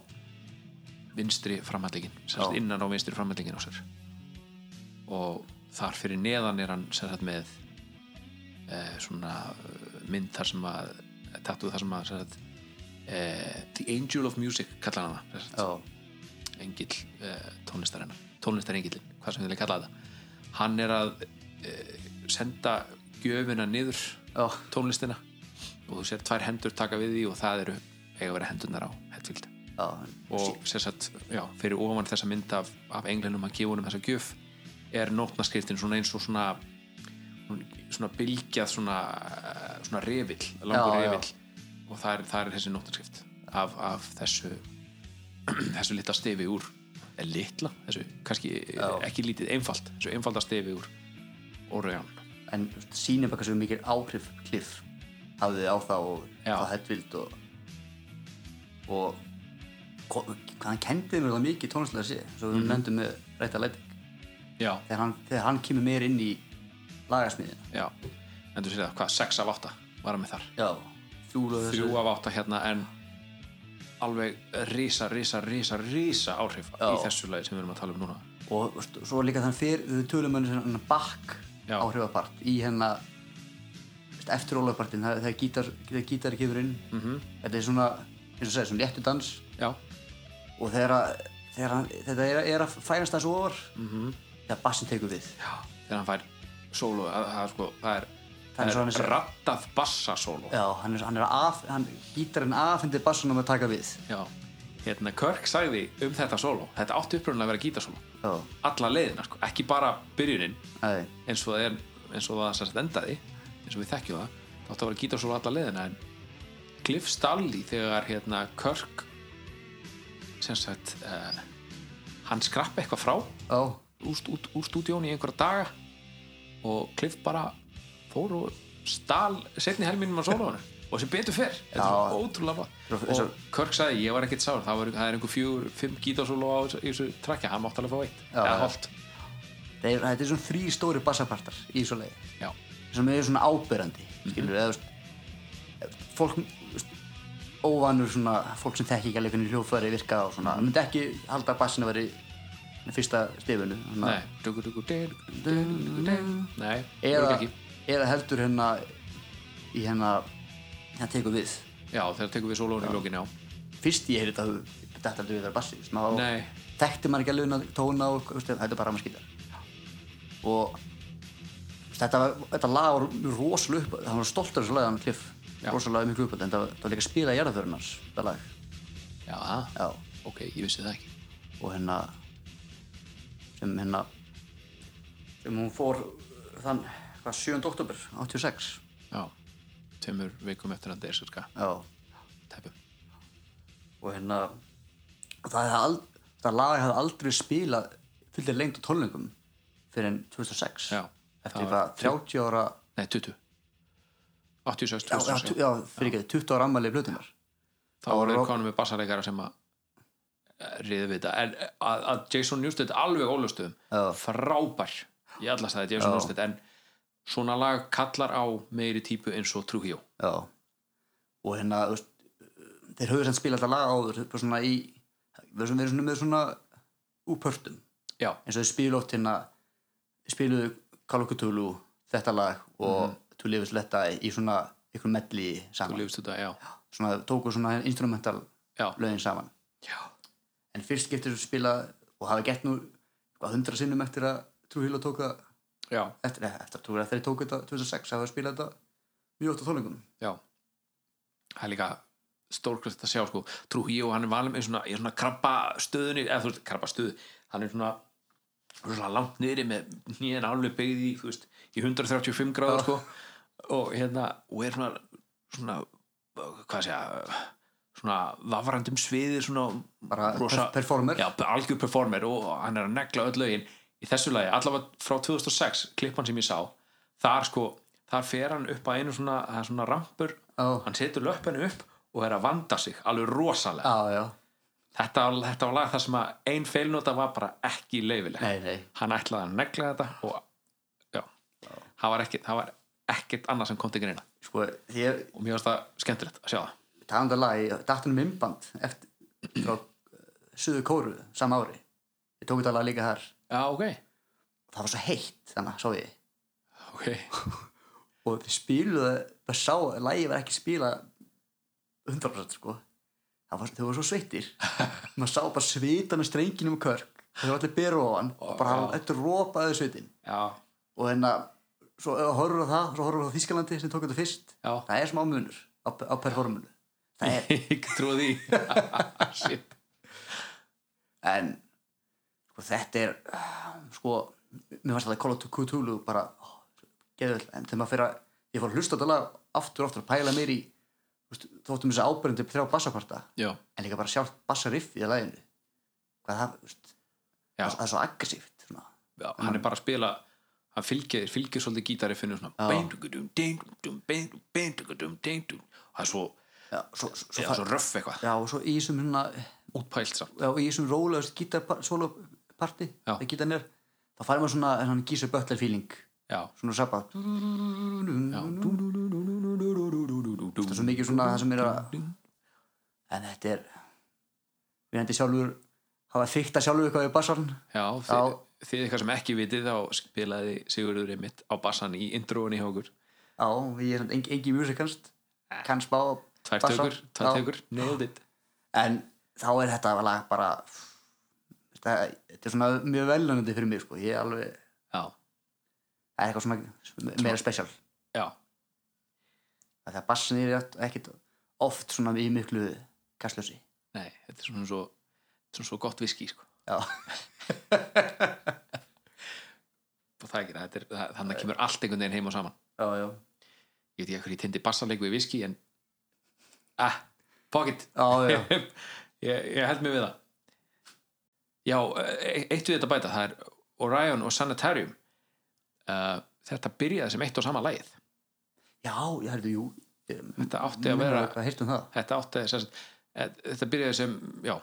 vinstri framhandlegin sem sagt Já. innan á vinstri framhandlegin á sér og þar fyrir neðan er hann sem sagt með e, svona eh, mynd þar sem að tattoo þar sem að sem sagt, e, The Angel of Music kallar hann það sem sagt, já, engill uh, tónlistarennar tónlistarengillin, hvað sem við vilja kalla það hann er að uh, senda gjöfina niður Já. tónlistina og þú sér tvær hendur taka við því og það eru eiga að vera hendurnar á Hetfield já, og sér satt, já, fyrir ofan þessa mynd af, af englinum að gefa honum þessa gjöf er nótnaskriftin svona eins og svona svona bylgjað svona, eh, svona revill, langur Já, já. revill og það er, það er þessi nótnaskrift af, af þessu þessu litla stefi úr eh, litla, þessu kannski eh, ekki lítið, einfalt, þessu einfalda stefi úr Orion en sýnir bara hversu mikil áhrif kliff hafði á það og Já. það hættvild og og ko- hvað hann kendið mér það mikið tónlislega sé svo Mhm. við nefndum með rétta leiting já, þegar hann, þegar hann kemur meir inn í lagasmiðina já, en þú sér það, hvað, 6 af 8 var hann með þar já, þrjúlu þrjú af átta hérna en alveg risa, risa, risa, risa áhrif Já. í þessu lagi sem við erum að tala um núna og veist, svo líka þann fyrr við tölum henni sem hann bakk Já. áhrifapart í hennar eftir ólapartin það það er gítar, þegar gítar kemur inn Mhm. -hmm. þetta er svona, eins og segja, svona léttu dans já, og þegar, að- þegar hann, þetta er, er að færast þessu ofar mm -hmm. þegar bassin tekur við já. þegar hann fær solo það, það, er sko, það er, Það er svo hann það sé- er rattað bassa solo já, hann er, hann er af, hann, gítarinn afhendir bassunum að taka við já. hérna Kirk sagði um þetta solo þetta átti upprunlega að vera gítasolo já, alla leiðina, sko. ekki bara byrjunin nei, eins og það, er, eins og það sérst endaði eins og við þekkjum það það átti að vera gítasolo alla leiðina en Cliff Stalli þegar hérna Kirk sem sagt uh, hann skrappi eitthvað frá já, úr, úr, úr stúdíónu í einhverja daga og Cliff bara fór og stal setni helminum á sólónu og sem betur fyrr þetta er Já. svo ótrúlega Svo- bá og Kirk sagði ég var ekkert sár það, var, það er einhver fjögur, fimm gítasóló á þessu- í þessu trakja, hann mátt alveg fá eitt Já, eða já. hálft það er, þetta er svona þrý stóri bassapartar í svo leið já, sem er svona ábyrrandi skilur, eða veist, fólk veist, óvanur svona fólk sem þekki ekki alveg hvernig hljófæri virka og svona, myndi ekki halda að bassinu veri fyrsta stefinu nei dugu, dugu, dugu, dugu, dugu, dugu. nei, eða, örugglega ekki eða heldur hérna í hérna hérna tekur við já, þegar tekum við sólónu í lókinu á fyrst ég heyri þetta þetta aldrei við vera bassi veist, maður- Nei. þekkti maður ekki alveg að tóna og veist, þetta er bara maður skýtar og veist, þetta, var- þetta lag var rosalega upp það var stoltur þessu lag hann kliff Já. rosalega miklu upp en það var, það var líka að spila í jarðaförunars þetta lag já, það. Já. ok, ég vissi það ekki og hérna sem hérna sem hún fór þann hvað, 7. oktober 86 já, tveimur vikum eftir að deserska já teppu og hérna og það, hafði ald, það lag hafði aldrei spilað fullir lengt á tólningum fyrir en 2006 Já. eftir Það var eitthvað 30 ára nei, 20 já, 86, já, 2006 tu- já, fyrir ekki, 20 ára ammali í blöðunar Þá þá var voru Rob- þeir konum með bassareikara sem að riði við þetta en eh, að, að Jason Newsted alveg ólustuðum Já. frábær ég allast það Jason Já. Newsted en svona lag kallar á meiri típu eins og True Hero já og hérna þú veist, þeir höfðu sem spila alltaf lag áður bara svona í við erum svona með svona úpörtum já, eins og þeir spilu oft hérna spiluðu Kalokutulu þetta lag og Mhm. mm -hmm. Tulifis Letta í svona ykkur melli þú saman lifst þetta, já, svona, tóku svona instrumental já, lögin saman já. en fyrst getur þú spila og hafa gett nú hvað hundra sinnum eftir að Trú Híla tóka já, eftir, nei, eftir að Trú Híla þeir tóku þetta 2006 hafa þeir spilað þetta mjög oft á þólingum já það er líka stórkvæmst að sjá sko True Hero, hann er valum í svona, í svona krabba stöðunni, eða þú veist, krabba stöðu hann er svona, svona langt niðri með nýjan alveg byggð í þú veist, í 135 gráður sko og hérna, og er svona svona, hvað segja svona vafrandum sviðir svona bara per performer já, algjör performer og hann er að negla öll lögin í þessu lagi, allavega frá 2006 klippan sem ég sá, þar sko þar fer hann upp að einu svona, það er svona rampur, Já. hann setur löppinu upp og er að vanda sig, alveg rosalega já, já. þetta, var- þetta var lag þar sem að ein feilnota var bara ekki leifileg Nei, nei. hann ætlaði að negla þetta og já, það var ekkit það var ekkit annað sem kom til greina sko því ég og mér varst það skemmtilegt að sjá það talandi um að lagi dattunum minnband eftir frá suðu kóru sama ári ég tók þetta lag líka þar já, ok, það var svo heitt þannig sá ég ok, og þeir spiluðu það sá að lagið var ekki spila 100% sko það var, þau voru svo sveittir maður sá bara svitan og strenginum og körk þau var allir byrðu á hann og bara já. öll rópaði svitin já, og hérna, svo ef þú horfur á það svo horfur á Þískalandi sem tók þetta fyrst já það er smá munur á, á performunu það er, ég trúði því shit en sko, þetta er ah, sko, mér fannst þetta Call of Cthulhu bara, ó, geðvöld en þegar maður fyrir að, ég fór að hlusta þetta lag aftur og aftur að pæla mér í þú veist, þóttum þessi ábyrjandi þrjá bassaparta já, en líka bara sjálf bassariffið í laginu hvað það, þú veist, já, það er svo aggressíft svona. já, hann er bara að spila hann fylgir, fylgir svolítið gítari finnur svona beintugudum, deintugudum, beintugudum, beintugudum, deintugudum það er svo, já, svo, svo, svo, já, það, svo röff eitthvað já, og svo í þessum hérna, útpælt samt, já, í þessum rólega gítarsóloparti, Já. það gítarnir þá fær maður svona, svona gísa bötlar feeling já svona sabba já. það er svo mikið svona það sem er að en þetta er við hendur sjálfur hafa þykta sjálfur eitthvað við bassan já, þið, þið eitthvað sem ekki vitið þá spilaði Sigurður Emmitt á bassan í introunni hjá okkur já, ég er engi, engi músikanst kann spá á tvær bassa. tökur, tvær Já. tökur, nailed it en þá er þetta lag bara þetta, þetta er svona mjög velunandi fyrir mig sko. ég er alveg, já, það er eitthvað svona meira spesial já, það er bassin er ekkit oft svona í miklu kastlösi nei, þetta er svona svo svona svo gott viski, sko já, Og það er ekki, það, þetta er, það, þannig að kemur allt einhvern veginn heim og saman já, já ég veit ekki hvernig ég tindi bassaleiku í viski en ah, pocket já, já, ég, ég held mig við það já, e- eitt við þetta bæta það er Orion og Sanitarium uh, þetta byrjaði sem eitt og sama lagið já, ég heldur, jú þetta þetta átti að vera hvað heyrtum það þetta átti að eh, þetta byrjaði sem já,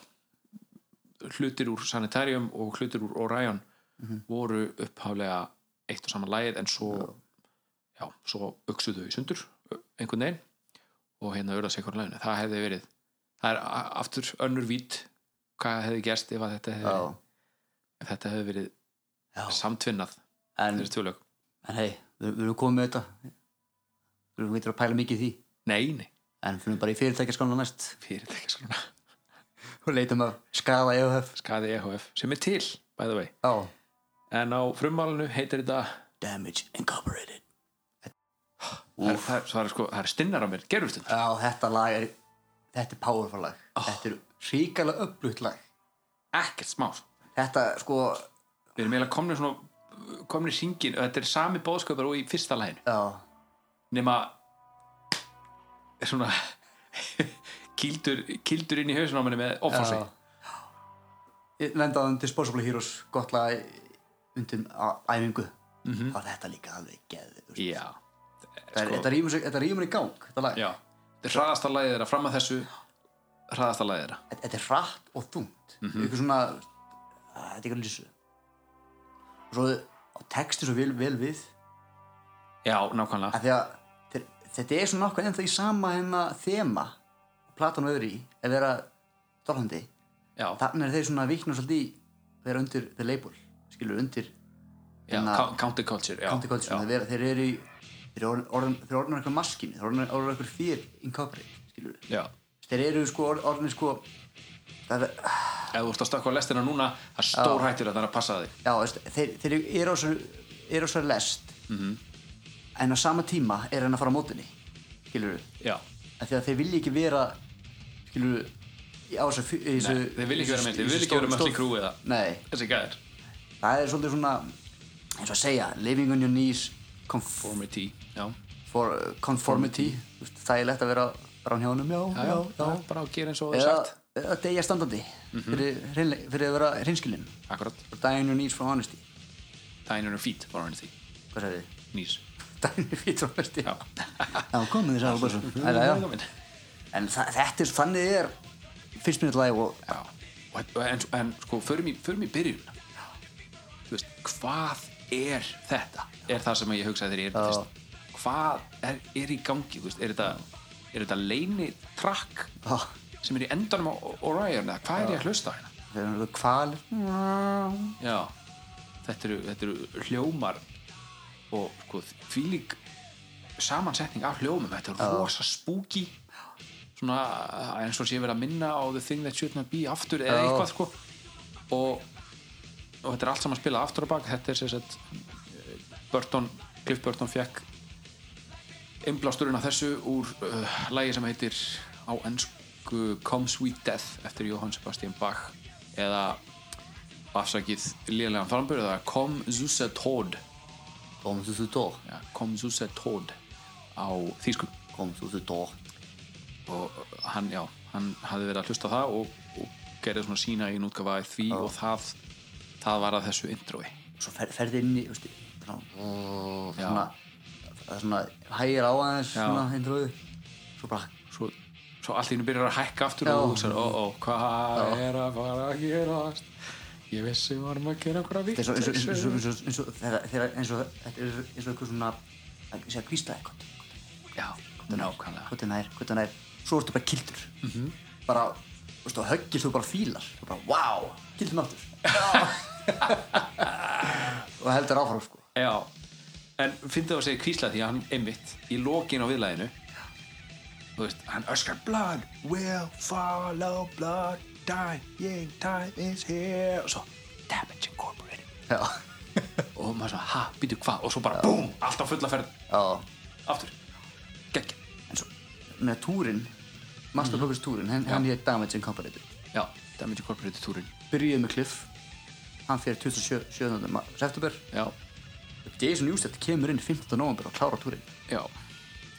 hlutir úr Sanitarium og hlutir úr Orion Mhm. voru upphaflega eitt og sama lagið en svo já, svo auksuðu í sundur einhvern veginn og hérna urða sig hvernig laginu, það hefði verið það er a- aftur önnur vít hvað hefði gerst ef að þetta hefði verið, já, ef þetta hefði verið já. samtvinnað en, þessi tvö lög, en hei, við, við erum komið með þetta við erum veitur að pæla mikið í því nei, nei en fyrir bara í fyrirtækjaskóna næst fyrir þetta ekki svona, og leitum að skada EOF skaði EHF sem er til, by the way já, en á frummálinu heitir þetta Damage Incorporated það er, það, er, það, er sko, það er stinnar á mér, gerur stund já, þetta lag er þetta er powerful lag þetta er ríkalega upplutt lag ekkert smá þetta sko, við erum eiginlega komnir svona komnir syngin, þetta er sami bóðsköpar og í fyrsta læginu, já, nema er svona kildur, kildur inn í hausunáminu með offorsi já. Ég lendaði um Disposable Heroes gott lag undir á æfingu mm -hmm. og þetta líka alveg geð já, Sko. þetta rýmur í gang þetta lag já þetta er hraðasta lægið þeirra fram að þessu hraðasta lagið þeirra þetta þetta er hratt og þungt Mhm. mm -hmm. svona að, þetta er eitthvað lísu og svo á texti svo vel, vel við já, nákvæmlega að því að þeir, þetta er svona nokkuð ennþá í sama hennar þema platan og öðru í ef þeirra Dorlandi já, þannig er þeir svona vikna svolítið í þeirra undir þeir label skilur undir já, hérna- cou- county culture já, County Culture já, þeir, eru- þeir eru í þeir eru orðin- orðin- þeir eru orðin eitthvað maskín þeir eru orðin- orðin eitthvað fyrir incorporate skilur já. þeir eru sko orð- orðin sko það er ef þú ert að stökkva á lestina núna það er stór hættur að það er að passa þig já, veist, þeir, þeir eru á svo, eru á svo lest Mhm. -hmm. en á sama tíma er hann að fara á mótunni skilur við já, því að þeir vilja ekki vera skilur við á þessu, fj- í þessu Nei, þeir vilja ekki vera þessu- með- þeir þessu vilja ekki vera stór- með allir stór- crew eða- nei, þessi gæðir það er svolítið svona eins og að segja, living on your knees conform, Formality, já, for, conformity Þú veist, það er lett að vera bara á hjónum já, já, já, bara að gera eins og það eða, er sagt Mhm. eða degja standandi fyrir, hreinle- fyrir að vera hreinskilin akkurat, dying on your knees from honesty tænunum fít var hann því, hvað sagði þið? nýs Dæmi Fítrumesti já, Já, komið þess að Albarsson Velkomin. En þa- þetta er þannig er Fyrst minni lag og já. Og þetta- En, en sko, förum í, förum í byrjun Þú veist, hvað er þetta? Er það sem ég hugsaði þegar ég er fyrst Hvað er, er í gangi? Þú Veist, er þetta, er þetta leini trakk Já. sem er í endanum á O- Orion eða hvað er ég að hlusta á hérna? Þeir eru náttúrulega kvalir Já, þetta eru, þetta eru hljómar og sko, þvílík samansetning af hljómum þetta er rosa spooky svona uh, eins og sé verið að minna á The Thing That Should Not Be aftur eða Já. eitthvað sko og, og þetta er allt saman spilað aftur á bak þetta er sem sagt eh, Burton, Cliff Burton fekk einblásturinn af þessu úr uh, lægi sem heitir á ennsku Come Sweet Death eftir Johann Sebastian Bach eða afsakið lélegan frambyrð eða Come Zuse Tod Kom þú þú dó ja, Come Zuse Tod á þýskum Kom þú þú dó og hann, já, hann hafði verið að hlusta á það og, og gerði svona sína í nútgafa í því og það það var að þessu introi Svo fer, ferði inn í veistu, svona, Já. svona, Það er svona Hægir á aðeins Já. svona, hindrúðu Svo bara svo, svo allt í hennu byrjar að hækka aftur Já. og þú hugsaði, ó, ó, hvað er að fara að gerast ég vissi við varum að gera okkur að Þetta er svo- eins og- eins og- eins og- eins vitt og þegar- þegar- eins og- Þetta er eins og eitthvað svona Það sé að kvísta eitthvað já, nákvæmlega Hvort er nær, hvort er nær Svo ertu bara kildur Bara, þú veist, og höggir þú bara fílar Þú bara, wow, kildur mig aftur Og heldur áfram, sko já, en finnst það að segja kvísla því að hann einmitt í lokin á viðlæðinu þú veist, hann öskar blood will follow blood dying time is here og svo damage incorporated Já, og maður svona, ha, býtu hvað og svo bara, búm, allt á fulla ferð já aftur, gegn En svo, með túrin Master Focus túrin, hann, hann hér Damage Incorporated já, Damage Incorporated túrin Byrjuði með Cliff Hann fyrir 27. ma- september já, Jason Newsted kemur inn 15. november og klára túrin já,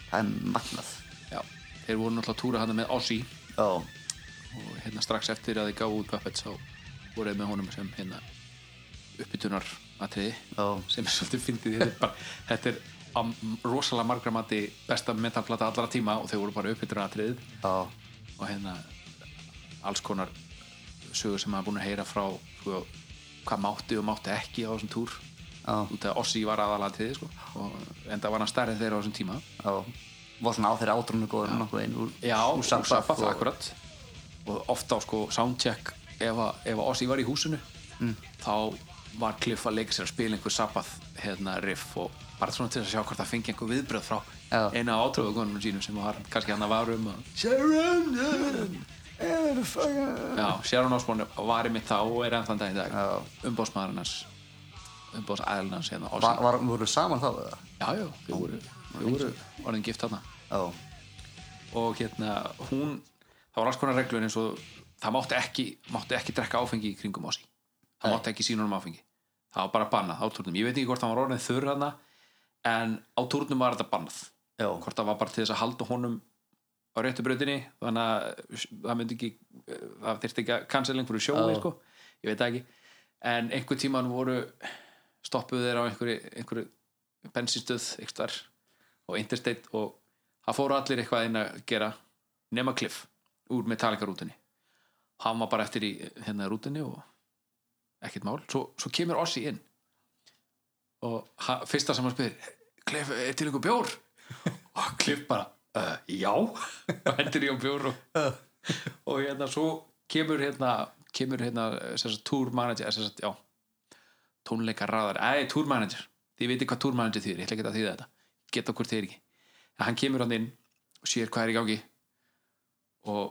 Það er magnað já þeir voru náttúrulega að túra hann með Ozzy Já, og hérna strax eftir að þeir gáðu út Puppets þá voru þeir með honum sem hérna uppbytunar atriði Já. sem er svolítið fyndið þetta er, bara, þetta er á m- rosalega margra mati besta metalplata allra tíma og þeir voru bara uppbytunar atriðið já, og hérna alls konar sögur sem maður búin að heyra frá sko, hvað mátti og mátti ekki á þessum túr Já. út af Ossi var aðalatriði sko, og enda var hann stærrið þeirra á þessum tíma já Var svona á þeirra átrúnu góður nokkuð einn úr, já, úr Sabbath og- akkurat og ofta á sko soundcheck ef, að- ef Ossi var í húsinu Mm. þá var Cliff að leika sér að spila einhver Sabbath hérna riff og bara svona til að sjá hvort það fengi einhver viðbröð frá Já. eina átröfugunum sínum sem var kannski hann að varum og Já, Sharon Osbourne var einmitt þá og er ennþann dag í Já. dag umbóðsmaðurinn hans umbóðsæðurinn hans hérna Ozzy. Var, var, voru saman þá eða? Já, já, þau voru, þau voru orðin gift hana Já, og hérna, hún það var alls konar reglur eins og það mátti ekki, mátti ekki drekka áfengi í kringum Ozzy það mátti ekki sína honum áfengi það var bara bannað á turnum, ég veit ekki hvort það var orðin þurr hana en á turnum var þetta bannað já, hvort það var bara til þess að halda honum á réttu brautinni þannig að það myndi ekki það þyrfti ekki að cancel einhverju sjói Já. sko. ég veit það ekki en einhver tíman voru stoppuð þeir á einhverju, einhverju bensinstöð ykstar og interstate og það fóru allir eitthvað inn að gera nema Cliff úr Metallica rútunni hann var bara eftir í hérna rútunni og ekkert mál svo, svo kemur Ossi inn og ha, fyrsta sem hann spyr Cliff, er til einhver bjór? og Cliff bara, uh, já og hendur í hann bjór og, og hérna svo kemur hérna kemur hérna sem sagt, tour manager sem sagt, já, tónleika ráðar æ, tour manager, þið veitir hvað tour manager þýðir ég ætla ekki að þýða þetta, geta okkur þýðir ekki en hann kemur hann inn og sér hvað er í gangi og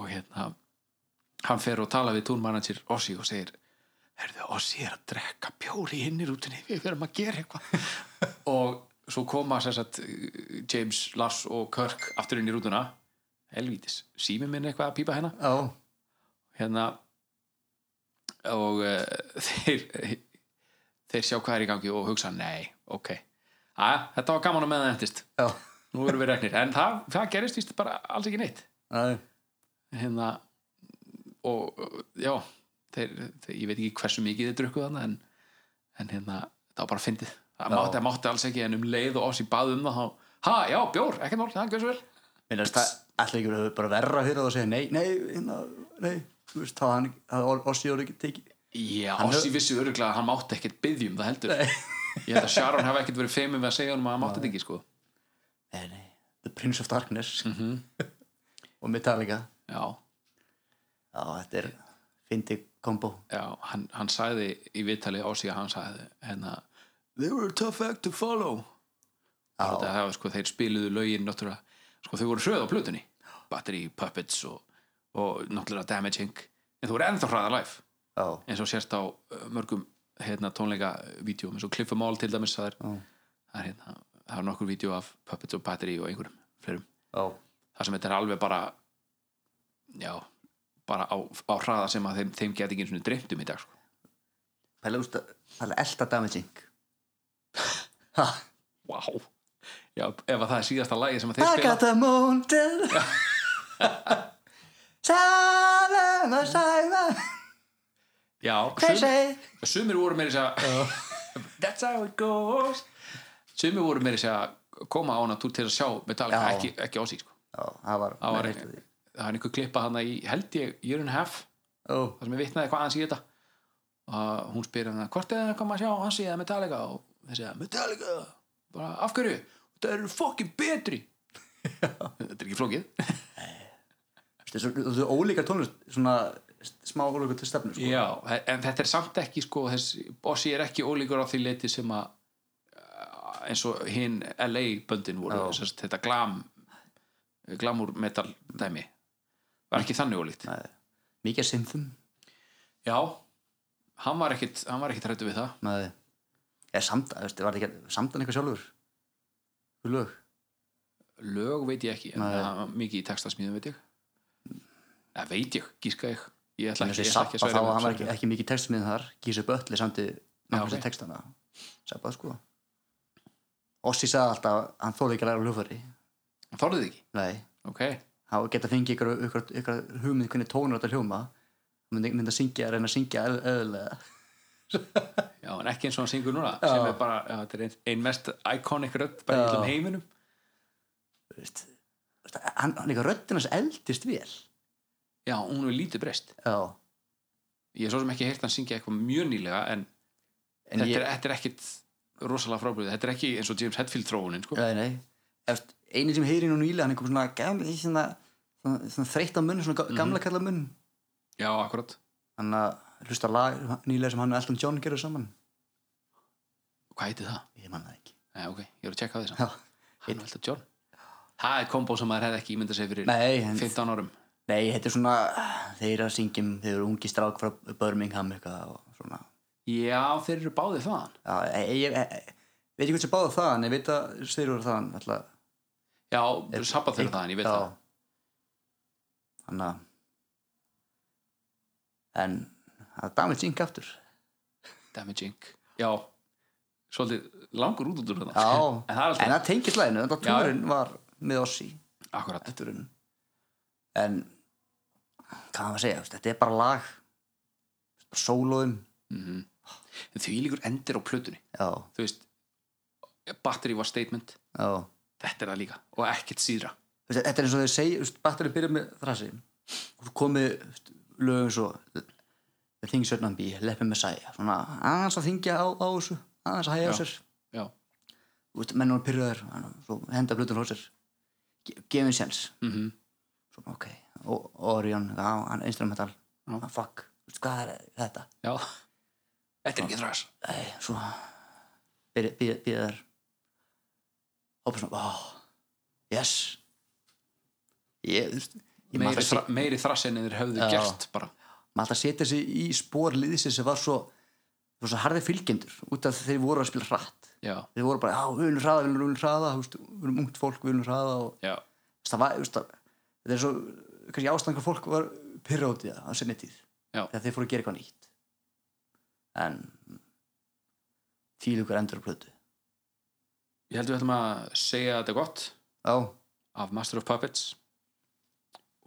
og hérna hann fer og tala við túnmanager Ossi og segir herðu Ossi er að drekka bjóri í hinnir útinni við verðum að gera eitthvað og svo koma sem sagt eh, James, Lars og Kirk aftur inn í rútuna helvítis, sími minn eitthvað að pípa hérna Já, hérna og uh, þeir þeir sjá hvað er í gangi og hugsa nei, ok, að, þetta var gaman að meðan það endist, já, nú erum við reknir en það, það gerist víst bara alls ekki neitt já, hérna og já þeir, þeir, ég veit ekki hversu mikið þeir drukkuð þarna en, en hérna, það var bara fyndið það Já. mátti, það mátti alls ekki en um leið og oss í bað um það þá, ha, já, bjór, ekkert mál, það gjörs vel minnast það allir ekki verið bara verra fyrir það að segja nei, nei, hérna, nei þú veist, þá hann, það Ossi orðið ekki tekið já, Hann oss hef- í vissu öruglega að hann mátti ekkert biðjum það heldur ég held að Sharon hafi ekkert verið feimum við að segja honum að hann mátti þetta ekki sko Nei, nei, The Prince of Darkness og Metallica já, Já, þetta er fyndið kombo já, hann, hann sagði í viðtali oss í að hann sagði hérna, they were a tough act to follow þetta Já, hafa sko, þeir spiluðu lögin náttúrulega, sko þau voru hröð á plötunni Battery, Puppets og, og náttúrulega Damaging en þú voru ennþá hraða live, já, eins og sérst á uh, mörgum hérna, tónleika vídjum, eins og Cliff Mall til dæmis það er, Já. það er, hérna, það er nokkur vídjó af Puppets og Battery og einhverjum flerum, já, það sem þetta er alveg bara já bara á, á hraða sem að þeim, þeim geti ekki einu sinni dreymt um í dag sko. pæla úst að pæla elda damaging Ha, wow. já, ef að það er síðasta lagi sem að þeir I spila got the moon till Salem, Salem já, They sum- say Sumir voru meiri að That's how it goes Sumir voru meiri að koma á hana túr til að sjá Metallica, Já. ekki, ekki ásík sko. Já, það var, Það var- nei, veistu því. Það er einhver klippa hana í, held ég, Year and a Half Ó, þar sem ég vitnaði hvað hans í þetta og hún spyr hann hvort er það að koma að sjá hans í það Metallica og þessi að Metallica bara af hverju, það eru fokkin betri þetta er ekki flókið veistu, svo- þú veist, ólíkar tónlist svona smá ólíkar til stefnu sko. Já, en þetta er samt ekki sko, þess, Bossi er ekki ólíkur á því leiti sem að uh, eins og hinn LA böndin voru Já. þess, þetta glam glamur metal dæmi var ekki þannig ólíkt Nei. Mikið simfum Já, hann var ekkit hann var ekkit rættu við það Nei Eða samt, veistu, var það ekki samtan eitthvað sjálfur Þú lög lög veit ég ekki, en Nei. það var mikið í textasmíðum veit ég eða veit ég, gíska ég ég ætla Þannig að ekki, ég ætla Zappa ekki þá, að sverja hann var með- ekki, ekki mikið textamið þar Gísi Bölli samti nokkvæmst ok. okay. textana Zappa sko Ossi sagði alltaf að hann þóði ekki að læra hljófari hann þorðið ekki, Nei, ok hann geta fengið ykkur, ykkur, ykkur hugmynd hvernig tónur þetta hljóma hann myndi, myndi að syngja, reyna að syngja eð- eðlilega Já, en ekki eins og hann syngur núna Já. sem er bara, já, þetta er ein, ein mest iconic rödd bara í Já. allum heiminum Þú veist, þú veist, hann, hann líka röddinn hans eldist vel Já, Já, hún er lítið breyst Ég er svo sem ekki heyrt hann syngja eitthvað mjög nýlega en, en þetta, ég, er, þetta er ekkit rosalega frábrið þetta er ekki eins og James Hetfield þróunin sko. nei, nei Eftir, eini sem heyri nú nýlega, hann er kom svona, gam, svona, svona, svona þreytt á munn, svona Mhm. ga- gamla kalla munn Já, akkurat hann að hlusta á lag nýlega sem hann og Elton John gerðu saman Hvað heiti það? ég manna það ekki Nei, ok, ég er að tjekka á því saman Já. Hann er alltaf John Það er kombo sem maður hefði ekki ímyndað sér fyrir Nei, en, 15 árum nei, þetta er svona þeir eru að syngjum, þeir eru ungi strák frá Birmingham eitthvað og svona Já, þeir eru báðið þaðan já, ég, ég, ég, veit ekki hvað sem báðu það en ég veit að þeir eru þaðan alltaf, Já, sabba þeir eru þaðan, ég veit það hann að en það damið syng aftur Damaging Já, svolítið langur út út úr þetta já, En það er en alltaf, það tengið slæðinu þannig að Já. túrin var með oss í akkurat eftirun en hvað maður að segja, þú veist, þetta er bara lag sólóðum Mhm. Því líkur endir á plötunni já, Þú veist, Battery var statement já, Þetta er það líka, og ekkert síðra Þú veist, þetta er eins og þeir segja batterið byrja með þrasi og svo komið þú veist, lög eins og The Things Certain on Be, Leppi Messiah svona aðeins að þingja á, á þessu aðeins að hægja á Já. sér já, Þú veist, menn voru pyrraðar svo henda blöðun á sér Ge- gefin séns mm Mhm. svo, ok, og Orion á, hann instrumental, Já. ah, fuck þú veist, hvað er þetta já Þetta er ekki þræs Æ, svo byrja þær hópa svona, ó, yes ég, þú veist ég maður meiri, alltaf þra, meiri þrass en þeir höfðu Já. gert bara maður alltaf setja sig í spór liðsins sem var svo, var svo harði fylgjendur út af þeir voru að spila hratt já, þeir voru bara, já, við viljum hraða, við viljum hraða þú veist, við viljum ungt fólk, við viljum hraða og já, þú veist, það var, þú veist, það- þetta er svo kannski ástæðan hvað fólk var pyrrótið á sinni tíð, Já. þegar þeir fóru að gera eitthvað nýtt en fílugur endur á plötu ég held við ætlum að segja þetta gott já, af Master of Puppets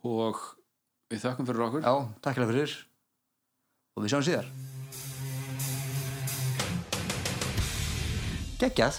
og við þökkum fyrir okkur já, takk hérna fyrir og við sjáum síðar geggjað